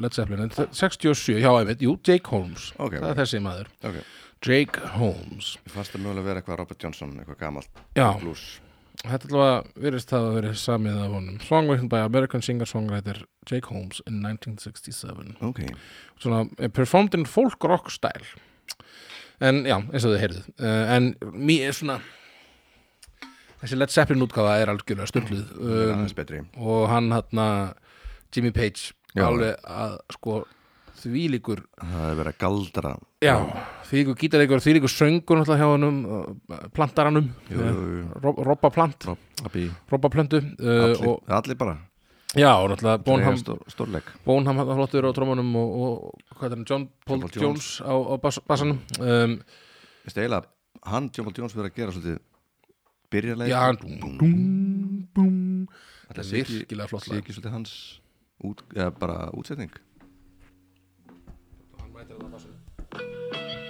S1: Led Zeppelin, en þe- 67, já ég veit jú, Jake Holmes,
S2: Ok,
S1: það
S2: ok.
S1: er þessi maður
S2: Ok
S1: Jake Holmes
S2: Ég fannst það mögulega að vera eitthvað Robert Johnson Eitthvað gamalt
S1: já,
S2: blús
S1: Þetta allavega virðist það að verið samið af honum Song written by American singer-songwriter Jake Holmes in 1967
S2: Ok
S1: Svona eh, performed in folk rock style En já, eins og þau heyrðu uh, En mér er svona Þessi Led Zeppelin útgáfa er algjörlega stundluð
S2: Mm,
S1: um,
S2: Aðeins betri
S1: Og hann hann Jimmy Page
S2: Já.
S1: Alveg að sko þvílíkur
S2: Það er verið að galdra
S1: Já, þvílíkur gítarleikur Þvílíkur söngur náttúrulega hjá honum eh, Plantaranum Eh,
S2: Jú, jú, jú.
S1: Robba plant,
S2: Rob Abbi
S1: robba plöntu uh,
S2: Allir,
S1: og,
S2: allir bara
S1: Já, og náttúrulega Bonham,
S2: Stór, Stórleik
S1: Bonham hann flottur á trómanum og, og hvað er hann, John Paul
S2: John Paul
S1: Jones á, á bass, bassanum um,
S2: Veist eiginlega Hann, John Paul Jones, verið að gera svolítið Byrjarleik
S1: Já, hann dún, dún, dún Þetta er
S2: sé ekki-
S1: virkilega flott
S2: Sé
S1: lag
S2: ekki svolítið hans út, eða bara útsetning
S1: Hann mætir það á bassanum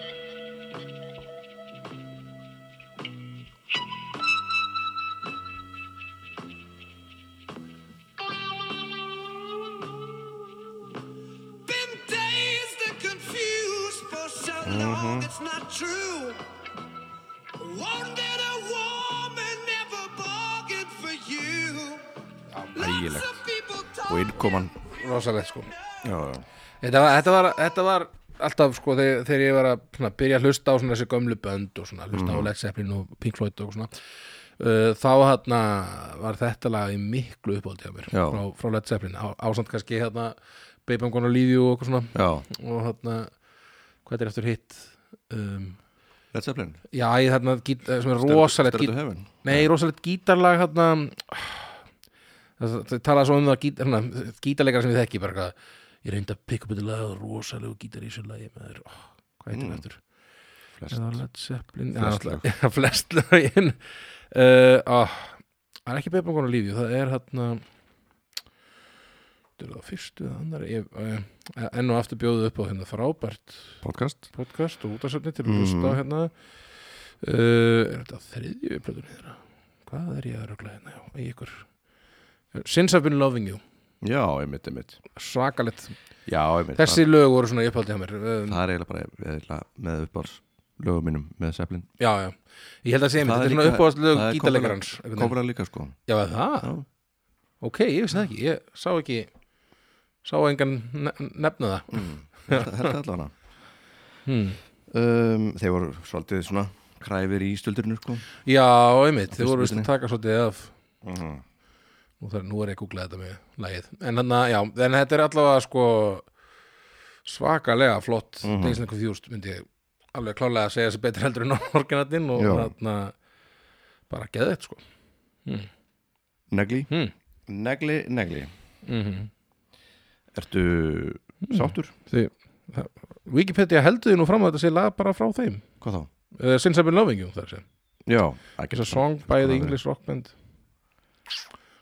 S4: Been dazed and confused for so long, it's not true. Wanted a woman, never bargained for you. Lots of
S2: Ægilegt
S4: people
S2: Og
S4: talk
S2: innkoman
S1: Rosalegt sko
S2: Já, já
S1: Þetta var, þetta var, þetta var alltaf sko þegar, þegar ég var að svona, byrja að hlusta á svona þessi gömlu bönd og svona hlusta
S2: Mhm.
S1: á Led Zeppelin og Pink Floyd og svona uh, þá hérna var þetta lag í miklu uppáldi á mér
S2: Já.
S1: frá, frá Led Zeppelin á, ásamt kannski hérna Baby I'm Gonna Leave You og okkur svona
S2: Já,
S1: og hérna hvað er eftir hitt um,
S2: Led Zeppelin
S1: Já, ég þarna gít, eh, sem er
S2: Stairway-
S1: rosalegt
S2: Stairway
S1: gít,
S2: to Heaven
S1: Nei, rosalegt gítarlag þarna Það það talaði svo um það gít, hana, gítarleikar sem ég þekki bara hvað Ég reyndi að pikka upp þetta lag rosalegu gítar í þessu lagi maður, oh, Hvað heitir
S2: Mm.
S1: það eftir?
S2: Flest.
S1: Eða Led Zeppelin Já,
S2: Flest
S1: náttúrulega, já, Flest lögin uh, ah, Það er ekki Bebang konar lífi Það er hérna Þetta er það fyrstu eða annar ég, uh, Enn og aftur bjóðu upp á hérna frábært
S2: Podcast
S1: podcast og útasöfni til að
S2: Mhm.
S1: hlusta á hérna uh, er þetta þriðju plötun þeirra? Hvað er ég að rögla hérna? Já, í ykkur Since I've been loving you,
S2: Já, einmitt, einmitt
S1: svakalett
S2: Já, einmitt
S1: Þessi lög voru svona í upphaldi hjá mér
S2: Það,
S1: um,
S2: það er eiginlega bara eiginlega með uppáls lögum mínum með Zeppelin
S1: Já, já, ég held að segja mér
S2: Það er
S1: Þetta er svona
S2: líka-
S1: uppáðast lög
S2: það er
S1: gítarleikar hans einhvern veginn.
S2: Kofra líka sko
S1: Já, er það,
S2: Já,
S1: ok, ég vissi það ekki Ég sá ekki, sá engan nef- nefna það
S2: þetta allan
S1: hmm.
S2: um, Þeir voru svolítið svona kræfir í stöldurinu sko
S1: Já, einmitt, þið
S2: Fyrstu
S1: voru vist
S2: plötunni.
S1: að taka svolítið af
S2: mm.
S1: nú, þar, nú er ég að googla þetta með lagið en, hana, já, en þetta er allavega sko svakalega flott mm
S2: Mhm.
S1: -hmm. Daisy Confused myndi ég alveg klálega að segja þessi betur heldur en orginatinn og
S2: Já.
S1: þarna bara geðið sko
S2: Negli,
S1: mm.
S2: negli, negli
S1: Mm -hmm.
S2: Ertu sáttur?
S1: Því, það- Wikipedia heldur því nú fram að þetta sé lag bara frá þeim
S2: Hvað þá?
S1: uh, Since I've been loving you það sé
S2: Já,
S1: It's a song by the English rock band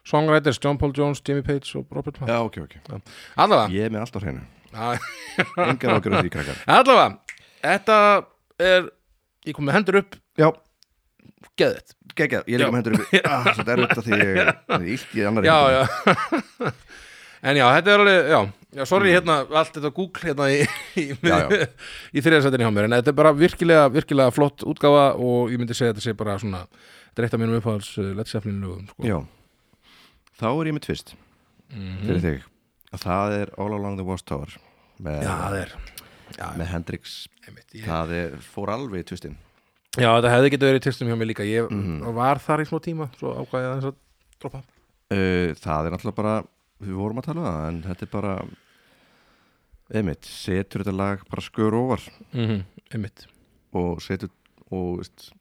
S1: Songwriters John Paul Jones, Jimmy Page og Robert Plant
S2: Já, ok, ok
S1: Allavega
S2: Ég er með allt á hreinu
S1: yeah.
S2: Engar ágjur á því krakkar
S1: Allavega, þetta er ég kom með hendur upp
S2: Já,
S1: geðið
S2: geggjað, ég er
S1: Já.
S2: líka með hendur upp ah, Svo þetta er þetta því ég það er illt í annari
S1: já,
S2: hendinni.
S1: já en já, þetta er alveg, já, já sorry hérna, allt þetta Google hérna í, í,
S2: Mm. Já, já.
S1: í þriðarsættinni hjá mér en þetta er bara virkilega, virkilega flott útgáfa og ég myndi segja að þetta sé bara svona þetta er eitt af mínum uppáhalds uh, Led Zeppelin lögum sko.
S2: Já Þá er ég með tvist
S1: Mhm.
S2: fyrir þig og það er All Along the Watchtower með,
S1: já, það er
S2: með Hendrix
S1: einmitt, ég,
S2: það er, fór alveg í tvistinn
S1: já, þetta hefði getið verið tilstum hjá mér líka ég
S2: Mhm.
S1: var þar í smá tíma svo ákvæði ég aðeins að droppa
S2: uh, það er náttúrulega bara við vorum að tala um það en þetta er bara einmitt, setur þetta lag bara skör ofar
S1: mm
S2: Mhm,
S1: -hmm. einmitt
S2: og setur og veist,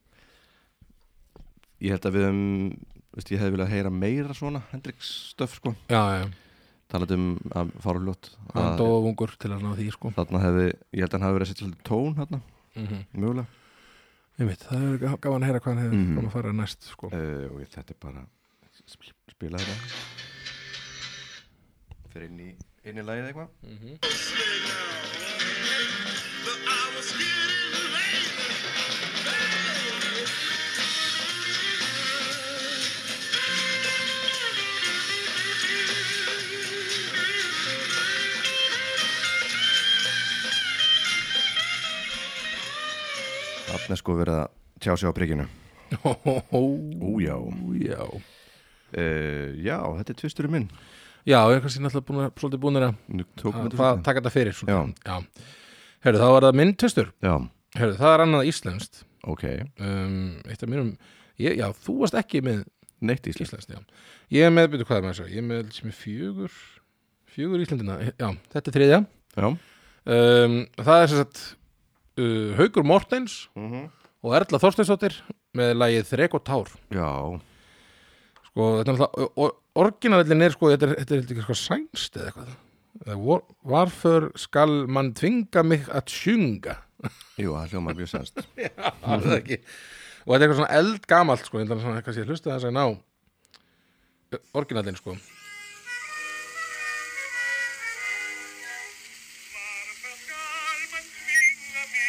S2: ég held að við um, veist, ég hefði viljað heyra meira svona Hendrix stöf sko
S1: já, já,
S2: talað um að fara ljótt
S1: hann
S2: að
S1: dóða vungur til að ná því sko.
S2: þarna hefði, ég held að hann hefði verið að setja svolítið tón þarna,
S1: mm
S2: mögulega
S1: einmitt, það er gaf- gaman að heyra hvað hann hefði
S2: Mhm.
S1: mm að fara næst sko.
S2: uh, og ég- þetta er bara sp- hérna. spila þetta fyrir inn í inn í lagið eitthvað
S1: Mm.
S2: þarna er sko verið að tjá sig á prikinu
S1: Ó, ó, ó.
S2: újá
S1: já
S2: uh, já, þetta er tvisturinn minn
S1: Já, ég er kannski náttúrulega búin að, svolítið búin að
S2: nú tók
S1: að
S2: mér
S1: ta-
S2: þetta
S1: taka þetta fyrir
S2: Já.
S1: svolítið. Já. Herru, þá var það minn testur.
S2: já,
S1: Herru, það er annað íslenskt.
S2: ok,
S1: Um, eitt af mínum, ég, já, þú varst ekki með
S2: neitt í Ísland
S1: íslenskt, já. Ég er með, byrju, hvað er með þessu? Ég er með, sem er fjögur, fjögur íslendina. Já, þetta er þriðja.
S2: já,
S1: Um, það er sem sagt uh, Haugur Mortens
S2: Mhm.
S1: og Erla Þorsteinsdóttir með lagið Þrek og Tár.
S2: já,
S1: Sko, þetta er náttúrulega, orginalillin er sko, þetta er, þetta er heldur ekki eitthvað sænst eða eitthvað. Eða vor- Varför skal mann tvinga mig að sjunga?
S2: jú, það hljóma mjög sænst
S1: Það er ekki. Og þetta er eitthvað svona eldgamalt sko, þetta er svona eitthvað sér hlusta þess að ná eh, orginalinn sko.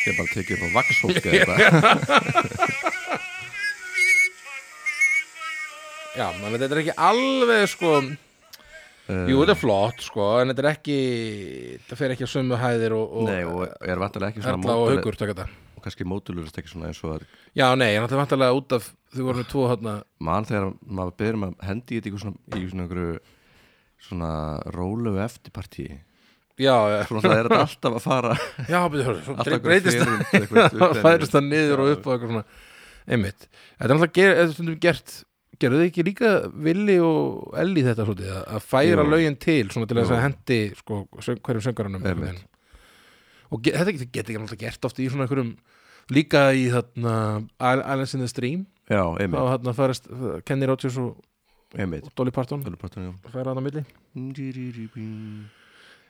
S2: ég er bara tekið upp á vaxhólk eða eitthvað
S1: Já, þannig að þetta er ekki alveg sko, jú þetta er flott sko, en þetta er ekki, þetta fer ekki að sömu hæðir og, og
S2: nei, og er vantilega ekki svona
S1: Erla og
S2: mótuleg-
S1: Haugur taka þetta.
S2: og kannski mótulegust ekki svona eins og að
S1: Já, nei, en þetta er vantarlega út af, þau voru með tvo hérna,
S2: mann þegar maður byrður maður hendi í þetta í eitthvað svona, í svona, einhverju svona rólu eftirpartíi
S1: já, já.
S2: svona það er þetta alltaf að fara
S1: Já, betur, hörðu, svo
S2: Alltaf einhver
S1: brey- breytist
S2: fyrirmynd, eitthvað
S1: það
S2: uppendur.
S1: færist það niður og upp og eitthvað svona einmitt, þetta er alltaf ger, eða stundum gert gerðu þið ekki líka Willi og Elli þetta svolítið, að- að færa
S2: Jú.
S1: lögin til svona til þess
S2: Jú.
S1: að hendi sko, söng, hverjum söngarunum
S2: Einmitt.
S1: og get, þetta getur get ekki alltaf gert oft í svona einhverjum líka í þarna Al- Alice in the Stream
S2: já,
S1: þá
S2: einmitt,
S1: þarna færast Kenny Rogers og
S2: einmitt
S1: og Dolly Parton
S2: Dolly Parton, já.
S1: færa hann á milli
S2: Mm, Dí-dí-dí-bí.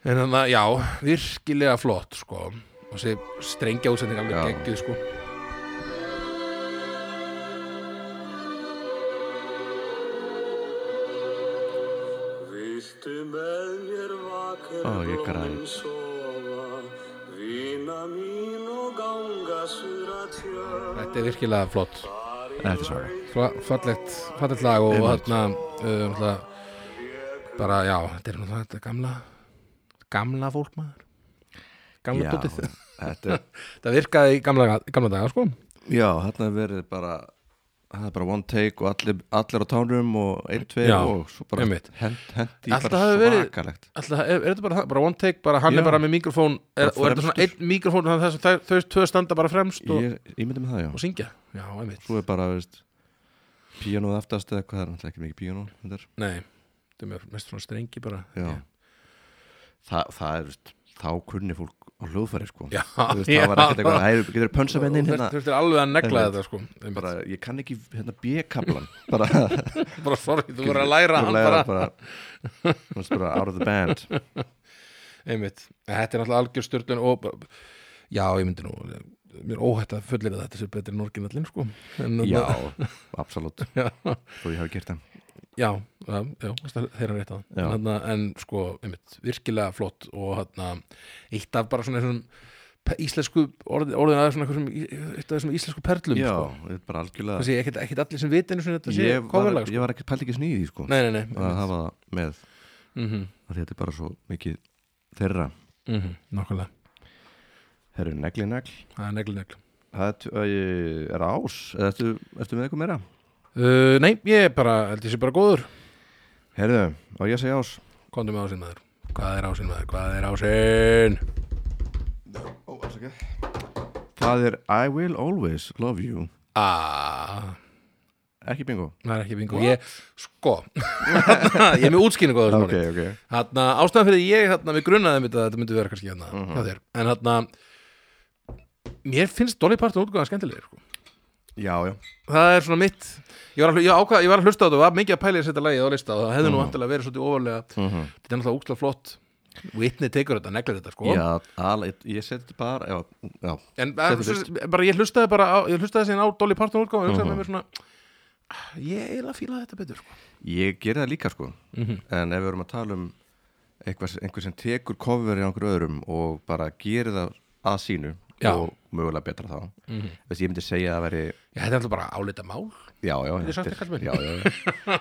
S1: en þannig að já, virkilega flott sko og þessi strengja útsending alveg
S2: Já.
S1: geggjuð sko
S5: Viltu með mér vakir
S2: Ó, ég græt.
S5: sofa Vína mín og ganga sura tjörn
S1: þetta er virkilega flott
S2: Þetta er svara
S1: Fla- fallegt, fallegt lag og
S2: Einmitt.
S1: þarna uh, ætla, bara já, þetta er náttúrulega þetta gamla gamla fólk maður gamla
S2: Já,
S1: tóttið
S2: þetta er
S1: það virkaði í gamla, gamla daga sko
S2: Já, þarna er verið bara það er bara one take og allir, allir á tánum og einn, tvei
S1: Já,
S2: og svo bara
S1: einmitt.
S2: hent, hent í
S1: Alltaf
S2: bara
S1: hafi verið-
S2: svakalegt
S1: Alltaf, er, er þetta bara, það? bara one take, bara hann
S2: Já.
S1: er bara með mikrofón
S2: Bara
S1: er, og er þetta svona
S2: fremstur.
S1: einn mikrofón þannig að þess að þau- þau tvö standa bara fremst og,
S2: Ég, ég myndi með það, já
S1: og syngja já, einmitt,
S2: Svo er bara, veist píanóð aftast eða hvað það er náttúrulega ekki mikið píanó þetta er.
S1: nei þetta er mjög- mest svona strengi bara
S2: Já Þa, Það er, veist, þá kunni fólk á hljóðfæri, sko
S1: Já,
S2: Þú veist,
S1: já.
S2: Það var ekkert eitthvað, hæ, getur pönsa með inn hérna
S1: Þú ertu alveg að negla
S2: Einmitt.
S1: þetta sko Einmitt.
S2: bara, ég kann ekki hérna B-kablan bara,
S1: bara sorry, þú verður að læra hann
S2: læra
S1: bara
S2: bara, þú veist, bara out of the band
S1: einmitt, þetta er náttúrulega algjör styrtun og já, ég myndi nú mér er óhætt að fullir að þetta sé betri en orginallinn sko en,
S2: Já, absolutt
S1: já,
S2: Þú ég hafi gert það
S1: já, já, já þeirra rétt að
S2: Já.
S1: en, en sko, einmitt, virkilega flott og hérna, eitt af bara svona þessum pe- íslensku orðin, orðin aðeins svona einhverjum í- eitt af þessum íslensku perlum
S2: Já,
S1: sko.
S2: þetta er bara algjörlega
S1: þessi, ekkit, ekkit allir sem vitinu sem þetta sé
S2: ég var,
S1: kofalag sko.
S2: ég var ekki pælt ekki snýði því sko
S1: nei, nei, nei,
S2: að hafa það með
S1: mm -hmm,
S2: að þetta er bara svo mikið þeirra
S1: mm -hmm, nokkulega
S2: herru negli negl
S1: það er negli negli
S2: það er, t- æ, er ás eða ertu, ertu með eitthvað meira
S1: uh, nei, ég er bara, held ég sé bara góður
S2: herru og ég að segja ás
S1: Kondum með ásinn maður Hvað er ásinn maður? Hvað er ásinn?
S2: Ó, afsakið. það er I will always love you
S1: Ah,
S2: ekki bingo
S1: það er ekki bingo Ég, sko Ég er með útskýningu á þessu
S2: ok
S1: máli
S2: ok
S1: Þarna, ástæðan fyrir ég, þarna, við grunnaði mitt að þetta myndi vera kannski hérna
S2: Mhm.
S1: hjá þér En þarna, mér finnst Dolly Parton útgáðan skemmtilegir sko.
S2: já já
S1: Það er svona mitt Ég var, að, hlu- ég, ákvað, ég var að hlusta á þetta og var mikið að pæla í að setja lagið á lista og það hefði
S2: Mhm.
S1: nú vantilega verið svolítið ofarlega Þetta er náttúrulega úkslega flott Whitney tekur þetta, neglir þetta sko
S2: já al, ég seti bara já, já
S1: en
S2: Settu
S1: svo, bara ég hlustaði bara á, ég hlustaði síðan á Dolly Parton útgáð og hugsaði með mér svona "Ah, ég eiginlega fílaði þetta betur sko.
S2: ég gerði það líka sko en ef við erum að tala um einhver, einhver sem tekur cover í einhver öðrum og bara gerir það að sínu
S1: Já.
S2: og mögulega betra þá þess að ég myndi segja að það veri
S1: já, þetta er alltaf bara álita mál
S2: já, já,
S1: Ég sagt
S2: þetta
S1: það, kallinn minn.
S2: já, já, já.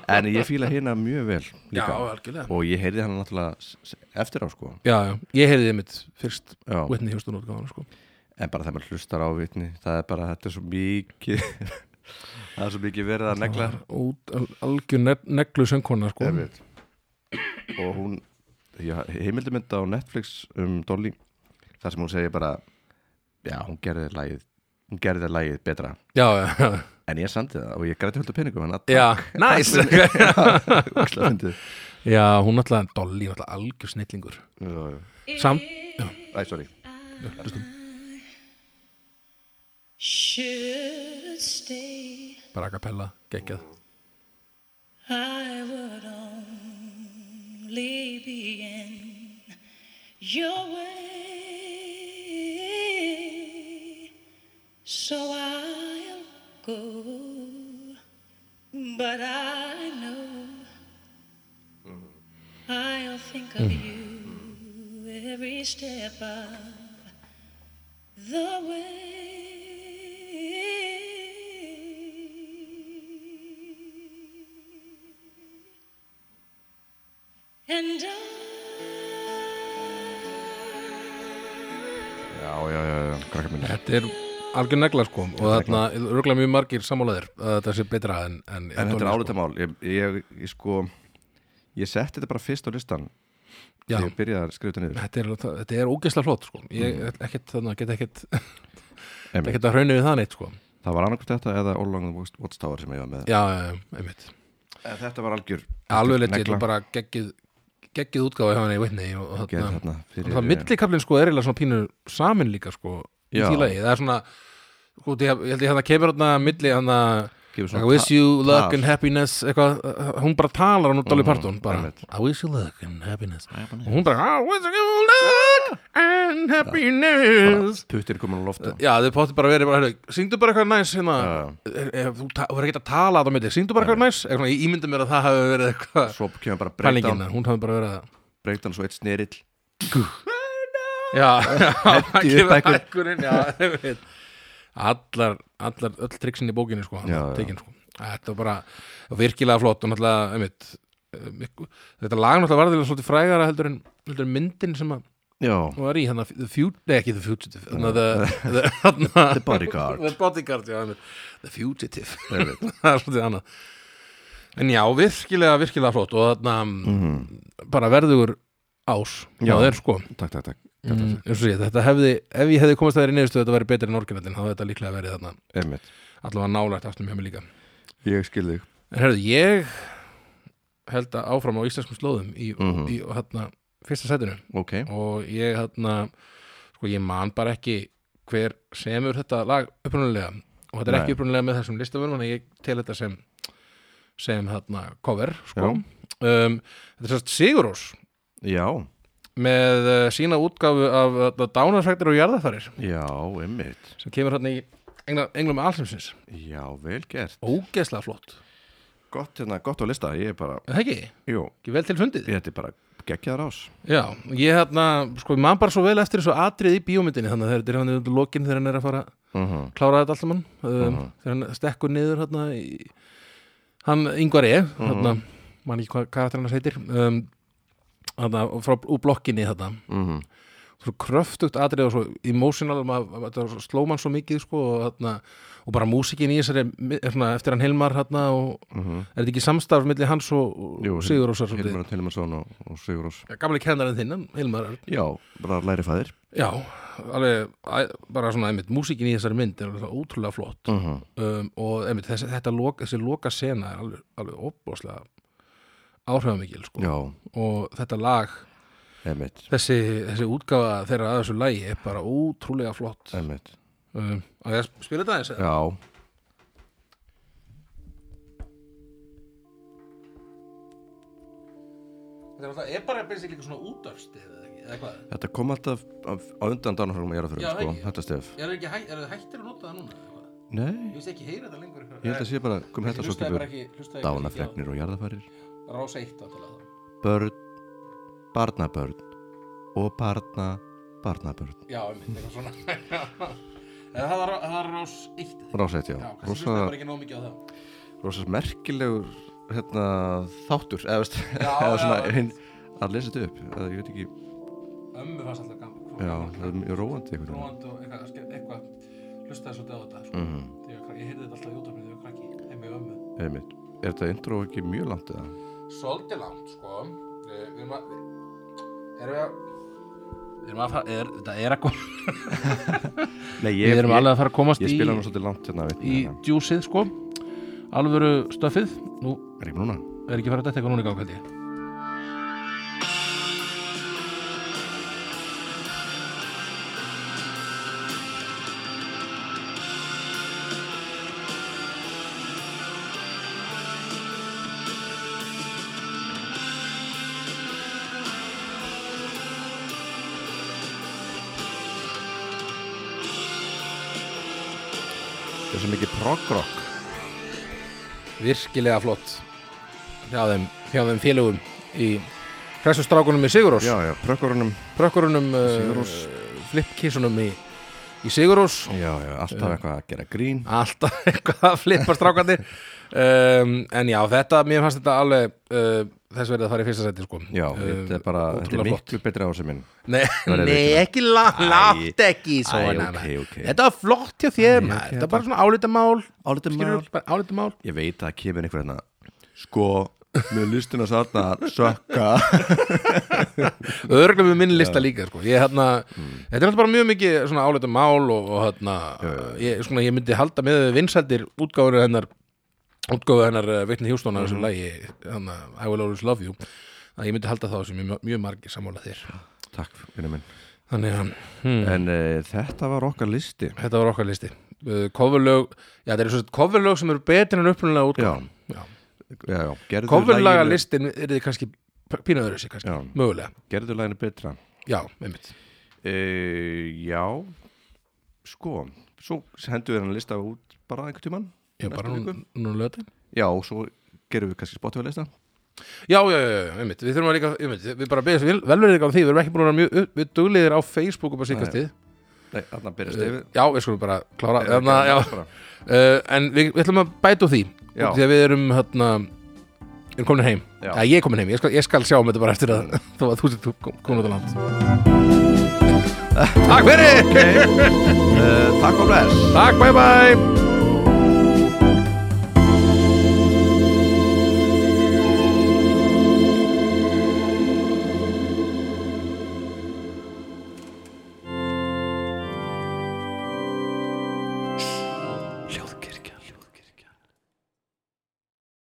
S2: en ég fíla hérna mjög vel líka.
S1: Já, algjörlega.
S2: og ég heyrði hann náttúrulega s- s- eftir á sko
S1: já, já, ég heyrði þið mitt fyrst
S2: Já.
S1: Whitney Houston útgáðan sko.
S2: en bara þegar maður hlustar á vitni það er bara þetta er svo mikið það er svo mikið verið að negla
S1: út al- algjör ne neglu söngkona sko.
S2: Einmitt. og hún heimildamönda á Netflix um Dolly þar sem hún segir bara já, hún gerði lagið hún gerði lagið betra
S1: já, já, já,
S2: en ég samdi það og ég græti höldu peningum hann
S1: já nice
S2: að
S1: já, hún náttúrulega Dolly, náttúrulega algjör snillingur samt,
S2: Æ, sorry
S4: Should stay,
S1: bara a cappella, geggjað
S4: I would only be in your way. So I'll go, but I know I'll think of you every step of the way. And I
S2: já, já, já, já, krakka mín
S1: þetta er algjör negla sko og þarna, örgulega mjög margir sammálaðir að þetta sé betra en, en,
S2: en þetta er
S1: Dolly, sko.
S2: álutamál ég, ég, ég sko ég setti þetta bara fyrst á listan
S1: sko. já,
S2: þegar ég byrjaði að skrifa þetta niður
S1: þetta er, þetta er ógeðslega flott sko. ég mm. ekkert, þannig, get ekkert
S2: Einmitt.
S1: ekkert að hrauna við það neitt sko.
S2: það var annarkvæmt þetta eða All Along the Watch- Watchtower sem ég var með
S1: já, já, já, einmitt
S2: en þetta var algjör
S1: alveg leitt,
S2: negla.
S1: þetta er bara geggið geggið útgáfa hjá henni í Whitney og, og
S2: gerði
S1: þarna-
S2: þarna eh,
S1: og það millikablinn sko er eiginlega svona pínu samin líka sko í
S2: Já.
S1: því lagi, það er svona sko, því að- ég held ég hann að kemur hann að milli hann að
S2: Kemur svona
S1: I wish
S2: ta-
S1: you luck
S2: tal.
S1: and happiness eitthvað, hún bara talar hann úr Dolly
S2: Mhm,
S1: Parton bara,
S2: einmitt.
S1: I wish you luck and happiness og hún bara, I wish you luck
S2: Ah!
S1: and happiness
S2: Puttir komin á lofta
S1: Já, þau pótti bara verið bara, heyrðu, syngdu bara eitthvað næs hérna,
S2: Já, já.
S1: Er- ef þú ta- verður ekki að tala þetta á milli, syngdu bara eitthvað næs eitthvað, ég ímyndi mér að það hafi verið eitthvað
S2: Svo kemur bara
S1: pælingin,
S2: breakdown
S1: hún hafi bara verið að
S2: Breakdown svo eitt snerill
S1: Já, já, það kemur
S2: upp einhver-
S1: hækkunin Já, ég veit Allar, allar, öll triksin í bókinni sko, hann
S2: Já,
S1: var
S2: já.
S1: tekin, sko. Þetta var bara virkilega flott og náttúrulega, einmitt eh, miklu- Þetta lag náttúrulega varðilega svolítið frægara heldur en, heldur en myndin sem að
S2: Já,
S1: hún var í, hann að The Fugitive, nei ekki The Fugitive hann að The, the, the
S2: Bodyguard.
S1: The Bodyguard, já, einmitt The Fugitive,
S2: ég veit
S1: það er svolítið annað En já, virkilega, virkilega flott og þarna bara verður ás,
S2: Mhm. Já.
S1: það er sko
S2: Takk, takk, takk
S1: Mm, eins og sé, þetta hefði, ef ég hefði komast að þér í neðustu þetta væri betri en orginallin, þá hefði þetta líklega verið þarna
S2: Einmitt
S1: allavega nálægt aftur með mig líka
S2: Ég skil þig
S1: en herrðu, ég held að áfram á íslenskum slóðum í,
S2: Mhm.
S1: í hérna, fyrsta setinu
S2: Ok
S1: og ég hérna sko ég man bara ekki hver semur þetta lag upprunalega og þetta er
S2: Nei.
S1: ekki upprunalega með þessum listamönnum en ég tel þetta sem sem hérna cover sko. um, þetta er sérst Sigurós
S2: Já,
S1: með uh, sína útgáfu af uh, dánarsræktir og jarðafarir
S2: já, einmitt
S1: sem kemur hérna í engla- englum allsumsins
S2: Já, vel gert
S1: ógeðslega flott,
S2: Gott, hérna, gott á lista Ég er bara,
S1: er það ekki?
S2: jú
S1: ekki vel til fundið?
S2: Þetta er bara geggjaðar ás
S1: Já, ég hérna, sko, ég man bara svo vel eftir þessu atrið í bíómyndinni, þannig að þetta er hann undir lokin þegar hann er að fara að
S2: uh -huh.
S1: klára þetta alltaf mann um,
S2: Mhm.
S1: þegar hann stekkur niður hérna í, hann yngvar ég
S2: Mhm.
S1: hérna, man ekki hvað karakter hann heitir um, hérna, frá úr blokkinni hérna,
S2: Mhm.
S1: svo kröftugt atrið og svo emotional, maður, þetta sló mann svo mikið, sko, og hérna og bara músikin í þessari, mi- svona, eftir hann Hilmar hérna og Er þetta ekki samstarf milli hans og
S2: Mhm. Jú,
S1: Sigur Rósar
S2: Hilmar Tilmarsson og, og Sigur Ós
S1: Gamli kennarinn þinn, hann, Hilmar Örn
S2: Já, bara læri fæðir
S1: Já, alveg, æ- bara svona einmitt, músíkin í þessari mynd er alveg ótrúlega flott
S2: uh -huh.
S1: um, og einmitt, þessi, þetta loka, þessi loka sena er alveg, alveg óbúslega áhrifamikil, sko
S2: Já,
S1: og þetta lag,
S2: einmitt
S1: þessi, þessi útgáfa þeirra að þessu lagi er bara ótrúlega flott
S2: Einmitt
S1: um, að ég að spila þetta aðeins eða?
S2: Já
S1: Þetta er alltaf- er bara basically eitthvað svona útafstið eða ekki, eða hvað?
S2: Þetta kom alltaf af, á undan dánafröngum ég er að fyrir,
S1: Já,
S2: sko,
S1: ekki.
S2: þetta stef.
S1: Er það ekki hæ- eru þið hættir að nota það núna? eða hvað?
S2: Nei,
S1: Ég veist ekki heyra þetta lengur
S2: ég held að sé bara, kom hérna
S1: Ég
S2: þetta svo
S1: hlustaði bara
S2: skipur,
S1: ekki hlustaði bara ekki á-
S2: dánafregnir og jarðafarir,
S1: Rás 1 áttalega
S2: börn, barnabörn og barna, barnabörn.
S1: Já, einmitt, eitthvað svona Eða það var, það var rás 1
S2: Rásætt, já.
S1: Já, kannski
S2: Rosa,
S1: hlustaði bara ekki nóg mikið á það
S2: rosa merkilegur, hérna, þáttur, eða veist,
S1: Já,
S2: eða svona,
S1: já.
S2: hinn, að lesa þetta upp, eða ég veit ekki,
S1: Ömmu fannst alltaf gaman
S2: já, það er mjög róandi einhvern veginn.
S1: Róand og eitthvað, ske- eitthvað Hlustaði svolítið á þetta sko.
S2: Mhm,
S1: Þegar ég var krakki- Ég heyrði þetta alltaf í útvarpinu þegar ég var krakki Heim með ömmu
S2: einmitt. Er þetta intro ekki mjög langt eða?
S1: Svolítið langt, sko Við við erum að við- Erum við að Við erum að fara er, Þetta er að koma
S2: Nei, ég,
S1: Við erum alveg
S2: ég,
S1: að fara að komast
S2: ég
S1: í
S2: spila hann svolítið langt hérna, veit,
S1: Í
S2: hérna.
S1: djúsið, sko Alvöru stöfið Nú
S2: er ég núna?
S1: er ekki farið að detta eitthvað núna í gang, held ég
S2: Það er svo mikið prog-rock.
S1: virkilega flott hjá þeim, hjá þeim félögum í hressustrákunum í Sigurós
S2: Já, já, prökkurunum
S1: prökkurunum uh,
S2: Sigurós.
S1: flipkissunum í, í Sigurós
S2: Já, já,
S1: Eh.
S2: alltaf eitthvað að gera grín
S1: alltaf eitthvað að flippa strákandir um, en já, þetta, mér fannst þetta alveg uh, þess verið að fara í fyrsta seti sko.
S2: Já,
S1: Um,
S2: þetta er bara, þetta er
S1: ótrúlega flott.
S2: miklu betri ásum minn
S1: Nei,
S2: verið
S1: nei
S2: virkilega.
S1: ekki la-
S2: Æ,
S1: látt ekki
S2: æ,
S1: svona
S2: ok, ok.
S1: Þetta var flott hjá þér maður. Þetta var bara svona álitamál
S2: Álitamál.
S1: Skilurðu, bara álitamál
S2: Ég veit að það kemur einhver hérna Sko, með listina satna sökka
S1: Örglega með minni lista líka sko. ég, hérna, Þetta er alltaf bara mjög mikið svona áleita mál og, og hérna, ég, svona, ég myndi halda með vinsældir útgáfur hennar útgáfu hennar Vittni Hjústónar
S2: Mhm.
S1: mm. sem lagi, hann I will always love you að ég myndi halda þá sem mjög, mjög margir sammála þér
S2: Takk, vinnu minn
S1: Þannig að hmm,
S2: En uh, þetta var okkar listi
S1: þetta var okkar listi uh, coverlög, já það eru svona coverlög sem eru betri en upprunalega útgáðan
S2: já, já, gerðu
S1: coverlaga
S2: laginu-
S1: listin er þið kannski pínaður þessi kannski,
S2: Já.
S1: mögulega
S2: gerðu læginu betra
S1: já, einmitt
S2: e, já sko, svo hendur við hann lista út bara einhvern tímann
S1: já,
S2: Næstu
S1: bara nú,
S2: viku.
S1: nú lötin
S2: já, og svo gerum við kannski spotify lista
S1: já, já, já, já, einmitt, við þurfum að líka einmitt, við bara beðum velverðið á því, við erum ekki búin að vera mjög upp- við dugliðir á Facebook og bara
S2: Nei.
S1: síkastíð
S2: nei, þarna byrja stefið
S1: já, við skulum bara klára
S2: Eða
S1: Eh, þarna, já,
S2: bara.
S1: uh, en við, við ætlum að bæta úr því
S2: Já.
S1: út af því að við erum hérna erum komin heim,
S2: Já.
S1: ja, ég er komin heim ég skal, ég skal sjá um þetta bara eftir að þó að þú sér komin út á land Takk fyrir,
S2: Eh, takk og bless
S1: takk, bye bye